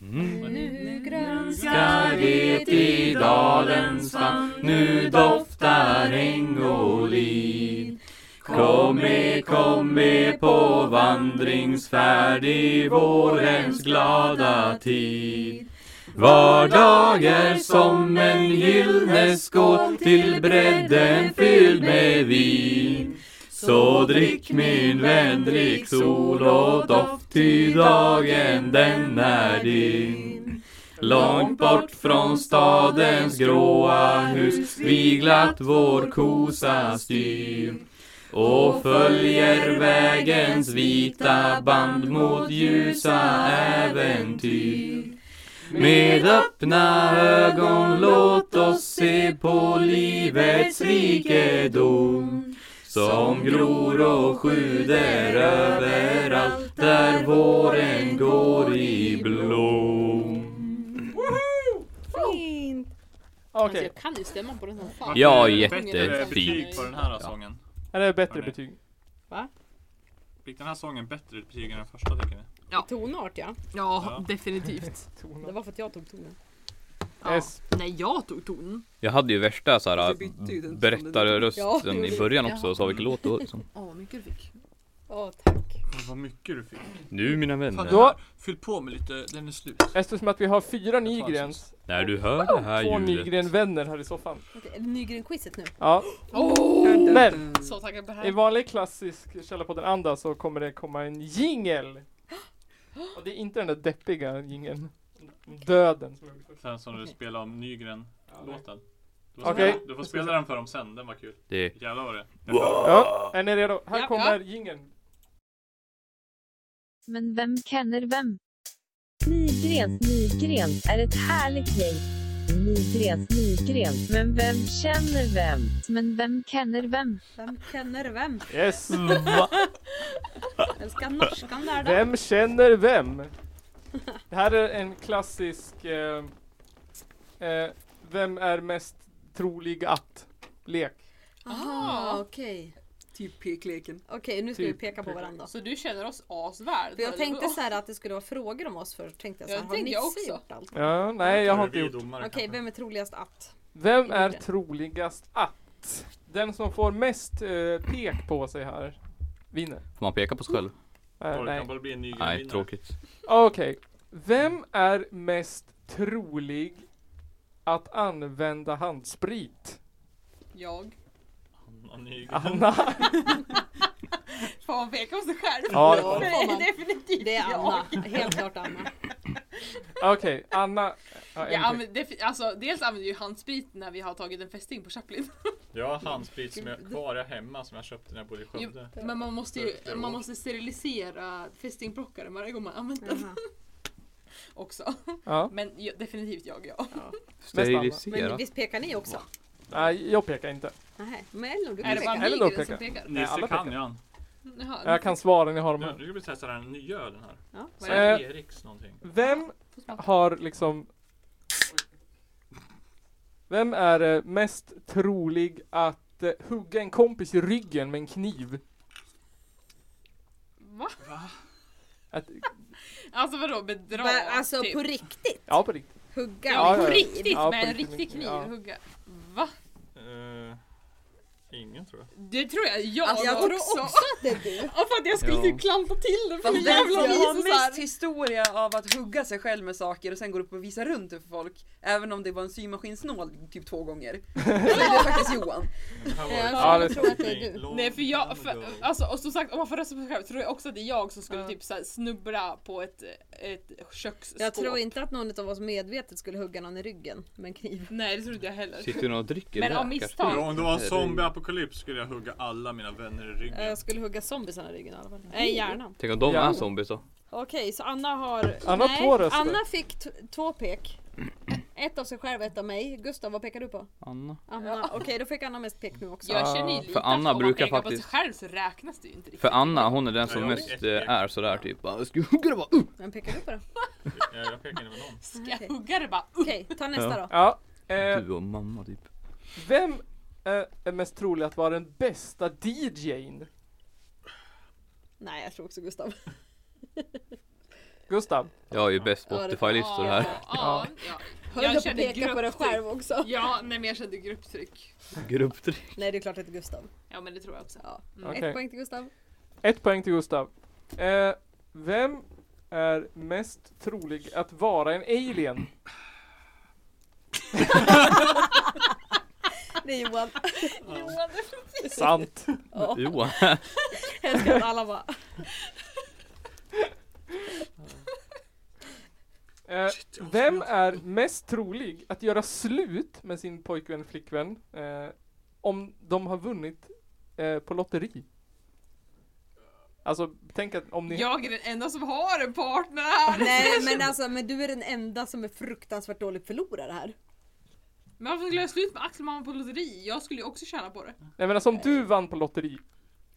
[SPEAKER 7] Nu grönskar
[SPEAKER 8] Grönskar det i dalens famn Nu doftar äng och lin Kom med, kom med på vandringsfärd i vårens glada tid Var dag är som en gyllene skål till bredden fylld med vin Så drick min vän, drick sol och doft ty dagen den är din Långt bort från stadens gråa hus vi glatt vår kosa styr och följer vägens vita band mot ljusa äventyr. Med öppna ögon låt oss se på livets rikedom som gror och sjuder överallt där våren går i blom.
[SPEAKER 7] Fint.
[SPEAKER 4] Alltså,
[SPEAKER 3] Okej,
[SPEAKER 4] jag kan ju stämman på den här fan.
[SPEAKER 8] Ja,
[SPEAKER 2] Bättre
[SPEAKER 8] jättefint.
[SPEAKER 2] betyg på den här
[SPEAKER 8] Ja.
[SPEAKER 2] sången.
[SPEAKER 3] är det bättre
[SPEAKER 2] Hörni.
[SPEAKER 3] betyg?
[SPEAKER 2] Fick den här sången bättre betyg än den första tycker ni?
[SPEAKER 4] Ja.
[SPEAKER 7] I Tonart ja.
[SPEAKER 4] Ja, definitivt.
[SPEAKER 7] Det var för att jag tog tonen.
[SPEAKER 4] Ja.
[SPEAKER 3] S.
[SPEAKER 4] Nej, jag tog tonen.
[SPEAKER 8] Jag hade ju värsta så här,
[SPEAKER 5] Du
[SPEAKER 4] Alltså,
[SPEAKER 5] bytte ju den
[SPEAKER 7] Ja, det
[SPEAKER 8] berättarrösten
[SPEAKER 7] gjorde
[SPEAKER 8] i
[SPEAKER 7] du.
[SPEAKER 8] början också och sa vilken låt det var liksom.
[SPEAKER 4] Åh, vad mycket du fick.
[SPEAKER 7] Åh tack.
[SPEAKER 2] Men vad mycket du fick.
[SPEAKER 8] Nu mina vänner,
[SPEAKER 3] Då-
[SPEAKER 2] Då... Fyll på med lite, den är slut.
[SPEAKER 3] Eftersom att vi har fyra Nygrens,
[SPEAKER 8] när du hör det här
[SPEAKER 3] två
[SPEAKER 8] ljudet.
[SPEAKER 3] Nygren-vänner här i soffan.
[SPEAKER 7] Okej, Nygren-quizet nu.
[SPEAKER 3] Ja, men
[SPEAKER 4] Oh! Så taggad på det
[SPEAKER 3] i
[SPEAKER 4] här.
[SPEAKER 3] vanlig klassisk Källarpodden anda så kommer det komma en jingel. Och det är inte den där deppiga jingeln. Döden som jag gjorde först.
[SPEAKER 2] Sen som du spelade om Nygren-låten. Du får
[SPEAKER 3] Okej.
[SPEAKER 2] spela- Du får spela den för dem sen, den var kul.
[SPEAKER 8] Det
[SPEAKER 2] Jävlar vad det
[SPEAKER 3] Ja, är ni redo? Här
[SPEAKER 4] Ja,
[SPEAKER 3] kommer
[SPEAKER 4] ja.
[SPEAKER 3] jingeln.
[SPEAKER 13] Men vem känner vem? Nygren, Nygren är ett härligt gäng. Nygren, Nygren, men vem känner vem? Men vem känner vem?
[SPEAKER 9] Vem känner vem?
[SPEAKER 3] Yes!
[SPEAKER 9] Älskar norskan där då.
[SPEAKER 3] Vem känner vem? Det här är en klassisk eh, eh, Vem är mest trolig att? Lek.
[SPEAKER 7] Aha, okej.
[SPEAKER 5] Typ pekleken.
[SPEAKER 7] Okej, nu ska
[SPEAKER 3] Typ.
[SPEAKER 7] vi Ah, peka på varandra.
[SPEAKER 4] Så du känner oss asvärd?
[SPEAKER 7] För jag tänkte
[SPEAKER 4] Åh,
[SPEAKER 7] så här att det skulle vara frågor om oss först. Tänkte jag så
[SPEAKER 4] Ja,
[SPEAKER 7] här,
[SPEAKER 4] det
[SPEAKER 7] har
[SPEAKER 4] tänkte
[SPEAKER 7] Nisse
[SPEAKER 4] jag också.
[SPEAKER 7] gjort allt?
[SPEAKER 3] Ja, nej jag har inte
[SPEAKER 2] Vi
[SPEAKER 3] gjort.
[SPEAKER 2] domare
[SPEAKER 7] Okej,
[SPEAKER 2] kanske.
[SPEAKER 7] vem är troligast att?
[SPEAKER 3] Vem är troligast att? Den som får mest eh, pek på sig här vinner.
[SPEAKER 8] Får man peka på sig själv?
[SPEAKER 3] Eh,
[SPEAKER 2] Oj, Det
[SPEAKER 3] nej.
[SPEAKER 2] kan bara bli en nygren
[SPEAKER 8] Nej, tråkigt.
[SPEAKER 3] Okej. Vem är mest trolig att använda handsprit?
[SPEAKER 4] Jag.
[SPEAKER 2] Nygren.
[SPEAKER 3] Anna?
[SPEAKER 4] Får man peka på sig själv?
[SPEAKER 3] Ja, det får
[SPEAKER 7] man.
[SPEAKER 4] Nej, definitivt
[SPEAKER 7] Det är
[SPEAKER 4] jag.
[SPEAKER 7] Anna. Helt klart Anna.
[SPEAKER 3] Okej, Anna. Ja, en pek.
[SPEAKER 4] Jag använder, defi- alltså, dels använder jag ju handsprit när vi har tagit en fästing på Chaplin.
[SPEAKER 2] Jag har handsprit som jag kvar här hemma som jag köpte när jag bodde i Skövde.
[SPEAKER 7] Typ.
[SPEAKER 4] Men man måste
[SPEAKER 2] Typ,
[SPEAKER 4] ju man måste sterilisera fästingplockaren varje gång man använder den
[SPEAKER 7] Jaha.
[SPEAKER 4] också.
[SPEAKER 3] Ja.
[SPEAKER 4] Men ju- definitivt jag, ja.
[SPEAKER 7] Men
[SPEAKER 8] Sterilisera.
[SPEAKER 7] visst pekar ni också?
[SPEAKER 3] Nej, jag pekar inte.
[SPEAKER 7] Nej, men Ellen du
[SPEAKER 4] Är
[SPEAKER 7] kan
[SPEAKER 4] det
[SPEAKER 7] peka.
[SPEAKER 4] bara
[SPEAKER 3] Eller då
[SPEAKER 4] nigern
[SPEAKER 3] pekar.
[SPEAKER 4] som pekar?
[SPEAKER 3] alla
[SPEAKER 2] Nisse
[SPEAKER 3] pekar.
[SPEAKER 2] kan ju han.
[SPEAKER 4] Jaha,
[SPEAKER 3] Jag kan svaren, jag har dem
[SPEAKER 2] Nu,
[SPEAKER 3] här.
[SPEAKER 2] nu ska vi testa den här nya ölen här.
[SPEAKER 7] Ja,
[SPEAKER 2] Så
[SPEAKER 3] vad är
[SPEAKER 2] här
[SPEAKER 3] det?
[SPEAKER 2] Eriks någonting.
[SPEAKER 3] Vem har liksom... Vem är eh, mest trolig att eh, hugga en kompis i ryggen med en kniv?
[SPEAKER 4] Va?
[SPEAKER 3] Att,
[SPEAKER 4] Alltså vadå bedra?
[SPEAKER 7] Va, alltså
[SPEAKER 4] typ.
[SPEAKER 7] på riktigt?
[SPEAKER 3] ja, på riktigt.
[SPEAKER 7] Hugga?
[SPEAKER 3] Ja,
[SPEAKER 4] ja, på
[SPEAKER 3] ja, ja.
[SPEAKER 4] riktigt
[SPEAKER 3] Ja,
[SPEAKER 4] med
[SPEAKER 3] på
[SPEAKER 4] en
[SPEAKER 3] riktigt.
[SPEAKER 4] riktig kniv
[SPEAKER 3] Ja.
[SPEAKER 4] hugga. Va?
[SPEAKER 2] Eh, Ingen tror jag.
[SPEAKER 4] Det tror jag. Jag,
[SPEAKER 7] Alltså, jag
[SPEAKER 4] då.
[SPEAKER 7] tror också att det är du.
[SPEAKER 4] Ja, för att jag skulle
[SPEAKER 2] Ja.
[SPEAKER 4] typ klanta till det på
[SPEAKER 1] Fast
[SPEAKER 4] något
[SPEAKER 1] den
[SPEAKER 4] jävla
[SPEAKER 1] som har
[SPEAKER 4] vis. och så här.
[SPEAKER 1] mest historia av att hugga sig själv med saker och sen går upp och visar runt det för folk. Även om det var en symaskinsnål typ två gånger. Så är det faktiskt Johan.
[SPEAKER 2] Det här var
[SPEAKER 7] Ja,
[SPEAKER 2] ju-
[SPEAKER 3] Ja, det
[SPEAKER 7] jag tror att det är du.
[SPEAKER 2] Long
[SPEAKER 4] Nej för jag,
[SPEAKER 2] time ago.
[SPEAKER 4] för, alltså och som sagt om man får rösta på sig själv tror jag också att det är jag som skulle typ så här snubbla på ett, ett köksskåp.
[SPEAKER 7] Jag tror inte att någon av oss medvetet skulle hugga någon i ryggen med en kniv.
[SPEAKER 4] Nej det tror inte jag heller.
[SPEAKER 8] Sitter någon och dricker
[SPEAKER 4] Men
[SPEAKER 8] där
[SPEAKER 4] av
[SPEAKER 8] kanske?
[SPEAKER 4] misstag.
[SPEAKER 2] Ja, om det var en zombieapokalyps skulle jag hugga alla mina vänner i ryggen.
[SPEAKER 7] Jag skulle hugga zombiesarna i ryggen i alla fall. Nej, hjärnan.
[SPEAKER 8] Tänk om de
[SPEAKER 3] Ja.
[SPEAKER 8] är zombies då?
[SPEAKER 7] Okej, så Anna har...
[SPEAKER 3] Anna har
[SPEAKER 7] Nej,
[SPEAKER 3] två röster.
[SPEAKER 7] Anna fick t- två pek. Ett av sig själv och ett av mig. Gustav, vad pekar du på?
[SPEAKER 8] Anna?
[SPEAKER 7] Anna. Okej, då fick Anna mest pek nu också.
[SPEAKER 4] Jag
[SPEAKER 3] Ah,
[SPEAKER 4] känner ju lite
[SPEAKER 8] för
[SPEAKER 4] att
[SPEAKER 8] Anna
[SPEAKER 4] om man
[SPEAKER 8] brukar
[SPEAKER 4] pekar på
[SPEAKER 8] faktiskt-
[SPEAKER 4] sig själv så räknas det ju inte riktigt.
[SPEAKER 8] För Anna hon är den som
[SPEAKER 2] Ja, jag
[SPEAKER 8] mest
[SPEAKER 2] vet.
[SPEAKER 8] eh, är sådär typ bara, "Jag ska hugga det bara, uh!"
[SPEAKER 7] Vem pekar du på då?
[SPEAKER 2] Jag, jag pekar inte på någon.
[SPEAKER 4] Ska jag hugga det bara? upp?
[SPEAKER 7] Okej, ta nästa då.
[SPEAKER 3] Ja. Eh,
[SPEAKER 8] Du och mamma typ.
[SPEAKER 3] vem eh, är mest trolig att vara den bästa DJn?
[SPEAKER 7] Nej, jag tror också Gustav.
[SPEAKER 3] Gustav?
[SPEAKER 8] Jag är ju bäst
[SPEAKER 7] Ja, det-
[SPEAKER 8] Spotify-listor här.
[SPEAKER 4] Ja, ja, ja.
[SPEAKER 7] Höll
[SPEAKER 4] Jag
[SPEAKER 7] jag på att
[SPEAKER 4] känner
[SPEAKER 7] peka på dig
[SPEAKER 4] grupptryck.
[SPEAKER 7] själv också.
[SPEAKER 4] Ja, nej men jag kände grupptryck.
[SPEAKER 8] Grupptryck.
[SPEAKER 7] Nej, det är klart att det är Gustav.
[SPEAKER 4] Ja men det tror jag också.
[SPEAKER 7] Ja.
[SPEAKER 3] Okej.
[SPEAKER 7] Mm. Ett poäng till Gustav.
[SPEAKER 3] Ett poäng till Gustav. Eh, vem är mest trolig att vara en alien?
[SPEAKER 7] Det är Johan.
[SPEAKER 3] Sant.
[SPEAKER 7] Ja.
[SPEAKER 8] Johan.
[SPEAKER 7] Jag älskar att alla bara...
[SPEAKER 3] Eh, vem är mest trolig att göra slut med sin pojkvän, flickvän, eh, om de har vunnit eh, på lotteri? Alltså, tänk att om ni...
[SPEAKER 4] Jag är den enda som har en partner här!
[SPEAKER 7] Nej, men alltså, men du är den enda som är fruktansvärt dålig förlorare här.
[SPEAKER 4] Men varför skulle jag slut med Axel mamma på lotteri? Jag skulle ju också tjäna på det.
[SPEAKER 3] Nej men alltså om du vann på lotteri,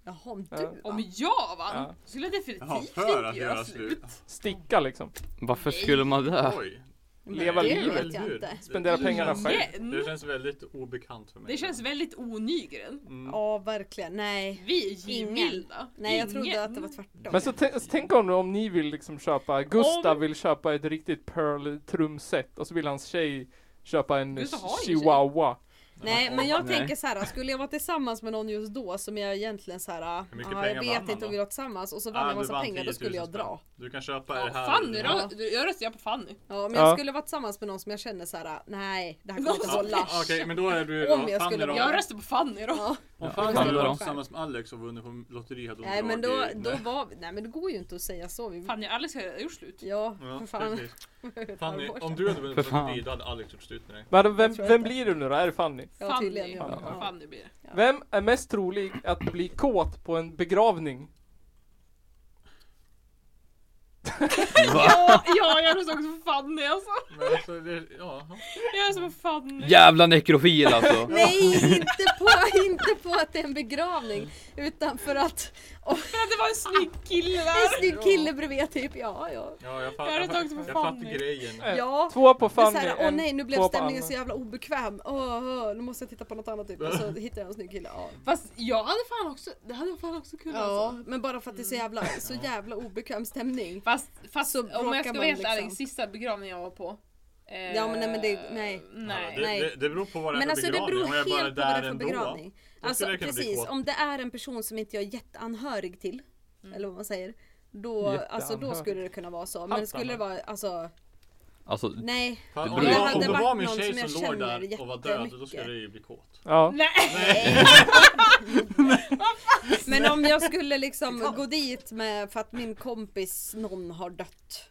[SPEAKER 7] Jaha, om du
[SPEAKER 3] Ja.
[SPEAKER 7] vann.
[SPEAKER 4] Om jag
[SPEAKER 3] Ja.
[SPEAKER 4] vann skulle jag
[SPEAKER 2] Jaha,
[SPEAKER 4] definitivt
[SPEAKER 2] för att
[SPEAKER 4] inte
[SPEAKER 2] göra
[SPEAKER 4] göra
[SPEAKER 2] slut.
[SPEAKER 4] slut.
[SPEAKER 3] sticka liksom.
[SPEAKER 8] Varför skulle man det?
[SPEAKER 2] Oj.
[SPEAKER 3] Leva
[SPEAKER 7] det
[SPEAKER 3] livet.
[SPEAKER 7] vet jag inte.
[SPEAKER 3] Spendera pengarna
[SPEAKER 2] Det
[SPEAKER 3] själv.
[SPEAKER 2] känns- Det känns väldigt obekant för mig. Mm.
[SPEAKER 4] Det känns väldigt onygren.
[SPEAKER 7] Ja, verkligen. Nej.
[SPEAKER 4] Vi är givmilda.
[SPEAKER 7] Nej, jag
[SPEAKER 4] Ingen.
[SPEAKER 7] trodde att det var tvärtom.
[SPEAKER 3] Men så, tä- så tänk om, om ni vill liksom köpa, Gustav vill köpa ett riktigt pearl trumset och så vill hans tjej köpa en
[SPEAKER 4] Gustav har ju
[SPEAKER 3] chihuahua.
[SPEAKER 7] Nej, men jag
[SPEAKER 8] Nej.
[SPEAKER 7] tänker så här. skulle jag vara tillsammans med någon just då som jag egentligen så här,
[SPEAKER 2] Hur mycket
[SPEAKER 7] ja, jag
[SPEAKER 2] pengar vann
[SPEAKER 7] vet
[SPEAKER 2] man
[SPEAKER 7] inte om vi
[SPEAKER 2] då?
[SPEAKER 7] var tillsammans och så vann
[SPEAKER 2] Ah,
[SPEAKER 7] jag
[SPEAKER 2] du
[SPEAKER 7] massa
[SPEAKER 2] vann
[SPEAKER 7] pengar, då
[SPEAKER 2] 10 000
[SPEAKER 7] skulle jag
[SPEAKER 2] spänn.
[SPEAKER 7] dra.
[SPEAKER 2] Du kan köpa
[SPEAKER 4] Ja,
[SPEAKER 2] det här.
[SPEAKER 4] Fanny
[SPEAKER 2] Ja.
[SPEAKER 4] då? Jag röstar på Fanny.
[SPEAKER 7] Ja, men
[SPEAKER 3] Ja.
[SPEAKER 7] jag skulle vara tillsammans med någon som jag känner så här: nej, det här kommer inte
[SPEAKER 2] Ja,
[SPEAKER 7] hålla.
[SPEAKER 2] Okej, men då är du...
[SPEAKER 7] Om
[SPEAKER 2] ja,
[SPEAKER 7] jag
[SPEAKER 2] Fanny
[SPEAKER 7] skulle-
[SPEAKER 2] då.
[SPEAKER 4] Jag röstar på Fanny då.
[SPEAKER 7] Ja.
[SPEAKER 2] Om Fanny
[SPEAKER 8] Ja,
[SPEAKER 2] hade
[SPEAKER 8] då.
[SPEAKER 2] varit tillsammans med Alex och vunnit på lotteri hade hon
[SPEAKER 7] Nej, men då,
[SPEAKER 2] dragit-
[SPEAKER 7] då var vi, nej men det går ju inte att säga så. Vi,
[SPEAKER 4] Fanny och Alex har redan gjort slut.
[SPEAKER 7] ja,
[SPEAKER 2] Ja,
[SPEAKER 7] för fan.
[SPEAKER 2] precis. Fanny,
[SPEAKER 7] Ett halvår
[SPEAKER 2] om
[SPEAKER 7] sedan.
[SPEAKER 2] du hade vunnit
[SPEAKER 8] För
[SPEAKER 2] på lotteri
[SPEAKER 8] fan.
[SPEAKER 2] då hade Alex gjort slut med dig.
[SPEAKER 3] Men vem,
[SPEAKER 7] Jag tror
[SPEAKER 3] vem
[SPEAKER 7] inte.
[SPEAKER 3] blir du nu då? Är det Fanny?
[SPEAKER 7] Ja, tydligen. Ja.
[SPEAKER 4] Fanny.
[SPEAKER 7] Ja.
[SPEAKER 4] Fanny blir det.
[SPEAKER 3] Vem är mest trolig att bli kåt på en begravning?
[SPEAKER 4] Ja, ja, jag röstar också på Fanny alltså.
[SPEAKER 2] Men alltså, det, ja.
[SPEAKER 4] Jag röstar på Fanny.
[SPEAKER 8] Jävla nekrofil alltså!
[SPEAKER 7] Nej, inte på, inte på att det är en begravning. Utan för att
[SPEAKER 4] För att det var en snygg kille
[SPEAKER 7] en
[SPEAKER 4] där.
[SPEAKER 7] snygg kille bredvid typ, ja ja.
[SPEAKER 2] ja jag,
[SPEAKER 4] Jag
[SPEAKER 2] fatt,
[SPEAKER 4] hade
[SPEAKER 2] jag,
[SPEAKER 4] tagit
[SPEAKER 2] fatt,
[SPEAKER 4] på
[SPEAKER 2] jag
[SPEAKER 4] Fanny.
[SPEAKER 2] fattar grejen.
[SPEAKER 3] Eh,
[SPEAKER 7] Ja.
[SPEAKER 3] Två på
[SPEAKER 7] Det är
[SPEAKER 3] Fanny,
[SPEAKER 7] såhär, åh
[SPEAKER 3] en-
[SPEAKER 7] nej nu blev
[SPEAKER 3] två på
[SPEAKER 7] stämningen
[SPEAKER 3] Anna.
[SPEAKER 7] så jävla obekväm. Åh, åh, nu måste jag titta på något annat typ. Och så hittar jag en snygg kille. Ja.
[SPEAKER 4] Fast jag hade fan också, det hade jag fan också kunnat alltså.
[SPEAKER 7] ja, Mm. men bara för att det är så jävla, så jävla obekväm stämning.
[SPEAKER 4] Fast, fast
[SPEAKER 7] Så
[SPEAKER 4] om
[SPEAKER 7] bråkar
[SPEAKER 4] jag ska
[SPEAKER 7] man
[SPEAKER 4] vara helt
[SPEAKER 7] liksom.
[SPEAKER 4] ärlig, sista begravningen jag var på. eh,
[SPEAKER 7] Ja, men nej, men det- nej.
[SPEAKER 2] Ja,
[SPEAKER 4] nej.
[SPEAKER 2] det, det, det beror på vad det är
[SPEAKER 7] Men
[SPEAKER 2] för
[SPEAKER 7] alltså det
[SPEAKER 2] begravning.
[SPEAKER 7] beror
[SPEAKER 2] Om jag bara är
[SPEAKER 7] helt på vad
[SPEAKER 2] där
[SPEAKER 7] det är för
[SPEAKER 2] ändå.
[SPEAKER 7] begravning.
[SPEAKER 2] skulle
[SPEAKER 7] Alltså
[SPEAKER 2] jag kunna bli
[SPEAKER 7] precis,
[SPEAKER 2] kåt.
[SPEAKER 7] om det är en person som inte jag är jätteanhörig till. Eller vad man säger. Då, alltså, då
[SPEAKER 3] Jätteanhörig.
[SPEAKER 7] skulle det kunna vara så. Men
[SPEAKER 3] Halvt
[SPEAKER 7] skulle det vara alltså,
[SPEAKER 8] Alltså,
[SPEAKER 7] nej.
[SPEAKER 2] Fan,
[SPEAKER 8] Det
[SPEAKER 2] om,
[SPEAKER 8] beror
[SPEAKER 2] det
[SPEAKER 8] på.
[SPEAKER 2] var- om det
[SPEAKER 7] Hade
[SPEAKER 2] var
[SPEAKER 7] varit
[SPEAKER 2] min
[SPEAKER 7] någon
[SPEAKER 2] tjej
[SPEAKER 7] som jag
[SPEAKER 2] som låg
[SPEAKER 7] känner
[SPEAKER 2] där och var död, då skulle
[SPEAKER 7] jättemycket.
[SPEAKER 2] jag ju bli kåt.
[SPEAKER 3] Ja.
[SPEAKER 4] Nej.
[SPEAKER 7] Men om jag skulle liksom gå dit med för att min kompis någon har dött.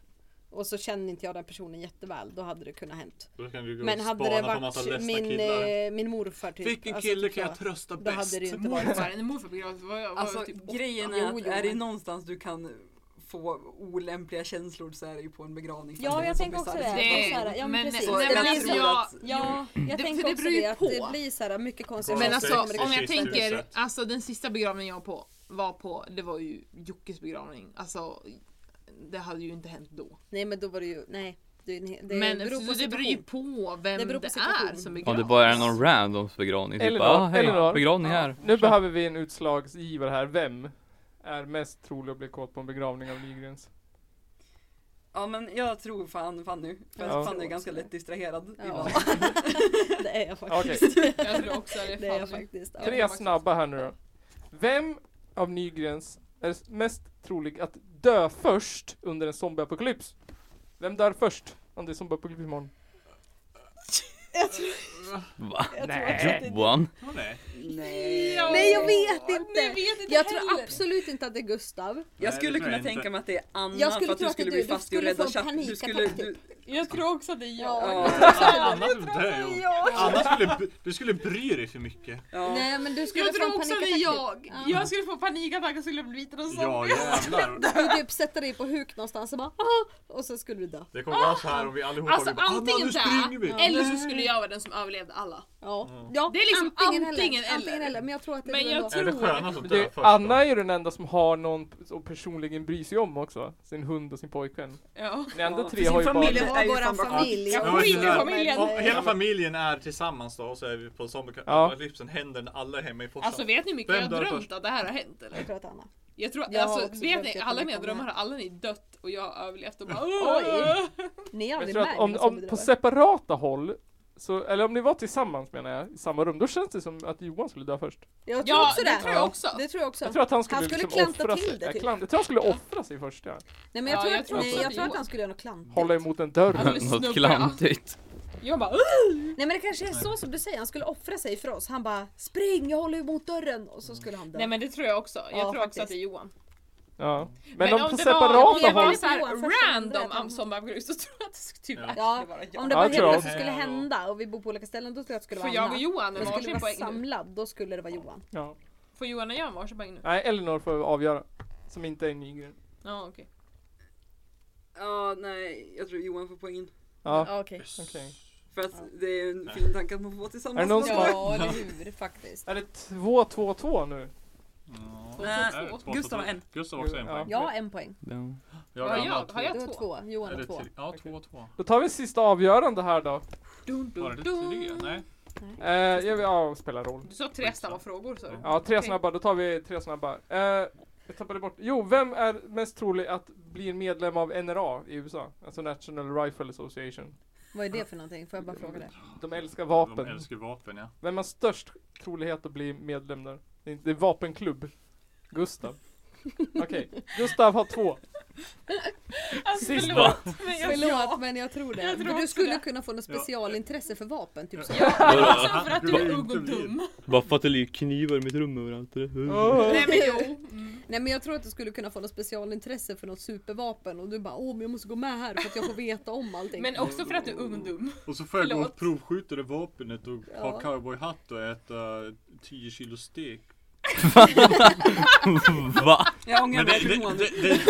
[SPEAKER 7] Och så känner inte jag den personen jätteväl. Då hade det kunnat hänt.
[SPEAKER 2] Då kan du gå
[SPEAKER 7] Men
[SPEAKER 2] och
[SPEAKER 7] hade
[SPEAKER 2] spana
[SPEAKER 7] det
[SPEAKER 2] på en massa
[SPEAKER 7] varit
[SPEAKER 2] ledsna
[SPEAKER 7] min,
[SPEAKER 2] killar.
[SPEAKER 7] eh, min morfar typ.
[SPEAKER 2] Vilken
[SPEAKER 7] alltså,
[SPEAKER 2] kille
[SPEAKER 7] typ
[SPEAKER 2] kan
[SPEAKER 7] så,
[SPEAKER 2] jag trösta
[SPEAKER 7] Då hade
[SPEAKER 2] bäst?
[SPEAKER 7] det ju inte varit
[SPEAKER 4] Morfar, när morfar begravdes var jag, var
[SPEAKER 1] Alltså
[SPEAKER 4] jag typ
[SPEAKER 1] grejen
[SPEAKER 7] Jo,
[SPEAKER 1] är att
[SPEAKER 7] jo,
[SPEAKER 1] är det
[SPEAKER 7] men-
[SPEAKER 1] någonstans du kan få olämpliga känslor så är det ju på en begravning.
[SPEAKER 7] Ja, jag tänker också det.
[SPEAKER 4] Det-
[SPEAKER 7] Så här, ja, men
[SPEAKER 4] men-
[SPEAKER 7] precis.
[SPEAKER 4] så-
[SPEAKER 1] Så
[SPEAKER 4] Nej, men
[SPEAKER 1] jag tror
[SPEAKER 7] det blir
[SPEAKER 4] alltså,
[SPEAKER 7] så,
[SPEAKER 4] jag-
[SPEAKER 7] ja, jag
[SPEAKER 4] det-
[SPEAKER 7] tänker
[SPEAKER 4] för det
[SPEAKER 7] också
[SPEAKER 4] beror ju
[SPEAKER 7] det, att
[SPEAKER 4] på.
[SPEAKER 7] det blir så här mycket konstiga
[SPEAKER 4] Men
[SPEAKER 2] Ja,
[SPEAKER 4] alltså
[SPEAKER 2] sex-
[SPEAKER 4] om jag
[SPEAKER 2] sexistiskt
[SPEAKER 4] tänker,
[SPEAKER 2] sätt.
[SPEAKER 4] alltså den sista begravningen jag var på, var på, det var ju Jockes begravning. Alltså det hade ju inte hänt då.
[SPEAKER 7] Nej men då var det ju, nej. Det, det
[SPEAKER 4] men
[SPEAKER 7] beror
[SPEAKER 4] så
[SPEAKER 7] på
[SPEAKER 4] det beror ju
[SPEAKER 7] situation.
[SPEAKER 4] på
[SPEAKER 7] Det
[SPEAKER 4] vem det,
[SPEAKER 7] beror på
[SPEAKER 4] är
[SPEAKER 7] situation.
[SPEAKER 4] som
[SPEAKER 8] om
[SPEAKER 4] begravs.
[SPEAKER 8] det bara är någon randoms begravning. Typ,
[SPEAKER 3] Elinor,
[SPEAKER 8] ah,
[SPEAKER 3] Elinor.
[SPEAKER 8] hej, begravning här.
[SPEAKER 3] Nu behöver vi en utslagsgivare här. Vem är mest trolig att bli kåt på en begravning av Nygrens?
[SPEAKER 1] Ja men jag tror fan Fanny. För
[SPEAKER 3] Ja.
[SPEAKER 1] att Fanny är ganska lätt distraherad
[SPEAKER 7] Ja.
[SPEAKER 1] ibland.
[SPEAKER 7] Det är jag
[SPEAKER 3] Okej.
[SPEAKER 7] faktiskt.
[SPEAKER 4] Jag tror också det är
[SPEAKER 7] Det är jag
[SPEAKER 4] Fanny.
[SPEAKER 7] faktiskt. Ja.
[SPEAKER 3] Tre snabba här nu då. Vem av Nygrens är mest trolig att dö först under en zombieapokalyps? Vem dör först om det är zombieapokalyps imorgon?
[SPEAKER 8] Va?
[SPEAKER 7] Jag tror
[SPEAKER 3] Nej.
[SPEAKER 7] att det-
[SPEAKER 8] Johan?
[SPEAKER 2] Åh, nej.
[SPEAKER 1] Nej.
[SPEAKER 7] Nej jag vet
[SPEAKER 4] Jag
[SPEAKER 7] inte!
[SPEAKER 4] vet inte
[SPEAKER 7] Jag tror
[SPEAKER 4] heller.
[SPEAKER 7] absolut inte att det är Gustav.
[SPEAKER 1] Jag
[SPEAKER 2] Nej, det
[SPEAKER 1] skulle
[SPEAKER 2] tror
[SPEAKER 1] kunna
[SPEAKER 2] jag inte.
[SPEAKER 1] tänka mig att det är Anna
[SPEAKER 7] Jag skulle
[SPEAKER 1] för att
[SPEAKER 7] tro
[SPEAKER 1] du
[SPEAKER 7] att
[SPEAKER 1] skulle
[SPEAKER 7] det är
[SPEAKER 1] bli
[SPEAKER 7] du. Du
[SPEAKER 1] fast i att
[SPEAKER 7] skulle få
[SPEAKER 1] rädda
[SPEAKER 7] en typ.
[SPEAKER 1] chatten. Du skulle...
[SPEAKER 7] panikattack,
[SPEAKER 1] Du,
[SPEAKER 4] Jag tror också att det är jag.
[SPEAKER 1] ja.
[SPEAKER 2] Anna skulle dö. Johan. Anna skulle, b- du skulle bry dig för mycket.
[SPEAKER 1] Ja.
[SPEAKER 7] Nej men du skulle
[SPEAKER 4] Jag
[SPEAKER 7] få en
[SPEAKER 4] tror också att det är
[SPEAKER 7] panikattack.
[SPEAKER 4] jag. Jag skulle få panikattack och skulle bli biten av
[SPEAKER 2] Ja
[SPEAKER 4] zombie.
[SPEAKER 2] jävlar.
[SPEAKER 7] Du skulle typ sätta dig på huk någonstans och bara "Ah", och sen skulle du dö.
[SPEAKER 2] Det kommer vara så här om vi allihopa
[SPEAKER 4] Alltså
[SPEAKER 2] vi bara, Anna
[SPEAKER 4] antingen
[SPEAKER 2] nu springer vi.
[SPEAKER 4] det, eller så skulle jag vara den som överlevde alla.
[SPEAKER 7] Ja. ja
[SPEAKER 4] Det är liksom antingen eller.
[SPEAKER 7] Antingen eller. Men jag tror att det är
[SPEAKER 4] Men
[SPEAKER 7] du
[SPEAKER 4] jag
[SPEAKER 7] ändå.
[SPEAKER 4] tror-
[SPEAKER 2] Är det skönast att
[SPEAKER 3] Men
[SPEAKER 2] dö
[SPEAKER 3] Det,
[SPEAKER 2] först? då?
[SPEAKER 3] Anna är ju den enda som har någon p- som personligen bryr sig om också. Sin hund och sin pojkvän.
[SPEAKER 4] Ja.
[SPEAKER 3] Ni andra
[SPEAKER 1] Ja,
[SPEAKER 3] tre
[SPEAKER 1] sin
[SPEAKER 3] har ju
[SPEAKER 1] familj.
[SPEAKER 3] bara...
[SPEAKER 1] Det är
[SPEAKER 7] Det
[SPEAKER 1] ju
[SPEAKER 7] var våran
[SPEAKER 1] fan bara-
[SPEAKER 7] familj.
[SPEAKER 4] Ja,
[SPEAKER 2] Jag
[SPEAKER 4] skit i
[SPEAKER 2] gillar-
[SPEAKER 4] familjen.
[SPEAKER 2] Om hela familjen är tillsammans då och så är vi på zombieapokalypsen, händer när alla är hemma i Forsa.
[SPEAKER 4] Alltså vet ni hur mycket
[SPEAKER 2] Vem
[SPEAKER 4] jag
[SPEAKER 2] dör
[SPEAKER 4] drömt
[SPEAKER 2] först?
[SPEAKER 4] att det här har hänt eller?
[SPEAKER 7] Jag tror att Anna.
[SPEAKER 4] Jag tror,
[SPEAKER 7] Jag har också
[SPEAKER 4] alltså vet
[SPEAKER 7] drömt
[SPEAKER 4] ni,
[SPEAKER 7] jättemycket
[SPEAKER 4] alla mina
[SPEAKER 7] om det
[SPEAKER 4] drömmar har
[SPEAKER 7] här.
[SPEAKER 4] alla ni dött och jag har överlevt och bara
[SPEAKER 7] Oj.
[SPEAKER 4] Oj.
[SPEAKER 7] Ni är
[SPEAKER 3] Jag
[SPEAKER 7] aldrig
[SPEAKER 3] tror att
[SPEAKER 7] med
[SPEAKER 3] om,
[SPEAKER 7] i
[SPEAKER 3] om på separata håll så, eller om ni var tillsammans menar jag, i samma rum, då känns det som att Johan skulle dö först.
[SPEAKER 7] Jag tror
[SPEAKER 4] Ja,
[SPEAKER 7] också
[SPEAKER 4] det,
[SPEAKER 7] det.
[SPEAKER 4] tror jag också.
[SPEAKER 7] Det tror jag också.
[SPEAKER 3] Jag tror att han skulle,
[SPEAKER 7] Han skulle
[SPEAKER 3] liksom
[SPEAKER 7] klanta
[SPEAKER 3] offra
[SPEAKER 7] till
[SPEAKER 3] sig.
[SPEAKER 7] det,
[SPEAKER 3] Ja,
[SPEAKER 7] typ.
[SPEAKER 3] klant- jag tror han skulle offra sig först ja.
[SPEAKER 7] Nej men jag
[SPEAKER 4] Ja,
[SPEAKER 7] tror
[SPEAKER 4] jag
[SPEAKER 7] att,
[SPEAKER 4] tror
[SPEAKER 7] nej,
[SPEAKER 4] också
[SPEAKER 7] jag
[SPEAKER 4] det.
[SPEAKER 7] tror att han skulle göra något klantigt.
[SPEAKER 3] Hålla emot en dörr.
[SPEAKER 4] Han skulle
[SPEAKER 8] Något
[SPEAKER 4] snubbla.
[SPEAKER 8] klantigt.
[SPEAKER 4] Jag bara
[SPEAKER 7] Nej men det kanske är så som du säger, han skulle offra sig för oss. Han bara spring, jag håller emot dörren och så skulle han dö.
[SPEAKER 4] Nej men det tror jag också. Jag
[SPEAKER 7] Ja,
[SPEAKER 4] tror också
[SPEAKER 7] faktiskt.
[SPEAKER 4] att det är Johan.
[SPEAKER 3] Ja. Men,
[SPEAKER 4] Men
[SPEAKER 3] om,
[SPEAKER 4] om
[SPEAKER 3] på
[SPEAKER 4] det var-
[SPEAKER 3] separata
[SPEAKER 4] om det var
[SPEAKER 3] håll.
[SPEAKER 4] såhär
[SPEAKER 7] Johan först, så hade det
[SPEAKER 4] random
[SPEAKER 7] varit
[SPEAKER 4] am-
[SPEAKER 7] han.
[SPEAKER 4] zombieapokalyps så tror jag att det skulle typ tyvärr
[SPEAKER 7] Ja,
[SPEAKER 1] skulle vara jag.
[SPEAKER 7] om det
[SPEAKER 3] Ja,
[SPEAKER 7] var
[SPEAKER 3] jag tror
[SPEAKER 7] hända
[SPEAKER 3] jag
[SPEAKER 7] som
[SPEAKER 2] också.
[SPEAKER 7] skulle hända och vi bor på olika ställen då tror jag att det skulle
[SPEAKER 4] Får
[SPEAKER 7] vara
[SPEAKER 4] jag och
[SPEAKER 7] Anna.
[SPEAKER 4] Johan en
[SPEAKER 7] Men skulle vi
[SPEAKER 4] varsin
[SPEAKER 7] vara
[SPEAKER 4] poäng nu?
[SPEAKER 7] samlad då skulle det vara Johan.
[SPEAKER 3] Ja.
[SPEAKER 4] Får Johan och jag en varsin poäng nu?
[SPEAKER 3] Nej, Elinor får avgöra. Som inte är Nygren.
[SPEAKER 4] Ja okej.
[SPEAKER 1] ja, nej. Jag tror Johan får poängen.
[SPEAKER 3] Ja,
[SPEAKER 7] okej.
[SPEAKER 3] okej.
[SPEAKER 1] För att det är en fin tanke att man får vara tillsammans.
[SPEAKER 3] Är det någon
[SPEAKER 1] med
[SPEAKER 3] som
[SPEAKER 1] folk.
[SPEAKER 7] Ja eller hur faktiskt.
[SPEAKER 3] Är det 2-2-2 nu?
[SPEAKER 2] Mm. Ja.
[SPEAKER 1] Nej,
[SPEAKER 2] Äh, Två, två, två.
[SPEAKER 1] Gustav har en.
[SPEAKER 2] Gustav har också en
[SPEAKER 3] Ja.
[SPEAKER 2] poäng.
[SPEAKER 7] Jag har en poäng.
[SPEAKER 8] Den-
[SPEAKER 2] Jag
[SPEAKER 4] Har
[SPEAKER 2] har
[SPEAKER 4] jag? Har
[SPEAKER 2] två.
[SPEAKER 4] jag
[SPEAKER 7] Du har
[SPEAKER 4] två?
[SPEAKER 7] två, Johan
[SPEAKER 2] Eller
[SPEAKER 7] har två.
[SPEAKER 2] tre. Ja,
[SPEAKER 3] Okej.
[SPEAKER 2] två, två.
[SPEAKER 3] Då tar vi sista avgörande här då.
[SPEAKER 2] Var det tre? Nej.
[SPEAKER 3] Eh, jag vill, ja, spelar roll.
[SPEAKER 4] Du sa tre snabba frågor sa du?
[SPEAKER 3] Ja, tre
[SPEAKER 4] Okej.
[SPEAKER 3] snabba. Då tar vi tre snabba. Eh, jag tappade bort. Jo, vem är mest trolig att bli medlem av NRA i USA? Alltså National Rifle Association.
[SPEAKER 7] Vad är det för någonting? Får jag bara fråga det?
[SPEAKER 3] De älskar
[SPEAKER 2] De
[SPEAKER 3] vapen.
[SPEAKER 2] älskar vapen ja.
[SPEAKER 3] Vem har störst trolighet att bli medlem där? Det är inte- det är vapenklubb. Gustav. Okej, Gustav har två. Sist då.
[SPEAKER 4] Förlåt, men jag tror
[SPEAKER 7] Förlåt men jag tror det.
[SPEAKER 4] Jag tror
[SPEAKER 7] Men du
[SPEAKER 4] också
[SPEAKER 7] skulle
[SPEAKER 4] det.
[SPEAKER 7] kunna få något specialintresse för vapen. Typ så.
[SPEAKER 8] Vadå?
[SPEAKER 4] också för att du
[SPEAKER 8] Va-
[SPEAKER 4] är ung och dum.
[SPEAKER 8] Varför att det ligger knivar i mitt rum överallt? Det är-
[SPEAKER 3] Åh.
[SPEAKER 4] Nej men jo. Mm.
[SPEAKER 7] Nej men jag tror att du skulle kunna få något specialintresse för något supervapen och du bara åh men jag måste gå med här för att jag får veta om allting.
[SPEAKER 4] Men också för att du är ung och dum.
[SPEAKER 2] Och så får jag gå
[SPEAKER 4] Förlåt.
[SPEAKER 2] och provskjuta det vapnet och
[SPEAKER 7] Ja.
[SPEAKER 2] ha cowboyhatt och äta 10 kilo stek.
[SPEAKER 8] Va?
[SPEAKER 1] Jag ångrar
[SPEAKER 2] Men det,
[SPEAKER 1] mig
[SPEAKER 2] det,
[SPEAKER 1] till
[SPEAKER 2] det,
[SPEAKER 1] Johan.
[SPEAKER 2] det, det,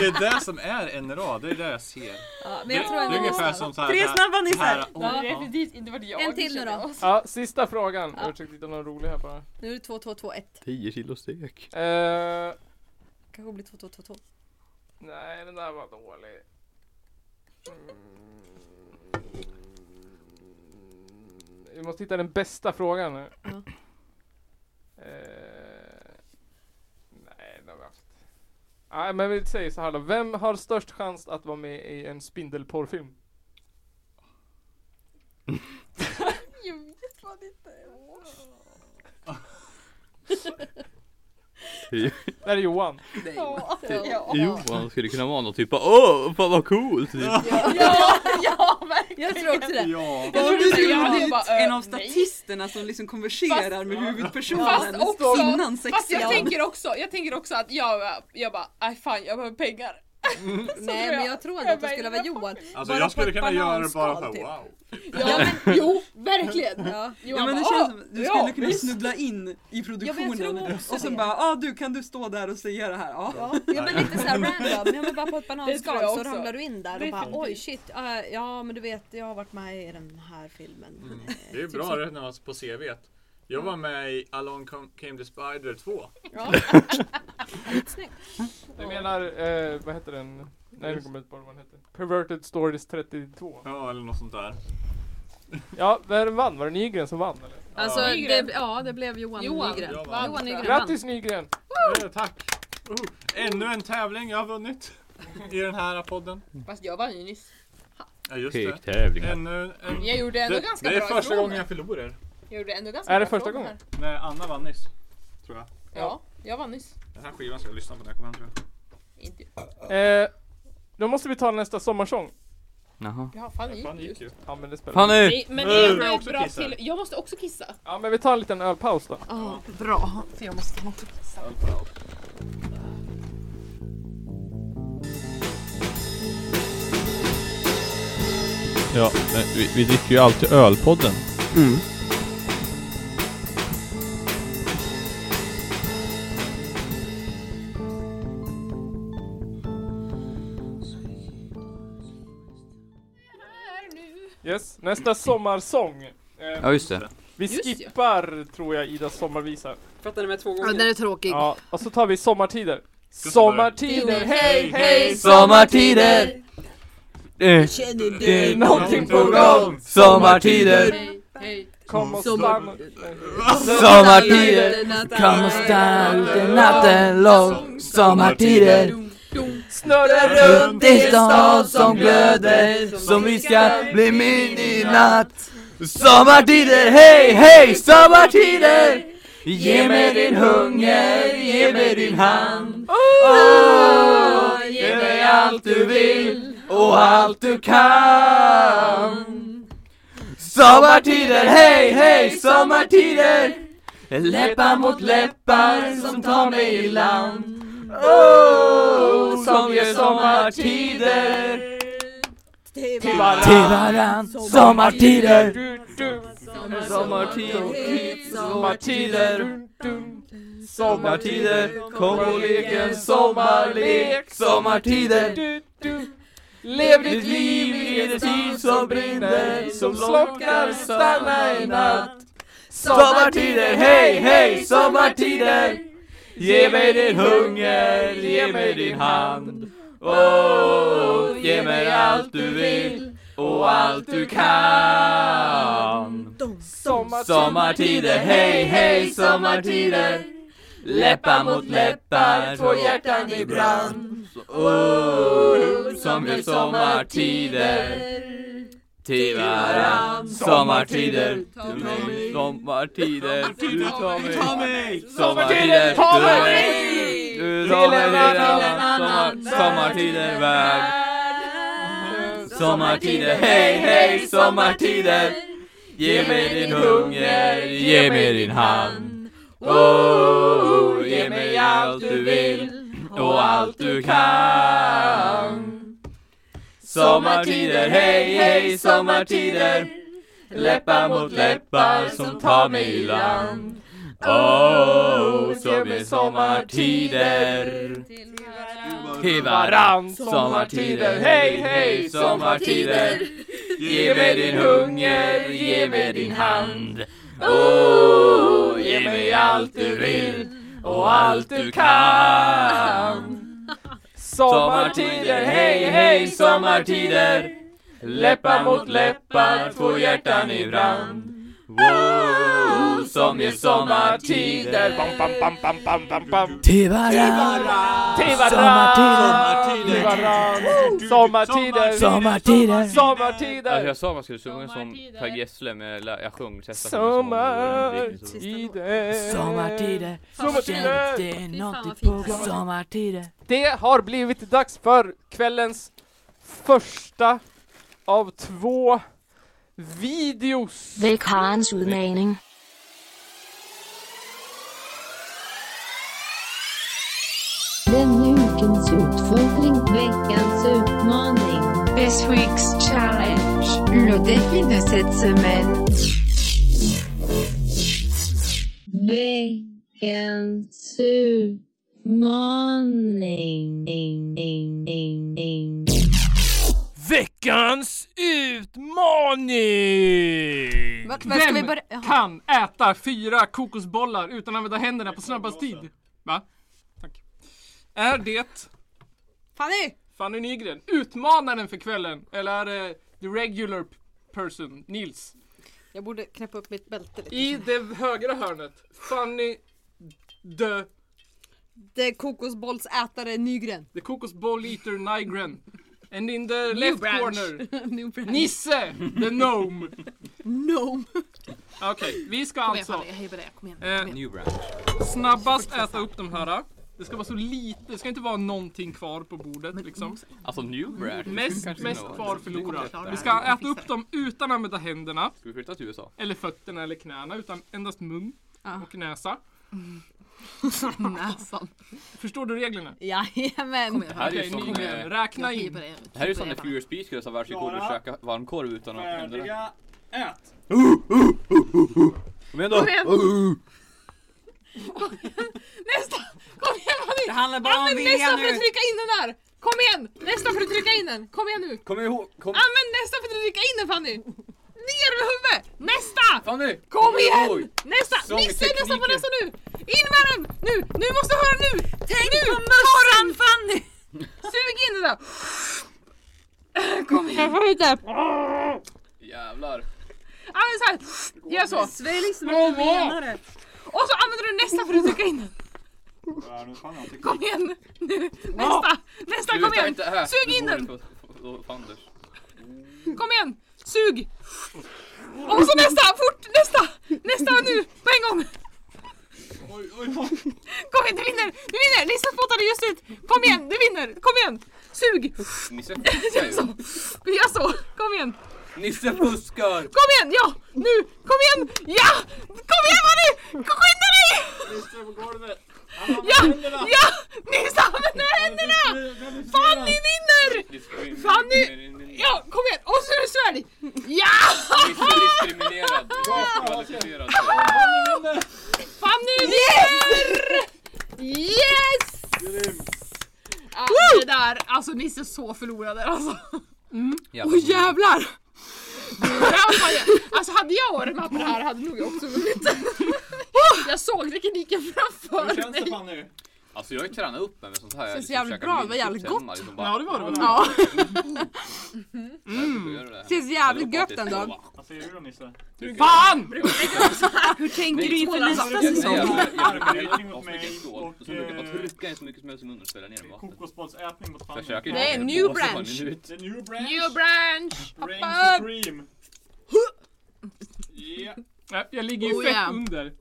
[SPEAKER 2] det är det som är NRA, det är det jag ser.
[SPEAKER 7] ja, men
[SPEAKER 2] Det,
[SPEAKER 7] jag
[SPEAKER 2] det
[SPEAKER 7] tror
[SPEAKER 2] är
[SPEAKER 7] ändå
[SPEAKER 2] ungefär
[SPEAKER 7] Gustav.
[SPEAKER 2] som så här,
[SPEAKER 1] Tre
[SPEAKER 2] det här-
[SPEAKER 1] snabba
[SPEAKER 2] det här-
[SPEAKER 1] nissar!
[SPEAKER 4] Det hade
[SPEAKER 2] Ja.
[SPEAKER 4] definitivt inte varit jag.
[SPEAKER 7] En till nu
[SPEAKER 4] känner
[SPEAKER 7] då.
[SPEAKER 4] jag.
[SPEAKER 3] Ja, sista frågan. Jag försökte hitta någon rolig här bara.
[SPEAKER 7] Nu är det 2221.
[SPEAKER 8] 10 kilo stek.
[SPEAKER 3] Eh,
[SPEAKER 7] Kanske blir 2222.
[SPEAKER 3] nej, den där var dålig. Mm. Vi måste hitta den bästa frågan nu.
[SPEAKER 7] Ja.
[SPEAKER 3] Eh, nej, den har vi haft. Nej, men vi säger så här då. Vem har störst chans att vara med i en spindelporrfilm?
[SPEAKER 4] Jag vet fan inte.
[SPEAKER 3] Det är Johan.
[SPEAKER 1] Nej.
[SPEAKER 4] Ja, ja.
[SPEAKER 8] Johan skulle kunna vara någon typ av åh fan vad coolt! Typ.
[SPEAKER 4] Ja, ja verkligen.
[SPEAKER 7] Jag tror också det.
[SPEAKER 2] Ja.
[SPEAKER 1] Jag
[SPEAKER 4] Jag
[SPEAKER 1] tror
[SPEAKER 4] trodde
[SPEAKER 1] du skulle
[SPEAKER 4] jag
[SPEAKER 1] ha
[SPEAKER 4] hade
[SPEAKER 1] blivit
[SPEAKER 4] bara, eh,
[SPEAKER 1] en av
[SPEAKER 4] nej.
[SPEAKER 1] statisterna som liksom konverserar med
[SPEAKER 4] Fast
[SPEAKER 1] huvudpersonen
[SPEAKER 4] också-
[SPEAKER 1] innan
[SPEAKER 4] Fast jag
[SPEAKER 1] sexscenen.
[SPEAKER 4] tänker också, jag tänker också att jag, jag bara, aj fan jag behöver pengar.
[SPEAKER 7] Nej
[SPEAKER 4] tror
[SPEAKER 7] men
[SPEAKER 4] jag.
[SPEAKER 7] jag tror ändå att det
[SPEAKER 4] Jag
[SPEAKER 7] skulle
[SPEAKER 4] bara,
[SPEAKER 7] vara Johan.
[SPEAKER 2] Alltså
[SPEAKER 7] Bara
[SPEAKER 2] jag
[SPEAKER 7] på
[SPEAKER 2] skulle
[SPEAKER 7] ett
[SPEAKER 2] kunna göra det bara för
[SPEAKER 7] bananskal, typ.
[SPEAKER 2] wow.
[SPEAKER 4] Ja men jo, verkligen.
[SPEAKER 7] Ja.
[SPEAKER 1] Ja
[SPEAKER 4] Johan
[SPEAKER 1] men det
[SPEAKER 4] bara,
[SPEAKER 1] känns
[SPEAKER 4] "Ah,
[SPEAKER 1] som att du
[SPEAKER 4] ja,
[SPEAKER 1] skulle kunna
[SPEAKER 4] visst."
[SPEAKER 1] snubbla in i produktionen
[SPEAKER 7] tror också
[SPEAKER 1] och sen
[SPEAKER 7] det.
[SPEAKER 1] bara ah du kan du stå där och säga det här? Ja.
[SPEAKER 7] Ja, ja men lite såhär random, ja men bara på ett
[SPEAKER 4] Det tror jag
[SPEAKER 7] bananskal så
[SPEAKER 4] också.
[SPEAKER 7] ramlar du in där och bara
[SPEAKER 4] Definitivt.
[SPEAKER 7] oj shit, eh, ja men du vet jag har varit med i den här filmen.
[SPEAKER 2] Det är
[SPEAKER 7] Typ
[SPEAKER 2] bra
[SPEAKER 7] så.
[SPEAKER 2] det när man på CV. Jag var med i Along Come- Came the Spider 2.
[SPEAKER 7] Ja. Snyggt.
[SPEAKER 3] Jag menar, eh, vad heter den? Nej, nu kommer jag inte på vad den heter. Perverted Stories 32.
[SPEAKER 2] Ja eller något sånt där.
[SPEAKER 3] Ja, vem vann? Var det Nygren som vann eller?
[SPEAKER 7] Alltså
[SPEAKER 2] Ja.
[SPEAKER 7] det, ja det blev Johan,
[SPEAKER 4] Johan.
[SPEAKER 7] Nygren.
[SPEAKER 2] Jag
[SPEAKER 7] Johan
[SPEAKER 2] vann.
[SPEAKER 7] Nygren vann.
[SPEAKER 3] Grattis Nygren!
[SPEAKER 2] Eh, Tack! Oh, ännu en tävling jag har vunnit. i den här podden.
[SPEAKER 4] Mm. Fast jag vann ju nyss.
[SPEAKER 2] Ja just det.
[SPEAKER 8] Pektävlingar.
[SPEAKER 2] Ännu, en...
[SPEAKER 4] Jag gjorde ändå
[SPEAKER 2] det,
[SPEAKER 4] ganska
[SPEAKER 2] det är
[SPEAKER 4] bra
[SPEAKER 2] första
[SPEAKER 4] ifrån
[SPEAKER 2] gången
[SPEAKER 4] mig.
[SPEAKER 2] jag förlorar.
[SPEAKER 4] Jag gjorde ändå ganska
[SPEAKER 3] Är det
[SPEAKER 4] bra
[SPEAKER 3] första
[SPEAKER 4] frågor
[SPEAKER 3] gången?
[SPEAKER 4] här.
[SPEAKER 2] Nej, Anna vann nyss. Tror jag.
[SPEAKER 4] Ja, jag vann nyss.
[SPEAKER 2] Den här skivan ska jag lyssna på när jag kommer hem tror jag.
[SPEAKER 4] Inte
[SPEAKER 3] Eh, då måste vi ta nästa sommarsång.
[SPEAKER 8] Jaha.
[SPEAKER 4] Ja, fan
[SPEAKER 2] Fan, det
[SPEAKER 4] gick ju.
[SPEAKER 2] gick ju.
[SPEAKER 3] Ja men det spelar ingen
[SPEAKER 8] Fanny!
[SPEAKER 4] Nej, men
[SPEAKER 2] Nu
[SPEAKER 4] det är
[SPEAKER 2] får jag
[SPEAKER 4] ändå ett
[SPEAKER 2] också
[SPEAKER 4] bra
[SPEAKER 2] kissa.
[SPEAKER 4] till... Jag måste också kissa. Alltså,
[SPEAKER 3] roll. Ja men vi tar en liten ölpaus då.
[SPEAKER 9] Bra, för jag måste ta något att kissa.
[SPEAKER 8] Ja, men vi, vi dricker ju alltid ölpodden.
[SPEAKER 3] Yes, nästa sommarsång. Eh,
[SPEAKER 8] Ja, just det.
[SPEAKER 3] vi
[SPEAKER 4] just ja.
[SPEAKER 3] skippar tror jag Idas sommarvisa.
[SPEAKER 1] Fattar ni med två
[SPEAKER 9] Ja,
[SPEAKER 1] gånger?
[SPEAKER 9] den är tråkig.
[SPEAKER 3] Ja, och så tar vi sommartider.
[SPEAKER 2] Gustav
[SPEAKER 3] Sommartider, hej hej!
[SPEAKER 8] Sommartider! Eh,
[SPEAKER 9] Känner
[SPEAKER 8] Det är
[SPEAKER 3] någonting på
[SPEAKER 8] gång. Sommartider.
[SPEAKER 4] Hej, hej.
[SPEAKER 3] Kom och
[SPEAKER 9] Sommar-
[SPEAKER 3] stanna.
[SPEAKER 8] Sommartider! Kan man stanna ute natten lång? Sommartider!
[SPEAKER 3] Snurra
[SPEAKER 8] Runt i stan som glöder Som vi ska bli min i natt Sommartider, hej, hej, sommartider Ge mig din hunger, ge mig din hand Åh, Ge mig allt du vill och allt du kan Sommartider, hej, hej, sommartider Läppar mot läppar som tar mig i land Oh, som ger sommartider
[SPEAKER 9] Till
[SPEAKER 8] till varann Sommartider,
[SPEAKER 3] Du, du.
[SPEAKER 8] sommartider, sommartider
[SPEAKER 3] Sommartider. Dum, dum.
[SPEAKER 8] Sommartider, kom och lek en sommarlek Sommartider,
[SPEAKER 3] Du, du. Lev
[SPEAKER 8] ditt liv i en tid som brinner Som slocknar, stanna i natt Sommartider, hej, hej, sommartider Ge mig din hunger, ge mig din hand Oh, ge mig allt du vill och allt du kan Sommartider, hej, hej, sommartider Läppar mot läppar, två hjärtan i brand Oh, som gör sommartider till varann Sommartider, du mig Sommartider, du tar mig Sommartider,
[SPEAKER 3] Ta
[SPEAKER 8] du
[SPEAKER 3] mig!
[SPEAKER 8] mig Du tar mig till en annan Sommartider, värld Sommartider, hej hej Sommartider Ge mig din hunger, ge mig din hand Oh, ge mig allt du vill och allt du kan Sommartider, hej hej sommartider Läppar mot läppar som tar mig i land Oh, som är sommartider Till varann sommartider, hej hej sommartider Ge mig din hunger, ge mig din hand Oh, ge mig allt du vill och allt du kan Sommartider, hej hej sommartider Läppar mot läppar, två hjärtan i brand Wow, som ger sommartider
[SPEAKER 3] Bam, bam, bam, bam, bam, bam, bam.
[SPEAKER 8] Till varann,
[SPEAKER 3] Till varann. Till varann. Sommartider.
[SPEAKER 8] sommartider Alltså
[SPEAKER 3] Sommartider.
[SPEAKER 8] jag sa man skulle sjunga som
[SPEAKER 4] Sommartider.
[SPEAKER 8] Per Gessle men jag, lär- jag sjöng testade sjunga som
[SPEAKER 3] Sommartider.
[SPEAKER 8] Ulrik, så-
[SPEAKER 3] Sommartider. Sommartider.
[SPEAKER 4] Fy fan vad fint det här var.
[SPEAKER 3] Det har blivit dags för kvällens första av två videos.
[SPEAKER 13] Vekarens udmaning. Denne ukens utfordring, veckans utmaning. This week's challenge. Le défi de cette semaine. Veckans utmaning.
[SPEAKER 3] Veckans utmaning!
[SPEAKER 9] Vart- vart ska vi börja? Jaha.
[SPEAKER 3] kan äta fyra kokosbollar utan att använda händerna på snabbast tid? Va? Tack. Är det
[SPEAKER 9] Fanny!
[SPEAKER 3] Fanny Nygren, utmanaren för kvällen? Eller är det the regular p- person, Nils?
[SPEAKER 9] Jag borde knäppa upp mitt bälte lite.
[SPEAKER 3] I det högra hörnet, Fanny the
[SPEAKER 9] The eh, kokosbollsätare Nygren.
[SPEAKER 3] The Cocos Ball Eater Nigren. And in the left corner,
[SPEAKER 9] New branch.
[SPEAKER 3] Nisse the Gnome.
[SPEAKER 9] No.
[SPEAKER 3] Okej, vi ska
[SPEAKER 4] Kom igen
[SPEAKER 3] alltså
[SPEAKER 4] Fanny, jag hejar på dig. Kom igen.
[SPEAKER 3] eh,
[SPEAKER 8] New branch.
[SPEAKER 3] snabbast äta upp de här. Det ska vara så lite, det ska inte vara någonting kvar på bordet liksom.
[SPEAKER 8] Alltså new branch.
[SPEAKER 3] Mest,
[SPEAKER 8] Kanske
[SPEAKER 3] mest
[SPEAKER 8] något.
[SPEAKER 3] kvar
[SPEAKER 4] klart
[SPEAKER 3] förlorar.
[SPEAKER 4] det
[SPEAKER 3] Vi
[SPEAKER 4] här.
[SPEAKER 3] ska äta upp dem utan att använda händerna,
[SPEAKER 8] Ska vi flytta till USA?
[SPEAKER 3] eller fötterna eller knäna, utan endast mun
[SPEAKER 9] Ja.
[SPEAKER 3] och näsa.
[SPEAKER 4] Näsan.
[SPEAKER 3] Förstår du reglerna?
[SPEAKER 9] Jajamän.
[SPEAKER 4] Kom
[SPEAKER 8] Det
[SPEAKER 4] igen.
[SPEAKER 8] här är ju som,
[SPEAKER 3] Okej, ni
[SPEAKER 8] eh,
[SPEAKER 3] räkna
[SPEAKER 4] Jag hejar
[SPEAKER 3] in.
[SPEAKER 4] på dig.
[SPEAKER 8] Det här är ju som
[SPEAKER 4] Hejar
[SPEAKER 8] när
[SPEAKER 4] på dig.
[SPEAKER 8] Furious Speed skulle ha världsrekord i att käka varmkorv utan att händerna.
[SPEAKER 2] Färdiga, ät!
[SPEAKER 8] Kom igen då!
[SPEAKER 4] Nästa! Kom igen Fanny!
[SPEAKER 5] Det handlar bara om
[SPEAKER 4] Använd
[SPEAKER 5] vilja
[SPEAKER 4] nästa för
[SPEAKER 5] nu.
[SPEAKER 4] att trycka in den där! Kom igen! Nästa för att trycka in den! Kom igen nu!
[SPEAKER 8] Kom ihåg! Kom!
[SPEAKER 4] Använd nästa för att trycka in den Fanny! Ner med huvudet! Nästa!
[SPEAKER 8] Fanny!
[SPEAKER 4] Kom igen!
[SPEAKER 8] ihåg!
[SPEAKER 4] Nästa!
[SPEAKER 8] Sång i
[SPEAKER 4] Missa nästa på
[SPEAKER 8] tekniken.
[SPEAKER 4] nästa nu! In med den! Nu! Nu måste jag höra nu! Tänk nu. på mössan Fanny! Sug in den där! Kom igen!
[SPEAKER 8] Jävlar!
[SPEAKER 4] Använd så här. Gör så!
[SPEAKER 5] Svälj som en venare.
[SPEAKER 4] Och så använder du nästa för att trycka in den! Kom igen! Nu! Nästa! Nästa kom
[SPEAKER 8] Sluta
[SPEAKER 4] igen!
[SPEAKER 8] inte här!
[SPEAKER 4] Sug
[SPEAKER 8] Du
[SPEAKER 4] in den!
[SPEAKER 8] borde få- få- få- Fanders.
[SPEAKER 4] Kom igen! Sug! Och så nästa! Fort! Nästa! Nästa nu! På en gång! Kom igen, du vinner! Du vinner! Lisa spottade just ut! Kom igen, du vinner! Kom igen! Sug!
[SPEAKER 8] Nisse
[SPEAKER 4] Gör så!
[SPEAKER 8] fuskar
[SPEAKER 4] Gör så! Kom igen!
[SPEAKER 8] ju! Nisse fuskar!
[SPEAKER 4] Kom igen! Ja! Nu! Kom igen! Ja! Kom igen Manny! Skynda dig!
[SPEAKER 2] Lyssna på golvet!
[SPEAKER 4] Ja! Ja! Nissa använder händerna! Fanny vinner!
[SPEAKER 8] Diskrimin-
[SPEAKER 4] Fanny! Ja, kom igen! Och så är det svärd! Ja!
[SPEAKER 8] Nisse är diskriminerad! Diskvalificerad!
[SPEAKER 4] Fanny vinner! Yes! Ja, det där, alltså Nisse så förlorade alltså.
[SPEAKER 8] Jävlar.
[SPEAKER 4] Åh jävlar! Det där var ju- alltså hade jag varit med på det här hade nog jag också vunnit. Jag såg tekniken framför mig.
[SPEAKER 2] Fanny?
[SPEAKER 8] Alltså jag har ju tränat upp mig med sånt här. Jag
[SPEAKER 9] Känns
[SPEAKER 8] liksom
[SPEAKER 9] jävligt
[SPEAKER 8] käkar
[SPEAKER 9] bra, det var
[SPEAKER 8] minchips
[SPEAKER 9] jävligt
[SPEAKER 8] hemma,
[SPEAKER 9] gott.
[SPEAKER 8] liksom bara-
[SPEAKER 3] Ja det var det väl?
[SPEAKER 9] Ja,
[SPEAKER 8] Jag brukar göra det här.
[SPEAKER 9] känns jävligt gött
[SPEAKER 8] Jag
[SPEAKER 9] ändå.
[SPEAKER 8] bara-
[SPEAKER 2] Vad säger du då Nisse?
[SPEAKER 3] Fan!
[SPEAKER 9] Hur tänker du inför nästa
[SPEAKER 8] Nej,
[SPEAKER 9] säsong?
[SPEAKER 8] jag brukar
[SPEAKER 2] Brytning
[SPEAKER 8] hälla upp
[SPEAKER 2] mot
[SPEAKER 8] avsnitt i en
[SPEAKER 2] mig
[SPEAKER 8] skål och
[SPEAKER 2] och,
[SPEAKER 8] så brukar jag bara
[SPEAKER 2] eh,
[SPEAKER 8] trycka in så mycket som möjligt i munnen och spela ner den i vattnet.
[SPEAKER 2] Kokosbollsätning mot
[SPEAKER 8] Så
[SPEAKER 2] Fanny.
[SPEAKER 8] jag käkar ju
[SPEAKER 9] Nej,
[SPEAKER 8] en
[SPEAKER 9] new
[SPEAKER 8] påse på en
[SPEAKER 9] branch.
[SPEAKER 8] minut.
[SPEAKER 2] The new branch!
[SPEAKER 4] New branch!
[SPEAKER 2] Reign
[SPEAKER 4] Hoppa upp!
[SPEAKER 2] supreme! Yeah.
[SPEAKER 3] Ja, Jag ligger ju
[SPEAKER 9] Oh,
[SPEAKER 3] fett
[SPEAKER 9] ja.
[SPEAKER 3] under.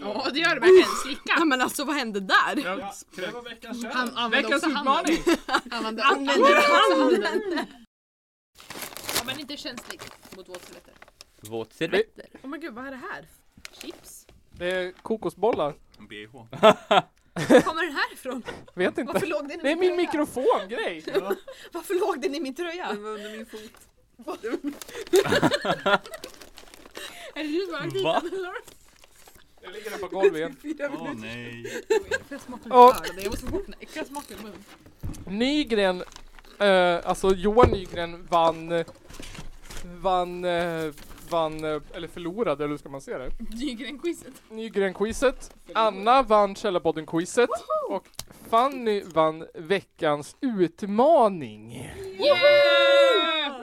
[SPEAKER 4] Ja det gör det verkligen,
[SPEAKER 9] Ja,
[SPEAKER 4] slicka!
[SPEAKER 9] men alltså vad hände där?
[SPEAKER 3] Jag
[SPEAKER 2] Ja, det var veckans
[SPEAKER 4] Han
[SPEAKER 2] challenge.
[SPEAKER 4] använder
[SPEAKER 3] Veckans
[SPEAKER 4] också handen.
[SPEAKER 3] utmaning!
[SPEAKER 4] Han använder
[SPEAKER 9] Använder
[SPEAKER 4] också handen. Ja men inte känslig mot våtservetter.
[SPEAKER 8] Våt servett.
[SPEAKER 9] Oh men gud, vad är det här?
[SPEAKER 4] Chips?
[SPEAKER 3] Det är kokosbollar.
[SPEAKER 2] BH.
[SPEAKER 9] Var kommer den här ifrån?
[SPEAKER 3] Vet inte.
[SPEAKER 9] Varför låg den i
[SPEAKER 3] Det är
[SPEAKER 9] min
[SPEAKER 3] min
[SPEAKER 9] tröja?
[SPEAKER 3] mikrofongrej!
[SPEAKER 9] Varför låg den i min tröja?
[SPEAKER 5] Den var under min fot.
[SPEAKER 4] Är det du som har lagt i
[SPEAKER 8] Va?
[SPEAKER 4] den, eller?
[SPEAKER 3] Jag ligger där på golvet igen.
[SPEAKER 5] Fyra
[SPEAKER 2] Åh
[SPEAKER 5] minuter.
[SPEAKER 2] nej.
[SPEAKER 4] Jag smakar
[SPEAKER 3] Och-
[SPEAKER 4] för det. Jag måste få bort den äckliga smaken i munnen.
[SPEAKER 3] Nygren, eh, alltså Johan Nygren vann, vann, eh, vann, eh, eller förlorade, eller hur ska man se det?
[SPEAKER 4] Nygren-quizet.
[SPEAKER 3] Nygren-quizet, Anna vann Källarpodden-quizet och Fanny vann veckans utmaning.
[SPEAKER 4] Yeah!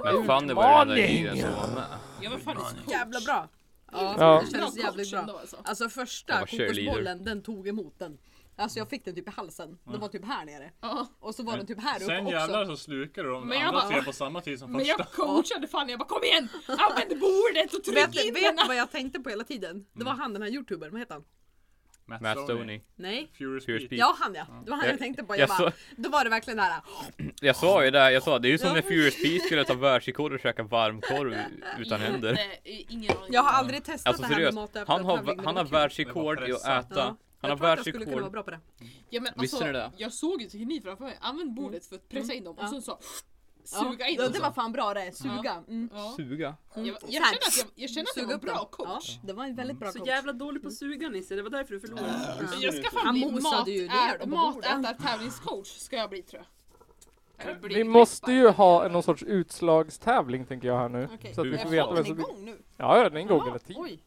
[SPEAKER 8] Men fan det var ju den där grejen som var med.
[SPEAKER 4] Jag var fan i
[SPEAKER 9] Jävla bra. Ja,
[SPEAKER 3] Ja.
[SPEAKER 9] det kändes jävligt bra.
[SPEAKER 4] Alltså.
[SPEAKER 9] Alltså
[SPEAKER 8] Jag
[SPEAKER 9] första
[SPEAKER 8] var cheerleader.
[SPEAKER 9] kokosbollen, den tog emot den. Alltså jag fick den typ i halsen. Den var typ här nere.
[SPEAKER 4] Ja.
[SPEAKER 9] Och så var den typ här uppe
[SPEAKER 2] Sen
[SPEAKER 9] också.
[SPEAKER 2] jävlar så slukar du de
[SPEAKER 4] Men jag
[SPEAKER 2] andra
[SPEAKER 4] bara-
[SPEAKER 2] tre på samma tid som
[SPEAKER 4] Men
[SPEAKER 2] första.
[SPEAKER 4] jag coachade Fanny, jag bara kom igen! Använd bordet och
[SPEAKER 9] Vet,
[SPEAKER 4] tryck in
[SPEAKER 9] vet du
[SPEAKER 4] den!
[SPEAKER 9] vad jag Mm. tänkte på hela tiden? Det var han den här youtubern, vad heter han?
[SPEAKER 2] Matt
[SPEAKER 8] Matt Stoney.
[SPEAKER 9] Nej?
[SPEAKER 2] Furious
[SPEAKER 8] Furious
[SPEAKER 2] Pete.
[SPEAKER 8] Pete.
[SPEAKER 9] Ja han ja, det var han jag
[SPEAKER 8] Jag-
[SPEAKER 9] tänkte på. Jag
[SPEAKER 8] jag
[SPEAKER 9] bara,
[SPEAKER 8] så-
[SPEAKER 9] då var det verkligen där.
[SPEAKER 8] Jag sa ju det, jag sa det är ju som
[SPEAKER 9] Ja.
[SPEAKER 8] när Furious Pete skulle ta världsrekord och käka varmkorv utan händer.
[SPEAKER 4] Ingen aning.
[SPEAKER 9] Jag har aldrig testat
[SPEAKER 8] Alltså
[SPEAKER 9] det här med
[SPEAKER 8] seriöst,
[SPEAKER 9] matöppnat
[SPEAKER 8] han
[SPEAKER 9] tävling,
[SPEAKER 8] har,
[SPEAKER 9] men
[SPEAKER 8] han
[SPEAKER 9] det
[SPEAKER 8] har
[SPEAKER 9] var kul.
[SPEAKER 8] världsrekord i att äta. Han har
[SPEAKER 9] jag tror att jag skulle kunna vara
[SPEAKER 8] världsrekord.
[SPEAKER 9] bra på det.
[SPEAKER 4] Ja, men
[SPEAKER 8] Visste
[SPEAKER 4] alltså,
[SPEAKER 8] ni det?
[SPEAKER 4] Jag såg ju teknik framför mig. Använd bordet för att pressa in dem och
[SPEAKER 9] Ja.
[SPEAKER 4] sen så
[SPEAKER 9] Mm. Ja.
[SPEAKER 4] suga in
[SPEAKER 9] ja,
[SPEAKER 4] dem.
[SPEAKER 9] det var fan bra det, suga. Mm.
[SPEAKER 4] Ja.
[SPEAKER 8] Suga.
[SPEAKER 4] Jag, jag,
[SPEAKER 9] Så här.
[SPEAKER 4] kände att jag, jag kände att jag
[SPEAKER 9] Suga
[SPEAKER 4] var
[SPEAKER 9] upp
[SPEAKER 4] bra
[SPEAKER 9] dem. Ja,
[SPEAKER 4] coach.
[SPEAKER 9] det var en väldigt bra
[SPEAKER 5] Så
[SPEAKER 9] coach.
[SPEAKER 5] jävla dålig på att suga Nisse, det var därför du förlorade.
[SPEAKER 4] Men Jag ska
[SPEAKER 9] Han
[SPEAKER 4] fan bli
[SPEAKER 9] mosade ju ner
[SPEAKER 4] matät-
[SPEAKER 9] dem på bordet.
[SPEAKER 4] matätartävlingscoach ska jag bli tror jag. Eller bli
[SPEAKER 3] Äh, Vi måste
[SPEAKER 4] flippad.
[SPEAKER 3] ju ha någon sorts utslagstävling tänker jag här nu.
[SPEAKER 9] Okej.
[SPEAKER 3] Så att vi
[SPEAKER 8] Hur
[SPEAKER 3] får
[SPEAKER 8] fan?
[SPEAKER 3] veta vem
[SPEAKER 9] Den är
[SPEAKER 3] som...
[SPEAKER 9] igång nu.
[SPEAKER 3] Ja, ja, den är igång hela tiden.
[SPEAKER 9] Oj,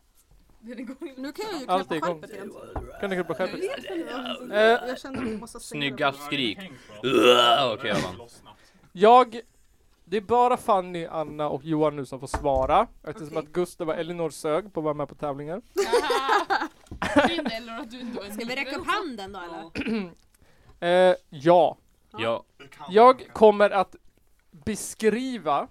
[SPEAKER 4] Den är igång.
[SPEAKER 9] nu kan jag ju
[SPEAKER 3] Allt är
[SPEAKER 9] knäppa
[SPEAKER 3] igång.
[SPEAKER 9] skärpet igen.
[SPEAKER 3] Kan du knäppa skärpet? Eh,
[SPEAKER 9] Jag känner att jag måste säga det.
[SPEAKER 8] Snygga skrik.
[SPEAKER 2] Okej
[SPEAKER 8] Ugh, Okej jag vann.
[SPEAKER 3] Jag... Det är bara Fanny, Anna och Johan nu som får svara. Eftersom
[SPEAKER 9] Okej.
[SPEAKER 3] att Gustav och Elinor sög på att vara med på tävlingar.
[SPEAKER 4] din eller att du inte var en
[SPEAKER 9] Ska vi räcka upp handen då eller?
[SPEAKER 3] Eh, ja.
[SPEAKER 8] Ja.
[SPEAKER 3] Jag kommer att beskriva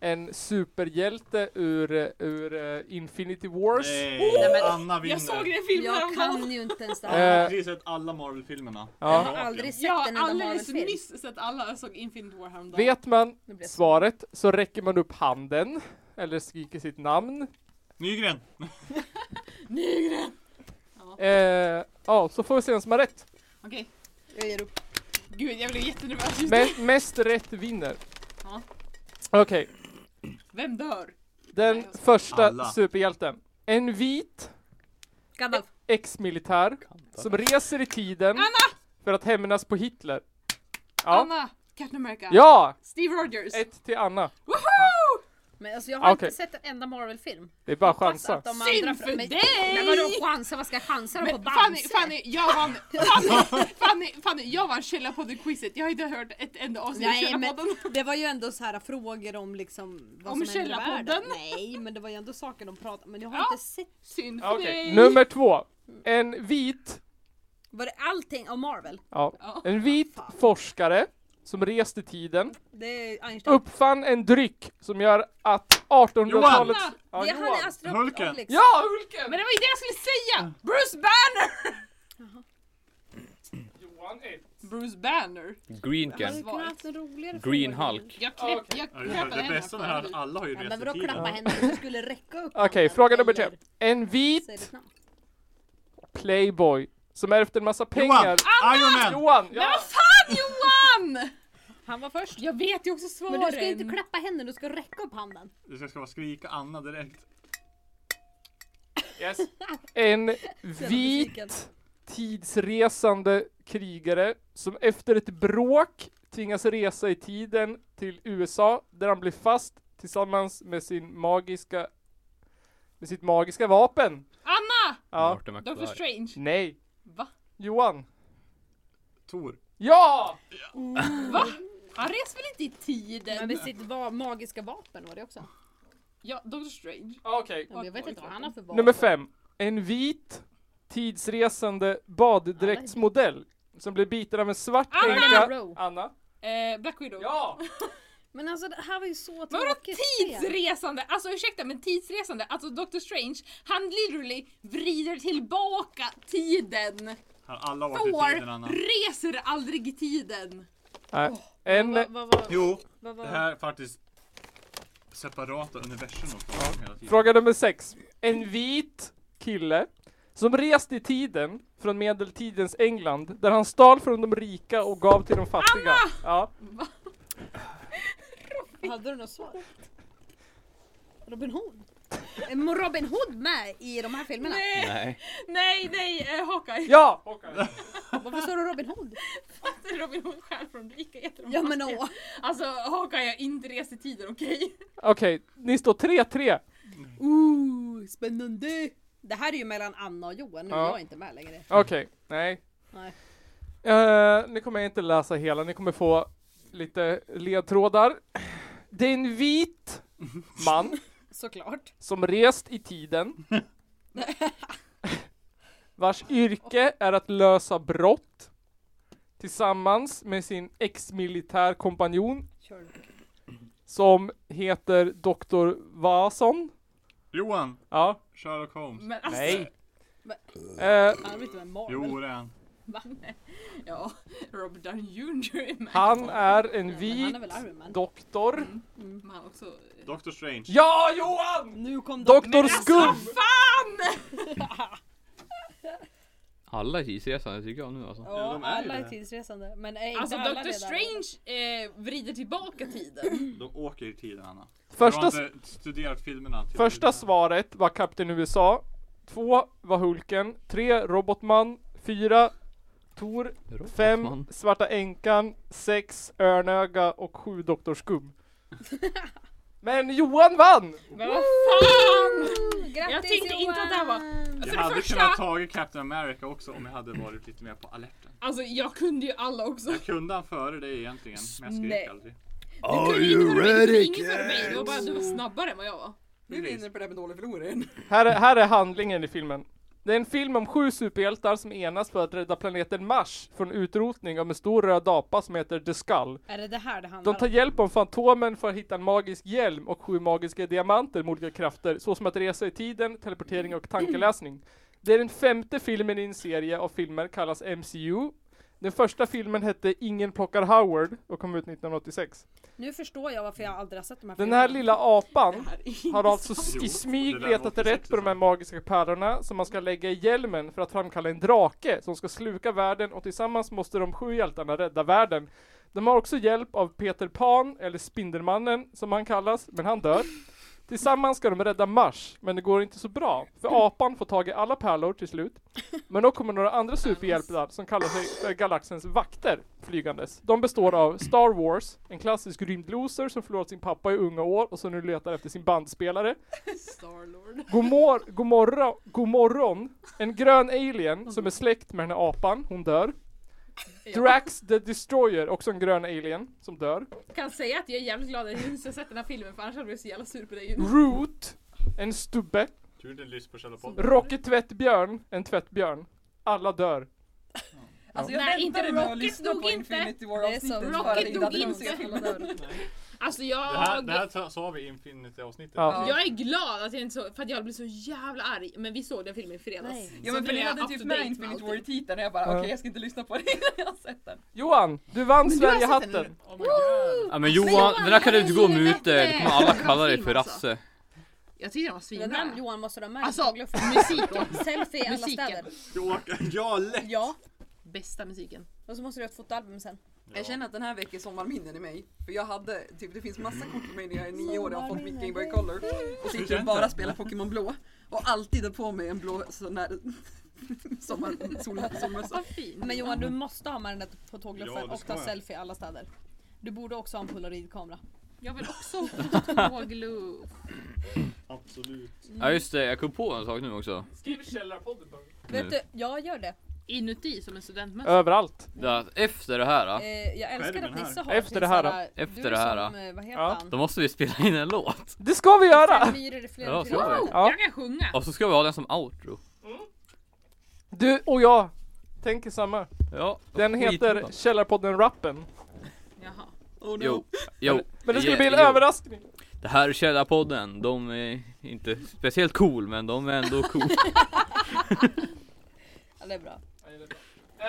[SPEAKER 3] en superhjälte ur, eh, ur eh, Infinity Wars.
[SPEAKER 2] Nej, Anna vinner.
[SPEAKER 4] Jag såg den filmen
[SPEAKER 9] Jag
[SPEAKER 4] häromdagen.
[SPEAKER 9] kan ju inte ens det
[SPEAKER 2] Anna
[SPEAKER 9] här.
[SPEAKER 3] Eh.
[SPEAKER 2] har precis sett alla Marvel-filmerna.
[SPEAKER 3] Ja.
[SPEAKER 9] Jag har aldrig sett
[SPEAKER 4] Jag har
[SPEAKER 9] en enda
[SPEAKER 4] alldeles
[SPEAKER 9] Marvel-film.
[SPEAKER 4] nyss sett alla, jag såg Infinite War häromdagen.
[SPEAKER 3] Vet man
[SPEAKER 7] Nu blev det så.
[SPEAKER 3] svaret så räcker man upp handen eller skriker sitt namn.
[SPEAKER 2] Nygren!
[SPEAKER 3] Eh, ja, så får vi se vem som har rätt.
[SPEAKER 4] Okej.
[SPEAKER 7] Jag ger upp.
[SPEAKER 4] Gud, jag blev jättenervös just nu.
[SPEAKER 3] Men mest rätt vinner.
[SPEAKER 4] Ja.
[SPEAKER 3] Okej,
[SPEAKER 4] Vem dör?
[SPEAKER 3] den
[SPEAKER 4] Nej, jag ska-
[SPEAKER 3] första
[SPEAKER 2] Alla.
[SPEAKER 3] superhjälten. En vit
[SPEAKER 9] Gandalf.
[SPEAKER 3] ex-militär som reser i tiden för att hämnas på Hitler. Ja,
[SPEAKER 4] Anna, Captain America,
[SPEAKER 3] ja!
[SPEAKER 4] Steve Rogers.
[SPEAKER 3] ett till Anna.
[SPEAKER 9] Men alltså jag har
[SPEAKER 3] Okej.
[SPEAKER 9] inte sett en enda Marvel-film.
[SPEAKER 3] Det är bara
[SPEAKER 9] Hoppas
[SPEAKER 3] chansa.
[SPEAKER 9] att de
[SPEAKER 4] Synd
[SPEAKER 9] andra-
[SPEAKER 4] för
[SPEAKER 9] men,
[SPEAKER 4] dig!
[SPEAKER 9] Men vadå chansa? Vad ska jag chansa dem på?
[SPEAKER 4] Men Fanny,
[SPEAKER 9] Bamse?
[SPEAKER 4] Fanny, jag vann! Fanny, Fanny, Fanny, jag vann Källarpodden-quizet. Jag har inte hört ett enda avsnitt av
[SPEAKER 9] Nej men
[SPEAKER 4] Källarpodden.
[SPEAKER 9] det var ju ändå så här frågor om liksom vad
[SPEAKER 4] Om
[SPEAKER 9] som händer i världen.
[SPEAKER 4] Källarpodden?
[SPEAKER 9] Nej men det var ju ändå saker de pratade men jag har
[SPEAKER 4] Ja.
[SPEAKER 9] inte sett.
[SPEAKER 4] Synd för
[SPEAKER 3] Okej,
[SPEAKER 4] dig.
[SPEAKER 3] nummer två. En vit,
[SPEAKER 9] Var det allting av Marvel?
[SPEAKER 3] ja,
[SPEAKER 4] Ja.
[SPEAKER 3] en vit forskare som reste i tiden,
[SPEAKER 9] Det är Einstein.
[SPEAKER 3] uppfann en dryck som gör att 1800-talets...
[SPEAKER 4] Johan!
[SPEAKER 3] Ja,
[SPEAKER 9] det är han
[SPEAKER 3] Johan.
[SPEAKER 9] i Astro
[SPEAKER 2] Hulken.
[SPEAKER 9] Obelix.
[SPEAKER 3] Ja, Hulken!
[SPEAKER 4] Men det var ju det jag skulle säga! Bruce Banner!
[SPEAKER 3] Johan ett.
[SPEAKER 4] Bruce Banner?
[SPEAKER 8] Green
[SPEAKER 9] Hade
[SPEAKER 8] Can.
[SPEAKER 9] du kunnat haft en roligare
[SPEAKER 8] Green
[SPEAKER 9] fråga?
[SPEAKER 8] Hulk.
[SPEAKER 4] Jag klapp,
[SPEAKER 3] Okej.
[SPEAKER 4] jag klappade
[SPEAKER 2] Det
[SPEAKER 4] händerna
[SPEAKER 2] bästa
[SPEAKER 4] för
[SPEAKER 2] med det här är
[SPEAKER 4] dig.
[SPEAKER 2] att alla har ju
[SPEAKER 9] Ja, men
[SPEAKER 2] rest
[SPEAKER 9] vadå
[SPEAKER 2] i tiden.
[SPEAKER 9] klappa händerna? Du skulle räcka upp
[SPEAKER 3] Okej,
[SPEAKER 9] handen,
[SPEAKER 3] fråga nummer tre.
[SPEAKER 9] eller
[SPEAKER 3] En
[SPEAKER 9] säg ditt
[SPEAKER 3] vit
[SPEAKER 9] namn.
[SPEAKER 3] playboy som ärvt en massa pengar.
[SPEAKER 2] Johan! Ah! Iron Man!
[SPEAKER 3] Johan!
[SPEAKER 4] Men
[SPEAKER 3] Ja.
[SPEAKER 4] vad fan Johan!
[SPEAKER 9] Han var först.
[SPEAKER 4] Jag vet ju också svaren.
[SPEAKER 9] Men du ska ju inte klappa händerna, du ska räcka upp handen.
[SPEAKER 2] Du ska- ska bara skrika Anna direkt.
[SPEAKER 3] Yes. En
[SPEAKER 9] besviken.
[SPEAKER 3] vit tidsresande krigare som efter ett bråk tvingas resa i tiden till USA där han blir fast tillsammans med sin magiska med sitt magiska vapen.
[SPEAKER 4] Anna!
[SPEAKER 3] Ja.
[SPEAKER 8] Martin
[SPEAKER 4] Doctor
[SPEAKER 8] McFly.
[SPEAKER 4] Strange.
[SPEAKER 3] Nej.
[SPEAKER 4] Va?
[SPEAKER 3] Johan.
[SPEAKER 2] Tor.
[SPEAKER 3] Ja!
[SPEAKER 4] Va? Han reser väl inte i
[SPEAKER 9] Men
[SPEAKER 4] tiden?
[SPEAKER 9] med sitt va- magiska vapen var det också.
[SPEAKER 4] Ja, Doctor Strange.
[SPEAKER 3] Ah, Okej.
[SPEAKER 9] Ja, men jag vet inte vad han har för vapen.
[SPEAKER 3] Nummer fem. En vit tidsresande baddräktsmodell som blir biten av en svart
[SPEAKER 4] Anna!
[SPEAKER 3] änka. Anna.
[SPEAKER 4] Eh, Black Widow.
[SPEAKER 3] Ja!
[SPEAKER 9] Men alltså det här var ju så
[SPEAKER 4] Men vadå
[SPEAKER 9] tråkigt. spel.
[SPEAKER 4] tidsresande? Alltså ursäkta men tidsresande, alltså Doctor Strange, han literally vrider tillbaka tiden.
[SPEAKER 2] Har alla varit i tiden Anna?
[SPEAKER 4] Thor reser aldrig i tiden.
[SPEAKER 3] Nej. En,
[SPEAKER 9] Vad- vad var-
[SPEAKER 2] Jo,
[SPEAKER 9] vad
[SPEAKER 2] det
[SPEAKER 9] var-
[SPEAKER 2] här är faktiskt separata universum de pratar om hela tiden.
[SPEAKER 3] Fråga nummer sex. En vit kille som reste i tiden från medeltidens England där han stal från de rika och gav till de fattiga. Ja.
[SPEAKER 9] Hade du något svar? Robin Hood? Är Robin Hood med i de här filmerna?
[SPEAKER 4] Nej,
[SPEAKER 8] Nej.
[SPEAKER 4] nej, nej, eh, Hawkeye.
[SPEAKER 3] Ja!
[SPEAKER 9] Varför står det Robin Hood?
[SPEAKER 4] Robin Hood stjäl från rika jätter
[SPEAKER 9] Ja men åh!
[SPEAKER 4] Alltså Hawkeye har inte rest i tiden, okej?
[SPEAKER 3] Okej, ni står 3-3.
[SPEAKER 9] Ooh, spännande! Det här är ju mellan Anna och Johan, nu är
[SPEAKER 3] Ja.
[SPEAKER 9] jag inte med längre.
[SPEAKER 3] Okej, nej.
[SPEAKER 9] Nej.
[SPEAKER 3] Eh, ni kommer inte läsa hela, ni kommer få lite ledtrådar. Det är en vit man
[SPEAKER 9] Såklart.
[SPEAKER 3] som rest i tiden. Vars yrke är att lösa brott. Tillsammans med sin ex-militär kompanjon
[SPEAKER 9] Sherlock.
[SPEAKER 3] som heter Dr. Vason.
[SPEAKER 2] Johan!
[SPEAKER 3] Ja.
[SPEAKER 2] Sherlock Holmes.
[SPEAKER 4] Men alltså,
[SPEAKER 3] Nej.
[SPEAKER 9] Alltså,
[SPEAKER 3] Eh,
[SPEAKER 9] Han vet inte vem Marvel
[SPEAKER 2] Jo, det är han.
[SPEAKER 4] va? Ja, Robert Downey Jr är med.
[SPEAKER 3] han är en
[SPEAKER 9] men han
[SPEAKER 3] vit
[SPEAKER 9] är väl Iron Man?
[SPEAKER 3] doktor.
[SPEAKER 4] Men han också... eh,
[SPEAKER 2] Doctor Strange.
[SPEAKER 3] Ja, Johan!
[SPEAKER 9] Nu kom de.
[SPEAKER 3] Doktor Skum!
[SPEAKER 8] Alla är tidsresande tycker jag nu alltså.
[SPEAKER 2] Ja,
[SPEAKER 9] Ja,
[SPEAKER 2] de är ju
[SPEAKER 9] alla är
[SPEAKER 2] det.
[SPEAKER 9] tidsresande. Men är inte
[SPEAKER 4] Alltså
[SPEAKER 9] alla
[SPEAKER 4] Doctor
[SPEAKER 9] redan-
[SPEAKER 4] Strange eh, vrider tillbaka tiden.
[SPEAKER 2] De åker i tiden Anna.
[SPEAKER 3] Första,
[SPEAKER 2] du har inte studerat filmerna. till-
[SPEAKER 3] första svaret var Kapten USA. Två var Hulken. Tre Robotman. Fyra Tor. Fem
[SPEAKER 8] Robotman.
[SPEAKER 3] Svarta Änkan. Sex Örnöga och sju Doktor Skum. Men Johan vann!
[SPEAKER 4] Men vad fan!
[SPEAKER 9] Grattis
[SPEAKER 4] Jag tänkte inte att det här var-
[SPEAKER 9] Johan!
[SPEAKER 2] Jag
[SPEAKER 4] För det
[SPEAKER 2] hade
[SPEAKER 4] första-
[SPEAKER 2] kunnat tagit Captain America också om jag hade varit lite mer på alerten.
[SPEAKER 4] Alltså jag kunde ju alla också.
[SPEAKER 2] Jag kunde han före dig egentligen, men jag
[SPEAKER 4] Nej.
[SPEAKER 2] skrek aldrig.
[SPEAKER 4] Are you ready kids? Mig. Det var bara att du var snabbare än vad jag var.
[SPEAKER 5] Nu vinner på det här med dålig förlorare.
[SPEAKER 3] Här är, här är handlingen i filmen. Det är en film om sju superhjältar som enas för att rädda planeten Mars från utrotning av en stor röd apa som heter The Skull.
[SPEAKER 9] Är det det här det handlar
[SPEAKER 3] De tar hjälp av Fantomen för att hitta en magisk hjälm och sju magiska diamanter med olika krafter, såsom att resa i tiden, teleportering och tankeläsning. Det är den femte filmen i en serie av filmer kallas MCU. Den första filmen hette Ingen plockar Howard och kom ut 1986.
[SPEAKER 9] om? Nu förstår jag varför jag aldrig har sett de här
[SPEAKER 3] Den
[SPEAKER 9] filmerna.
[SPEAKER 3] här lilla apan
[SPEAKER 1] här
[SPEAKER 3] har alltså s-
[SPEAKER 2] Jo,
[SPEAKER 3] i smyg
[SPEAKER 2] det där
[SPEAKER 3] letat
[SPEAKER 2] var
[SPEAKER 3] rätt på de här magiska pärlorna som man ska lägga i hjälmen för att framkalla en drake som ska sluka världen och tillsammans måste de sju hjältarna rädda världen. De har också hjälp av Peter Pan, eller Spindelmannen som han kallas, men han dör. Tillsammans ska de rädda Mars, men det går inte så bra, för apan får tag i alla pärlor till slut. Men då kommer några andra superhjältar som kallar sig för galaxens vakter flygandes. De består av Star Wars, en klassisk rymdloser som förlorat sin pappa i unga år och som nu letar efter sin bandspelare.
[SPEAKER 4] Starlord.
[SPEAKER 3] Gomor, gomorra, gomorron, en grön alien som är släkt med den här apan, hon dör. Drax the Destroyer, också en grön alien som dör.
[SPEAKER 4] Kan säga att jag är jävligt glad att jag inte har sett den här filmen för annars hade jag blivit så jävla sur på dig.
[SPEAKER 3] Root, en stubbe.
[SPEAKER 2] Tur det lyser på själva podden.
[SPEAKER 3] Rocky Tvättbjörn, en tvättbjörn. Alla dör.
[SPEAKER 1] Alltså jag
[SPEAKER 4] Nej, inte
[SPEAKER 1] väntade med att
[SPEAKER 4] Rocket
[SPEAKER 1] lyssna
[SPEAKER 4] dog
[SPEAKER 1] på
[SPEAKER 4] inte.
[SPEAKER 1] Infinity
[SPEAKER 7] Det är
[SPEAKER 1] War-avsnittet
[SPEAKER 7] som
[SPEAKER 1] för att
[SPEAKER 4] Rocket
[SPEAKER 1] jag inte
[SPEAKER 4] dog
[SPEAKER 1] hade
[SPEAKER 4] inte.
[SPEAKER 1] hunnit se filmen.
[SPEAKER 4] Alltså
[SPEAKER 2] Det
[SPEAKER 4] jag...
[SPEAKER 2] här, det här sa- sa vi i Infinity-avsnittet.
[SPEAKER 3] Ja.
[SPEAKER 4] Jag är glad att jag inte såg, för att jag blev så jävla arg. Men vi såg den filmen i fredags.
[SPEAKER 9] Nej.
[SPEAKER 1] Ja
[SPEAKER 4] Så
[SPEAKER 1] men för
[SPEAKER 4] nu
[SPEAKER 1] ni
[SPEAKER 4] är jag
[SPEAKER 1] hade
[SPEAKER 4] up
[SPEAKER 1] typ
[SPEAKER 4] to
[SPEAKER 1] med
[SPEAKER 4] date
[SPEAKER 1] Infinity
[SPEAKER 4] allting.
[SPEAKER 1] War i titeln och jag bara
[SPEAKER 3] Ja.
[SPEAKER 1] okej jag ska inte lyssna på det innan jag har sett den.
[SPEAKER 3] Johan, du vann Sverigehatten!
[SPEAKER 2] Oh my god.
[SPEAKER 8] Ja, men Johan, den där kan du inte gå och muta er. Det kommer alla kalla dig för
[SPEAKER 9] alltså.
[SPEAKER 8] Rasse.
[SPEAKER 4] Jag tyckte den var
[SPEAKER 9] Den där
[SPEAKER 4] svinbra.
[SPEAKER 9] Johan måste du ha märkt.
[SPEAKER 4] Alltså
[SPEAKER 9] Alltså,
[SPEAKER 4] musiken.
[SPEAKER 9] selfie i alla
[SPEAKER 4] Musiken.
[SPEAKER 9] städer.
[SPEAKER 2] Jag åker- Jag lätt!
[SPEAKER 9] Ja.
[SPEAKER 4] Bästa musiken.
[SPEAKER 9] Och så måste du ha ett fotoalbum sen.
[SPEAKER 1] Jag känner att den här väcker sommarminnen i mig. För jag hade, typ det finns massa kort på mig när jag är nio år och har fått mitt Game Boy Color. Och så gick jag bara spela Pokémon Blå. Och alltid hade på mig en blå sån där sommar, sol, sommarmössa.
[SPEAKER 4] Vad fin.
[SPEAKER 9] Men Johan du måste ha med den där
[SPEAKER 2] Ja,
[SPEAKER 9] fotogluffen
[SPEAKER 2] det
[SPEAKER 9] och
[SPEAKER 2] ska
[SPEAKER 9] ta
[SPEAKER 2] jag.
[SPEAKER 9] selfie i alla städer. Du borde också ha en polaroidkamera.
[SPEAKER 4] Jag vill också ha glue.
[SPEAKER 2] Absolut.
[SPEAKER 9] Mm.
[SPEAKER 8] Ja just det, jag kom på en sak nu också.
[SPEAKER 3] Skriv Källarpodden
[SPEAKER 9] Vet du, jag gör det.
[SPEAKER 4] Inuti som en studentmössa.
[SPEAKER 3] Överallt.
[SPEAKER 8] Det här, efter det här,
[SPEAKER 9] Eh, jag älskar
[SPEAKER 2] Skärmen
[SPEAKER 9] att Nisse
[SPEAKER 2] här.
[SPEAKER 9] har
[SPEAKER 3] Efter
[SPEAKER 9] sin
[SPEAKER 3] det här
[SPEAKER 9] sån här-
[SPEAKER 8] Efter
[SPEAKER 9] du är
[SPEAKER 8] det här
[SPEAKER 9] som,
[SPEAKER 8] då.
[SPEAKER 9] eh, Vad heter
[SPEAKER 3] Ja.
[SPEAKER 9] han?
[SPEAKER 8] då måste vi spela in en låt.
[SPEAKER 3] Det ska vi göra!
[SPEAKER 9] Fem myror i flera
[SPEAKER 8] Ja, så är det.
[SPEAKER 9] fyra
[SPEAKER 3] Ja.
[SPEAKER 4] Jag kan sjunga.
[SPEAKER 8] Och så ska vi ha den som outro.
[SPEAKER 3] Du och jag tänker samma.
[SPEAKER 8] Ja.
[SPEAKER 3] Den heter
[SPEAKER 9] Oh,
[SPEAKER 3] Källarpodden Rappen.
[SPEAKER 4] Jaha.
[SPEAKER 1] Oh
[SPEAKER 8] Jo. Jo.
[SPEAKER 3] Men det skulle bli en
[SPEAKER 8] Jo.
[SPEAKER 3] överraskning.
[SPEAKER 8] Det här är Källarpodden, de är inte speciellt cool men de är ändå cool.
[SPEAKER 9] Ja, det är bra.
[SPEAKER 3] Eh,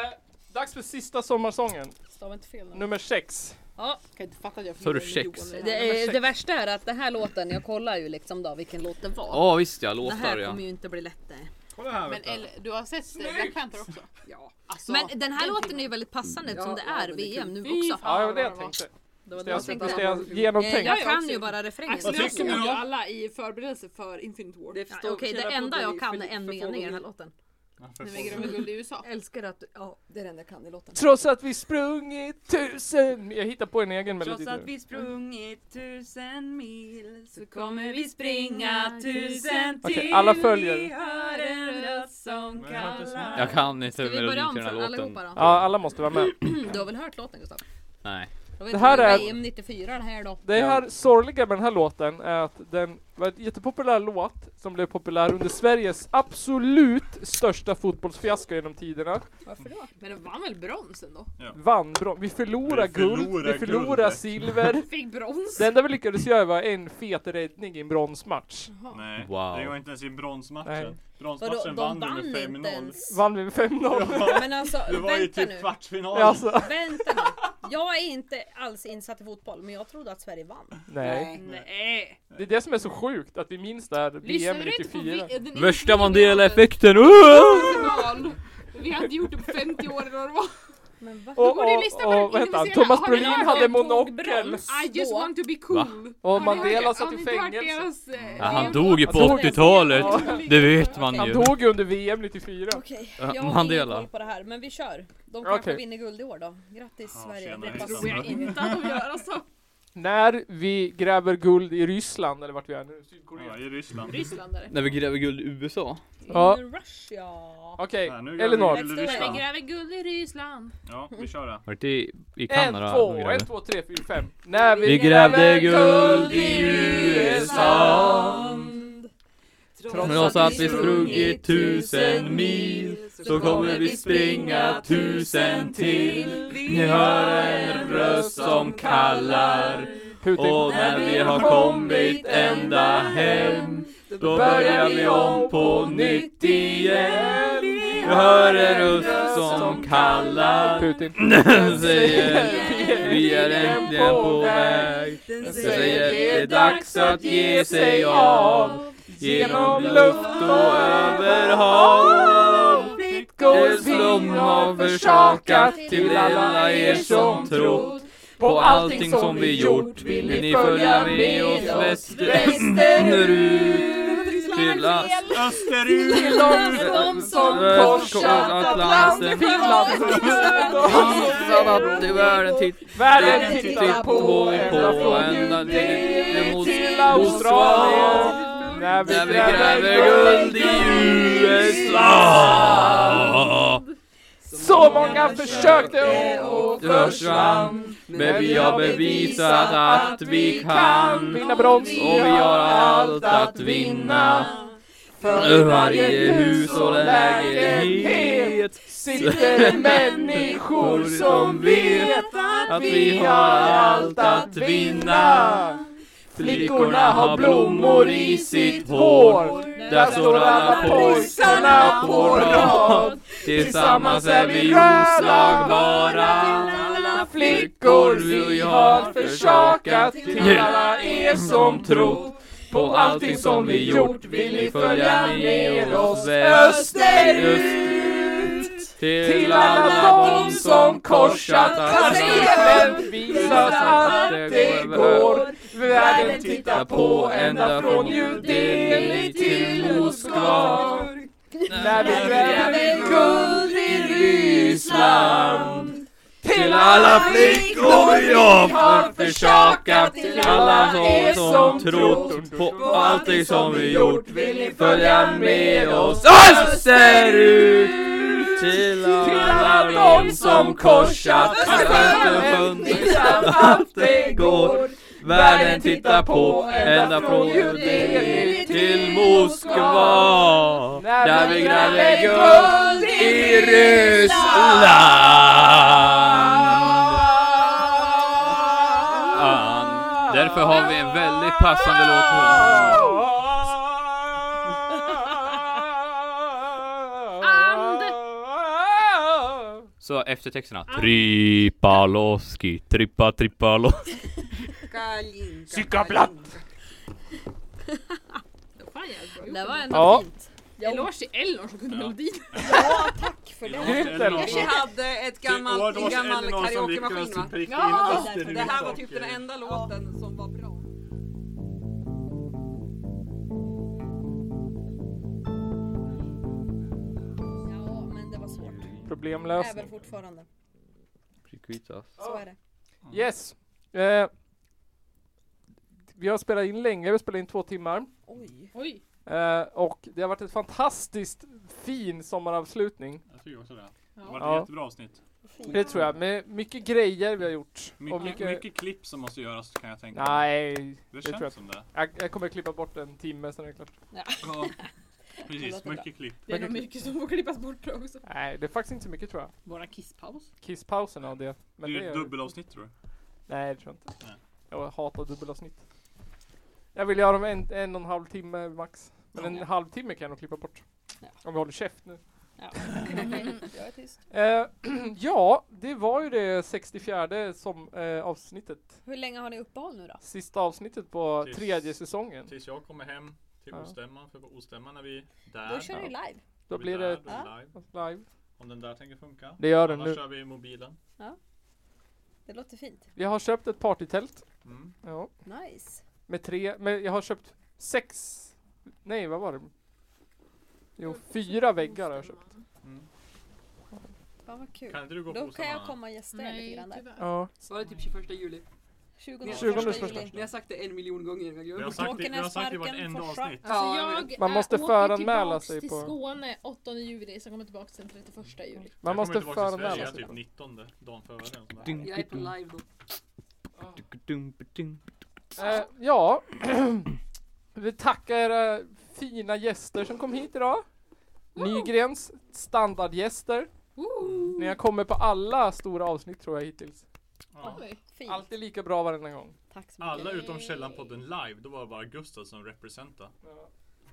[SPEAKER 3] Dags för sista sommarsången,
[SPEAKER 9] Stava inte fel nu.
[SPEAKER 3] nummer sex.
[SPEAKER 9] Ja.
[SPEAKER 4] Kan inte fatta att jag
[SPEAKER 8] Sa du
[SPEAKER 4] förlorar en
[SPEAKER 8] sex?
[SPEAKER 4] miljon i det här.
[SPEAKER 9] Det, är, det värsta är att den här låten, jag kollar ju liksom då vilken låt det var.
[SPEAKER 8] Ja visst ja,
[SPEAKER 9] det här
[SPEAKER 8] låtar ja.
[SPEAKER 9] kommer ju inte bli lätt eh. det.
[SPEAKER 2] Kolla här
[SPEAKER 4] Men
[SPEAKER 2] vet du.
[SPEAKER 4] eller, du har sett eh, Black Panther också?
[SPEAKER 1] Ja.
[SPEAKER 4] Alltså,
[SPEAKER 9] Men den här
[SPEAKER 4] den
[SPEAKER 9] låten
[SPEAKER 4] filmen.
[SPEAKER 9] är ju väldigt passande eftersom det
[SPEAKER 1] ja,
[SPEAKER 9] är
[SPEAKER 1] men det
[SPEAKER 9] VM nu
[SPEAKER 4] Fy
[SPEAKER 9] också.
[SPEAKER 4] fan.
[SPEAKER 3] Ja, det var det
[SPEAKER 4] Ah, vad
[SPEAKER 3] jag
[SPEAKER 4] det var.
[SPEAKER 3] tänkte.
[SPEAKER 9] Det var
[SPEAKER 3] Det
[SPEAKER 9] det jag
[SPEAKER 3] jag
[SPEAKER 9] tänkte.
[SPEAKER 3] tänkte det är
[SPEAKER 9] Eh,
[SPEAKER 3] genomtänkt.
[SPEAKER 9] Jag
[SPEAKER 4] Jag
[SPEAKER 9] kan
[SPEAKER 4] också.
[SPEAKER 9] ju bara refrängen.
[SPEAKER 4] Axel
[SPEAKER 2] Vad
[SPEAKER 4] jag
[SPEAKER 2] tycker
[SPEAKER 4] såg
[SPEAKER 2] ni?
[SPEAKER 4] ju alla i förberedelse för Infinite War.
[SPEAKER 1] Det
[SPEAKER 9] Ja, Okej,
[SPEAKER 1] förstår-
[SPEAKER 9] det enda jag kan är en
[SPEAKER 1] för få
[SPEAKER 9] mening i den här
[SPEAKER 1] gånger.
[SPEAKER 9] låten.
[SPEAKER 2] Ja, för
[SPEAKER 4] Nu
[SPEAKER 2] fan.
[SPEAKER 4] väger de guld i USA.
[SPEAKER 9] Älskar att, ja det är det enda jag kan i låten.
[SPEAKER 3] Trots att vi sprungit tusen... Jag hittar på en egen melodi
[SPEAKER 1] Trots att
[SPEAKER 3] nu.
[SPEAKER 1] vi sprungit tusen mil så kommer vi springa tusen till.
[SPEAKER 3] Okej, alla
[SPEAKER 1] Vi
[SPEAKER 3] följer.
[SPEAKER 1] hör en röst som
[SPEAKER 2] Men jag har inte
[SPEAKER 1] kallar.
[SPEAKER 8] Jag kan inte
[SPEAKER 9] Ska vi börja
[SPEAKER 8] melodin
[SPEAKER 9] om
[SPEAKER 8] till den
[SPEAKER 9] från
[SPEAKER 8] här låten.
[SPEAKER 9] allihopa då?
[SPEAKER 3] Ja, alla måste vara med.
[SPEAKER 9] Du har väl hört låten Gustav?
[SPEAKER 8] Nej.
[SPEAKER 9] Då vet
[SPEAKER 3] Det här
[SPEAKER 9] du,
[SPEAKER 3] är-
[SPEAKER 9] VM 94 den här då.
[SPEAKER 3] Det här sorgliga med den här låten är att den var en jättepopulär låt som blev populär under Sveriges absolut största fotbollsfiasko genom tiderna.
[SPEAKER 9] Varför då?
[SPEAKER 4] Men den vann väl brons ändå?
[SPEAKER 3] Vann bron- Vi förlorade
[SPEAKER 2] Vi förlorar
[SPEAKER 3] guld, vi förlorade
[SPEAKER 2] guldet.
[SPEAKER 3] silver.
[SPEAKER 4] Fick brons?
[SPEAKER 3] Det enda vi lyckades göra var en fet räddning i en bronsmatch.
[SPEAKER 4] Mm.
[SPEAKER 2] Nej,
[SPEAKER 8] Wow.
[SPEAKER 2] det var inte ens i
[SPEAKER 3] Nej.
[SPEAKER 2] bronsmatchen.
[SPEAKER 9] Vadå,
[SPEAKER 2] Bronsmatchen
[SPEAKER 9] de
[SPEAKER 2] vann
[SPEAKER 9] vann,
[SPEAKER 2] vi med 5-0.
[SPEAKER 9] inte ens.
[SPEAKER 3] Vann vi med 5-0.
[SPEAKER 9] Men alltså
[SPEAKER 2] Det var ju
[SPEAKER 9] vänta
[SPEAKER 2] typ
[SPEAKER 9] nu.
[SPEAKER 2] kvartsfinalen.
[SPEAKER 3] Ja. Alltså,
[SPEAKER 9] Vänta nu. Jag är inte alls insatt i fotboll men jag trodde att Sverige vann.
[SPEAKER 3] nej.
[SPEAKER 4] Nej.
[SPEAKER 3] Det är det som är så sjukt att vi minns det här VM
[SPEAKER 4] Lyssnade du inte på
[SPEAKER 3] 94.
[SPEAKER 4] vi- den
[SPEAKER 8] Värsta
[SPEAKER 4] inspelade
[SPEAKER 8] Mandela-effekten! Uh!
[SPEAKER 4] final? Vi hade gjort det på 50 år eller vad det var.
[SPEAKER 9] Men va?
[SPEAKER 3] Och, och,
[SPEAKER 4] Borde ni lyssna på den
[SPEAKER 3] och vad hette han?
[SPEAKER 4] inofficiella?
[SPEAKER 3] Thomas
[SPEAKER 4] Har ni
[SPEAKER 3] Brolin
[SPEAKER 4] hört
[SPEAKER 3] hade
[SPEAKER 4] den?
[SPEAKER 3] monokel.
[SPEAKER 4] I just
[SPEAKER 9] Då.
[SPEAKER 4] want to be cool.
[SPEAKER 3] Och
[SPEAKER 4] Har ni
[SPEAKER 3] Mandela
[SPEAKER 4] hört-
[SPEAKER 3] satt
[SPEAKER 4] har
[SPEAKER 3] i
[SPEAKER 4] ni inte hört
[SPEAKER 3] fängelse.
[SPEAKER 4] deras, eh,
[SPEAKER 8] Ja, han
[SPEAKER 4] det-
[SPEAKER 8] dog ju på
[SPEAKER 3] Jag dog.
[SPEAKER 8] 80-talet! Det vet man
[SPEAKER 3] Han
[SPEAKER 8] ju.
[SPEAKER 3] dog ju under VM 94.
[SPEAKER 9] Okej,
[SPEAKER 8] Ja,
[SPEAKER 9] jag har ingen
[SPEAKER 8] Mandela.
[SPEAKER 9] koll på det här men vi kör. De kanske
[SPEAKER 3] Okej.
[SPEAKER 9] vinner guld i år då. Grattis
[SPEAKER 2] Ja,
[SPEAKER 9] Sverige.
[SPEAKER 2] tjena,
[SPEAKER 9] Det
[SPEAKER 4] Det
[SPEAKER 2] hejsan.
[SPEAKER 9] passar.
[SPEAKER 4] tror jag inte att de gör alltså.
[SPEAKER 3] När vi gräver guld i Ryssland, eller vart vi är nu, Sydkorea.
[SPEAKER 2] Ja, i Ryssland.
[SPEAKER 4] Rysslandare.
[SPEAKER 8] När vi gräver guld i USA.
[SPEAKER 3] Ja.
[SPEAKER 9] In Russia.
[SPEAKER 3] Okej,
[SPEAKER 2] Ja, nu gör
[SPEAKER 3] Elinor.
[SPEAKER 2] vi guld i
[SPEAKER 9] Let's do it.
[SPEAKER 4] Jag
[SPEAKER 2] Ryssland.
[SPEAKER 4] gräver guld i Ryssland.
[SPEAKER 2] Ja, vi kör det.
[SPEAKER 8] Vart i, i
[SPEAKER 3] En,
[SPEAKER 8] Kanada?
[SPEAKER 3] två,
[SPEAKER 8] de gräver.
[SPEAKER 3] en, två, tre, fyra, fem. När vi,
[SPEAKER 8] Vi grävde guld i USA. Trots att vi sprungit tusen mil så kommer vi springa tusen till. Ni hör en röst som kallar
[SPEAKER 3] Putin.
[SPEAKER 8] och när vi har kommit ända hem då börjar vi om på nytt igen. Ni hör en röst som kallar
[SPEAKER 3] Putin.
[SPEAKER 8] Den säger vi är äntligen på väg. Den säger det är dags att ge sig av. Genom luft och över hav.
[SPEAKER 3] Mitt
[SPEAKER 8] Det slum har försakat till alla er som trott. På allting som vi gjort vill ni följa med oss väst- västerut. Till As-
[SPEAKER 2] Österut!
[SPEAKER 3] Till dem som korsat Atlanten, Finland,
[SPEAKER 8] Annat i världen tittar
[SPEAKER 3] Världen tittar på ända från
[SPEAKER 8] Djupet
[SPEAKER 3] Djupet
[SPEAKER 8] till
[SPEAKER 3] till Australien när vi
[SPEAKER 8] när vi gräver guld i USA.
[SPEAKER 3] Så många försökte och
[SPEAKER 8] Det försvann, men vi har bevisat att vi kan.
[SPEAKER 3] vinna brons
[SPEAKER 8] Och vi har allt att vinna. För varje hus och lägenhet
[SPEAKER 3] sitter människor som vet
[SPEAKER 8] att vi har allt att vinna. Flickorna har blommor i sitt hår. Där står alla pojkarna på rad. Tillsammans är vi oslagbara.
[SPEAKER 3] Alla flickor vi har försakat till alla er som trott på allting som vi gjort vill ni följa med oss österut till alla de som korsat planeten visas att det går Världen tittar på ända från Judeen till Moskva När vi gräver guld i Ryssland
[SPEAKER 8] Till alla flickor jag har försakat Till alla de som trott på allting som vi gjort
[SPEAKER 3] Vill ni
[SPEAKER 8] Följa med oss österut Till alla de som korsat Atlanten
[SPEAKER 3] visar att det går
[SPEAKER 8] Världen tittar på ända från Judeen till Moskva Där vi gräver guld i Ryssland Därför har vi en väldigt passande låt Så eftertexterna Tripaloski, trippa trippalo
[SPEAKER 1] Kalinka,
[SPEAKER 3] Psykablatt.
[SPEAKER 1] kalinka.
[SPEAKER 4] Fan, jag
[SPEAKER 7] Det var ändå
[SPEAKER 3] Ja.
[SPEAKER 7] fint.
[SPEAKER 4] Eloge till Elnor som kunde melodin.
[SPEAKER 3] Grymt ändå.
[SPEAKER 1] Vi hade ett gammalt, en gammal karaokemaskin va?
[SPEAKER 2] Ja!
[SPEAKER 1] Det här var typ den enda låten som var bra.
[SPEAKER 9] Ja, men det var svårt.
[SPEAKER 3] Problemlösning.
[SPEAKER 9] Även fortfarande. Så är det.
[SPEAKER 3] Yes. Eh, vi har spelat in länge, vi har spelat in två timmar.
[SPEAKER 4] Oj.
[SPEAKER 3] Eh, och det har varit ett fantastiskt fin sommaravslutning.
[SPEAKER 2] Jag tycker också det. Det var ett
[SPEAKER 3] Ja.
[SPEAKER 2] jättebra avsnitt.
[SPEAKER 3] Det tror jag, med mycket grejer vi har gjort. och
[SPEAKER 2] Mycket,
[SPEAKER 3] mycket...
[SPEAKER 2] mycket... klipp som måste göras kan jag tänka mig.
[SPEAKER 3] Nej,
[SPEAKER 2] Det
[SPEAKER 3] tror jag.
[SPEAKER 2] känns som det.
[SPEAKER 3] jag, jag kommer klippa bort en timme sen är det klart.
[SPEAKER 2] Ja. Precis, mycket klipp.
[SPEAKER 4] Det är nog mycket som får klippas bort också.
[SPEAKER 3] Nej, det är faktiskt inte så mycket tror jag.
[SPEAKER 4] Våra kisspaus.
[SPEAKER 3] Kisspausen av det. Men
[SPEAKER 2] det
[SPEAKER 3] det
[SPEAKER 2] är ju ett dubbelavsnitt tror jag.
[SPEAKER 3] Nej, det tror jag inte.
[SPEAKER 2] Nej.
[SPEAKER 3] Jag hatar dubbelavsnitt. Jag vill göra dem en, en och en halv timme max. Men en halvtimme kan jag nog klippa bort. Om vi håller käft nu.
[SPEAKER 7] Jag är tyst.
[SPEAKER 3] Eh, ja, det var ju det 64 som eh, avsnittet.
[SPEAKER 7] Hur länge har ni uppehåll nu då?
[SPEAKER 3] Sista avsnittet på
[SPEAKER 2] Tills-
[SPEAKER 3] tredje säsongen.
[SPEAKER 2] Tills jag kommer hem till
[SPEAKER 3] Ja.
[SPEAKER 2] ostämman, för på ostämman är vi
[SPEAKER 7] Då
[SPEAKER 2] där.
[SPEAKER 7] kör ni live.
[SPEAKER 3] Då
[SPEAKER 2] Vi
[SPEAKER 3] blir
[SPEAKER 2] där,
[SPEAKER 3] det
[SPEAKER 2] då är vi live.
[SPEAKER 3] live.
[SPEAKER 2] Om den där tänker funka.
[SPEAKER 3] Det gör den
[SPEAKER 2] Annars
[SPEAKER 3] nu.
[SPEAKER 2] kör vi i mobilen.
[SPEAKER 7] Det låter fint.
[SPEAKER 3] Vi har köpt ett partytält.
[SPEAKER 2] Mm.
[SPEAKER 3] Ja,
[SPEAKER 7] Nice.
[SPEAKER 3] med tre, men jag har köpt sex. Nej, vad var det? Jo,
[SPEAKER 7] Mm.
[SPEAKER 3] fyra väggar har jag köpt.
[SPEAKER 7] Fan vad kul.
[SPEAKER 2] mm. Kan inte du gå på
[SPEAKER 7] Då kan
[SPEAKER 2] ostämman?
[SPEAKER 7] jag komma och gästa er lite
[SPEAKER 4] Nej,
[SPEAKER 7] grann där.
[SPEAKER 4] tyvärr.
[SPEAKER 3] Ja.
[SPEAKER 1] Var det typ 21 juli?
[SPEAKER 7] 20
[SPEAKER 3] 20
[SPEAKER 7] första
[SPEAKER 3] första.
[SPEAKER 7] juli.
[SPEAKER 1] Ni har sagt det en miljon gånger. Jag
[SPEAKER 2] Vi har
[SPEAKER 1] glömmer.
[SPEAKER 2] sagt det, vi har sagt det i
[SPEAKER 7] Åkenäsparken,
[SPEAKER 2] vartenda
[SPEAKER 7] Forsa.
[SPEAKER 2] avsnitt.
[SPEAKER 1] Ja,
[SPEAKER 4] Alltså
[SPEAKER 1] jag
[SPEAKER 4] jag
[SPEAKER 3] Man
[SPEAKER 4] är-
[SPEAKER 3] måste
[SPEAKER 4] åker
[SPEAKER 3] föranmäla
[SPEAKER 4] tillbaks
[SPEAKER 3] sig
[SPEAKER 4] till
[SPEAKER 3] på-
[SPEAKER 4] Skåne 8 juli, sen kommer jag tillbaka den 31 juli.
[SPEAKER 3] Man
[SPEAKER 2] jag
[SPEAKER 3] måste
[SPEAKER 2] kommer tillbaka till
[SPEAKER 3] föranmäla
[SPEAKER 2] Sverige
[SPEAKER 3] sig.
[SPEAKER 2] typ 19 dagen före. eller nåt sånt där.
[SPEAKER 1] Jag är på live då.
[SPEAKER 3] Eh, ja, Vi vill tacka era fina gäster som kom hit idag. Nygrens standardgäster. Ni har kommit på alla stora avsnitt tror jag hittills.
[SPEAKER 2] Ja.
[SPEAKER 7] Fint.
[SPEAKER 3] Alltid lika bra varenda gång.
[SPEAKER 7] Tack så mycket.
[SPEAKER 2] Alla utom Källarpodden live, då var det bara Gustav som representa.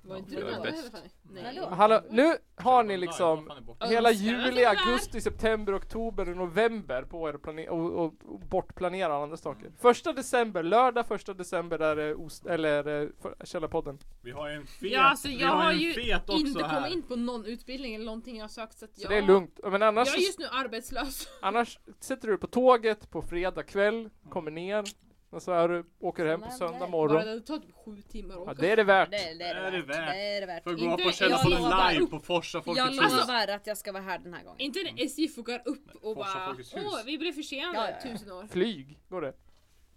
[SPEAKER 4] Var inte
[SPEAKER 8] det
[SPEAKER 4] du
[SPEAKER 8] var
[SPEAKER 4] där?
[SPEAKER 8] bäst.
[SPEAKER 4] heller, Fanny? Nej.
[SPEAKER 7] Hallå.
[SPEAKER 3] Hallå, nu har
[SPEAKER 2] Källarpodden
[SPEAKER 3] ni
[SPEAKER 2] live,
[SPEAKER 3] liksom
[SPEAKER 2] vad fan är borta?
[SPEAKER 3] hela
[SPEAKER 4] Önskar
[SPEAKER 3] juli,
[SPEAKER 4] oss där.
[SPEAKER 3] augusti, september, oktober och november på er att plane- och, och, och bortplanera andra saker. Första december, lördag första december där är ost, eller eh, för- Källarpodden.
[SPEAKER 2] Vi har ju en fet,
[SPEAKER 4] Ja, alltså,
[SPEAKER 2] vi
[SPEAKER 4] jag
[SPEAKER 2] har
[SPEAKER 4] har
[SPEAKER 2] en
[SPEAKER 4] ju
[SPEAKER 2] fet också
[SPEAKER 4] inte
[SPEAKER 2] här.
[SPEAKER 4] kommit in på någon utbildning eller någonting jag har sökt så att
[SPEAKER 3] Så
[SPEAKER 4] jag,
[SPEAKER 3] det är lugnt. Men annars,
[SPEAKER 4] jag är just nu arbetslös.
[SPEAKER 3] annars sätter du dig på tåget på fredag kväll, kommer ner, och så är du, åker hem på söndag
[SPEAKER 4] Bara
[SPEAKER 3] morgon.
[SPEAKER 4] det tar typ sju timmar att åka.
[SPEAKER 3] Ja, det är det värt.
[SPEAKER 7] Det, det,
[SPEAKER 2] Är
[SPEAKER 7] är
[SPEAKER 2] det
[SPEAKER 7] det värt.
[SPEAKER 2] värt?
[SPEAKER 7] Det är det värt.
[SPEAKER 2] För att gå
[SPEAKER 4] Inte-
[SPEAKER 2] på Källarpodden
[SPEAKER 7] jag lovar.
[SPEAKER 2] live på Forsa
[SPEAKER 7] Jag
[SPEAKER 2] Folkets Hus.
[SPEAKER 7] lovar att jag ska vara här den här gången.
[SPEAKER 4] Inte när SJ fuckar upp och
[SPEAKER 2] Forsa
[SPEAKER 4] bara
[SPEAKER 2] Folkets hus.
[SPEAKER 4] Åh, vi blev försenade
[SPEAKER 7] Ja, ja, ja.
[SPEAKER 4] tusen år.
[SPEAKER 3] Flyg, går det?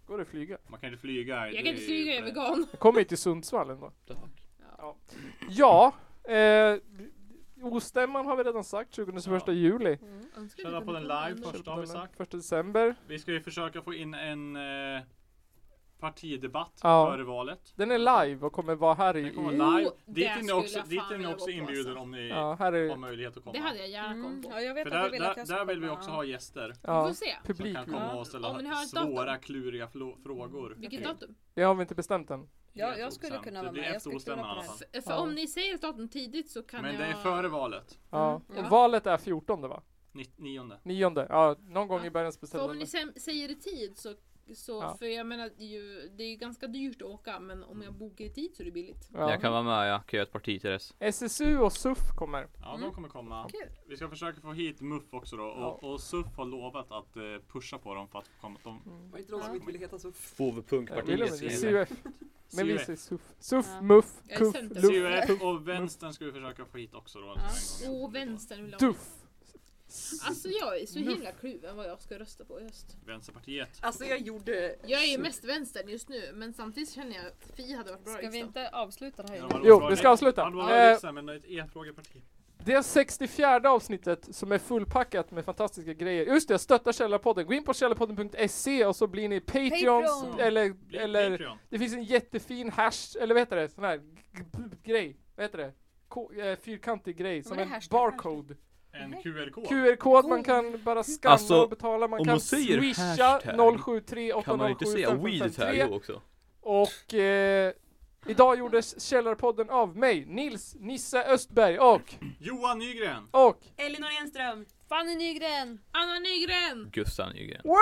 [SPEAKER 3] Går det att flyga?
[SPEAKER 2] Man kan inte flyga.
[SPEAKER 4] Jag kan inte flyga, jag är vegan.
[SPEAKER 3] Jag kommer ju till Sundsvall ändå. Ja, eh, ostämman har vi redan sagt, 21
[SPEAKER 2] Ja.
[SPEAKER 3] juli.
[SPEAKER 2] Källarpodden live, första har vi sagt.
[SPEAKER 3] Första december.
[SPEAKER 2] Vi ska ju försöka få in en eh, partidebatt
[SPEAKER 3] Ja.
[SPEAKER 2] före valet.
[SPEAKER 3] Den är live och kommer vara här i...
[SPEAKER 2] Den kommer
[SPEAKER 3] i-
[SPEAKER 2] vara live.
[SPEAKER 4] Oh,
[SPEAKER 2] Dit
[SPEAKER 4] där
[SPEAKER 2] är ni
[SPEAKER 4] skulle
[SPEAKER 2] också,
[SPEAKER 4] jag fan
[SPEAKER 2] dit är ni
[SPEAKER 4] vilja
[SPEAKER 2] också
[SPEAKER 4] gå på,
[SPEAKER 2] inbjuden
[SPEAKER 4] alltså.
[SPEAKER 2] om ni
[SPEAKER 3] ja, här
[SPEAKER 2] har
[SPEAKER 3] är...
[SPEAKER 2] möjlighet att komma.
[SPEAKER 4] Det hade jag gärna
[SPEAKER 7] Mm,
[SPEAKER 4] kommit på.
[SPEAKER 7] ja, jag vet
[SPEAKER 2] För
[SPEAKER 7] att
[SPEAKER 2] där,
[SPEAKER 7] du vill att
[SPEAKER 2] där,
[SPEAKER 7] jag ska
[SPEAKER 2] där vill vi
[SPEAKER 7] komma.
[SPEAKER 2] också ha gäster.
[SPEAKER 4] Vi
[SPEAKER 3] Ja,
[SPEAKER 4] får se.
[SPEAKER 2] Som
[SPEAKER 3] publik.
[SPEAKER 2] kan komma och
[SPEAKER 4] Om ni
[SPEAKER 2] ställa
[SPEAKER 4] har ett
[SPEAKER 2] svåra,
[SPEAKER 4] datum.
[SPEAKER 2] kluriga flo- frågor.
[SPEAKER 4] Vilket datum?
[SPEAKER 3] Det har vi inte bestämt än.
[SPEAKER 7] Ja,
[SPEAKER 2] Helt
[SPEAKER 7] jag skulle
[SPEAKER 2] osämt.
[SPEAKER 7] kunna
[SPEAKER 2] Det
[SPEAKER 7] vara
[SPEAKER 2] blir
[SPEAKER 7] med. Jag
[SPEAKER 2] efter
[SPEAKER 7] skulle kunna
[SPEAKER 2] ostämman
[SPEAKER 7] vara
[SPEAKER 2] i alla
[SPEAKER 7] på
[SPEAKER 2] fall.
[SPEAKER 4] För
[SPEAKER 3] Ja.
[SPEAKER 4] om ni säger ett datum tidigt så kan
[SPEAKER 2] Men
[SPEAKER 4] jag...
[SPEAKER 2] det är före valet.
[SPEAKER 3] Ja.
[SPEAKER 4] Mm, Ja.
[SPEAKER 3] Och valet är 14 va?
[SPEAKER 2] Ni- Nionde.
[SPEAKER 3] Nionde. Ja, någon gång
[SPEAKER 4] Ja.
[SPEAKER 3] i början
[SPEAKER 4] För om
[SPEAKER 3] bestämmer
[SPEAKER 4] ni
[SPEAKER 3] vi.
[SPEAKER 4] sen säger i tid så, så
[SPEAKER 3] Ja.
[SPEAKER 4] för jag menar det är ju, det är ju ganska dyrt att åka men om jag bokar i tid så är det billigt.
[SPEAKER 8] Jag kan vara
[SPEAKER 3] Ja.
[SPEAKER 8] med, jag kan göra ett parti till dess.
[SPEAKER 3] SSU och SUF kommer. Eh,
[SPEAKER 2] Ja,
[SPEAKER 4] Mm.
[SPEAKER 2] de kommer komma.
[SPEAKER 7] Kul.
[SPEAKER 2] Vi ska försöka få hit MUF också då. Och, och SUF har lovat att eh, pusha på dem för att komma. De,
[SPEAKER 5] Var det inte de som inte ville heta så?
[SPEAKER 3] Eh, vill de inte? CUF. Men vi
[SPEAKER 2] CUF.
[SPEAKER 3] säger SUF. SUF,
[SPEAKER 7] Ja.
[SPEAKER 3] MUF,
[SPEAKER 4] Jag är
[SPEAKER 3] KUF,
[SPEAKER 4] center.
[SPEAKER 3] LUF,
[SPEAKER 2] CUF och vänstern ska vi försöka få hit också då. alltså, en gång.
[SPEAKER 4] Och vänstern vill jag ha.
[SPEAKER 3] DUF.
[SPEAKER 4] Alltså jag är så himla kluven vad jag ska rösta på i höst.
[SPEAKER 2] Vänsterpartiet.
[SPEAKER 5] Alltså jag gjorde...
[SPEAKER 4] Jag är ju mest vänstern just nu men samtidigt känner jag att Fi hade varit bra i
[SPEAKER 7] Ska vi
[SPEAKER 4] riksdagen.
[SPEAKER 7] inte avsluta det här?
[SPEAKER 2] Ja,
[SPEAKER 7] innan?
[SPEAKER 3] Jo,
[SPEAKER 2] bra.
[SPEAKER 3] vi ska avsluta.
[SPEAKER 2] Han var
[SPEAKER 3] Eh,
[SPEAKER 2] liksom ett e-frågeparti.
[SPEAKER 3] Det 64 avsnittet som är fullpackat med fantastiska grejer. Just det, stötta Källarpodden. Gå in på källarpodden.se och så blir ni Patreons
[SPEAKER 7] Patreon.
[SPEAKER 3] eller,
[SPEAKER 2] Bli
[SPEAKER 3] eller
[SPEAKER 2] Patreon.
[SPEAKER 3] det finns en jättefin hash, eller vad heter det? Sån här g- g- grej. Vad heter det? K- eh, fyrkantig grej som
[SPEAKER 7] det är
[SPEAKER 3] en
[SPEAKER 7] hashtag,
[SPEAKER 3] barcode.
[SPEAKER 2] En QR-kod.
[SPEAKER 3] QR-kod man kan bara scanna
[SPEAKER 8] Alltså,
[SPEAKER 3] och betala. Man
[SPEAKER 8] om
[SPEAKER 3] kan
[SPEAKER 8] man säger
[SPEAKER 3] swisha
[SPEAKER 8] hashtag,
[SPEAKER 3] 073
[SPEAKER 8] Kan man inte säga weed här då
[SPEAKER 3] 807
[SPEAKER 8] också?
[SPEAKER 3] Och eh, idag gjordes Källarpodden av mig, Nils Nisse Östberg och,
[SPEAKER 2] Johan Nygren.
[SPEAKER 3] och
[SPEAKER 14] Elinor Enström.
[SPEAKER 7] Fanny Nygren!
[SPEAKER 4] Anna Nygren!
[SPEAKER 8] Gustav Nygren.
[SPEAKER 3] Woo!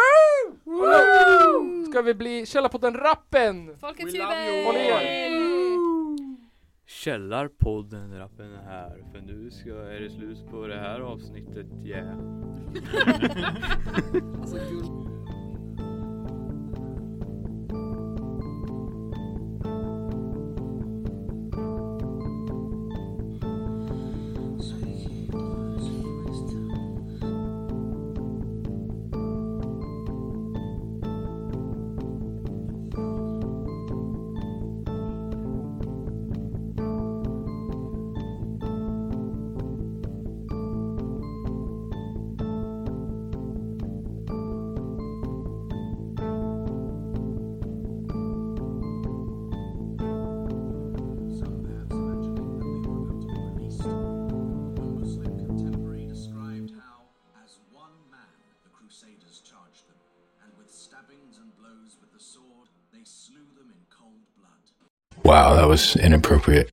[SPEAKER 3] Ska vi bli Källarpodden-rappen?
[SPEAKER 7] Folkets
[SPEAKER 2] We love you
[SPEAKER 3] Håll i
[SPEAKER 7] Huvud!
[SPEAKER 3] er.
[SPEAKER 8] Källarpodden rappen är här för nu ska, är det slut på det här avsnittet, yeah.
[SPEAKER 5] Alltså, guld.
[SPEAKER 14] Some maps mentioning that they were built and released. One Muslim contemporary described how, as one man, the Crusaders charged them, and with stabbings and blows with the sword, they slew them in cold blood.
[SPEAKER 15] Wow, that was inappropriate.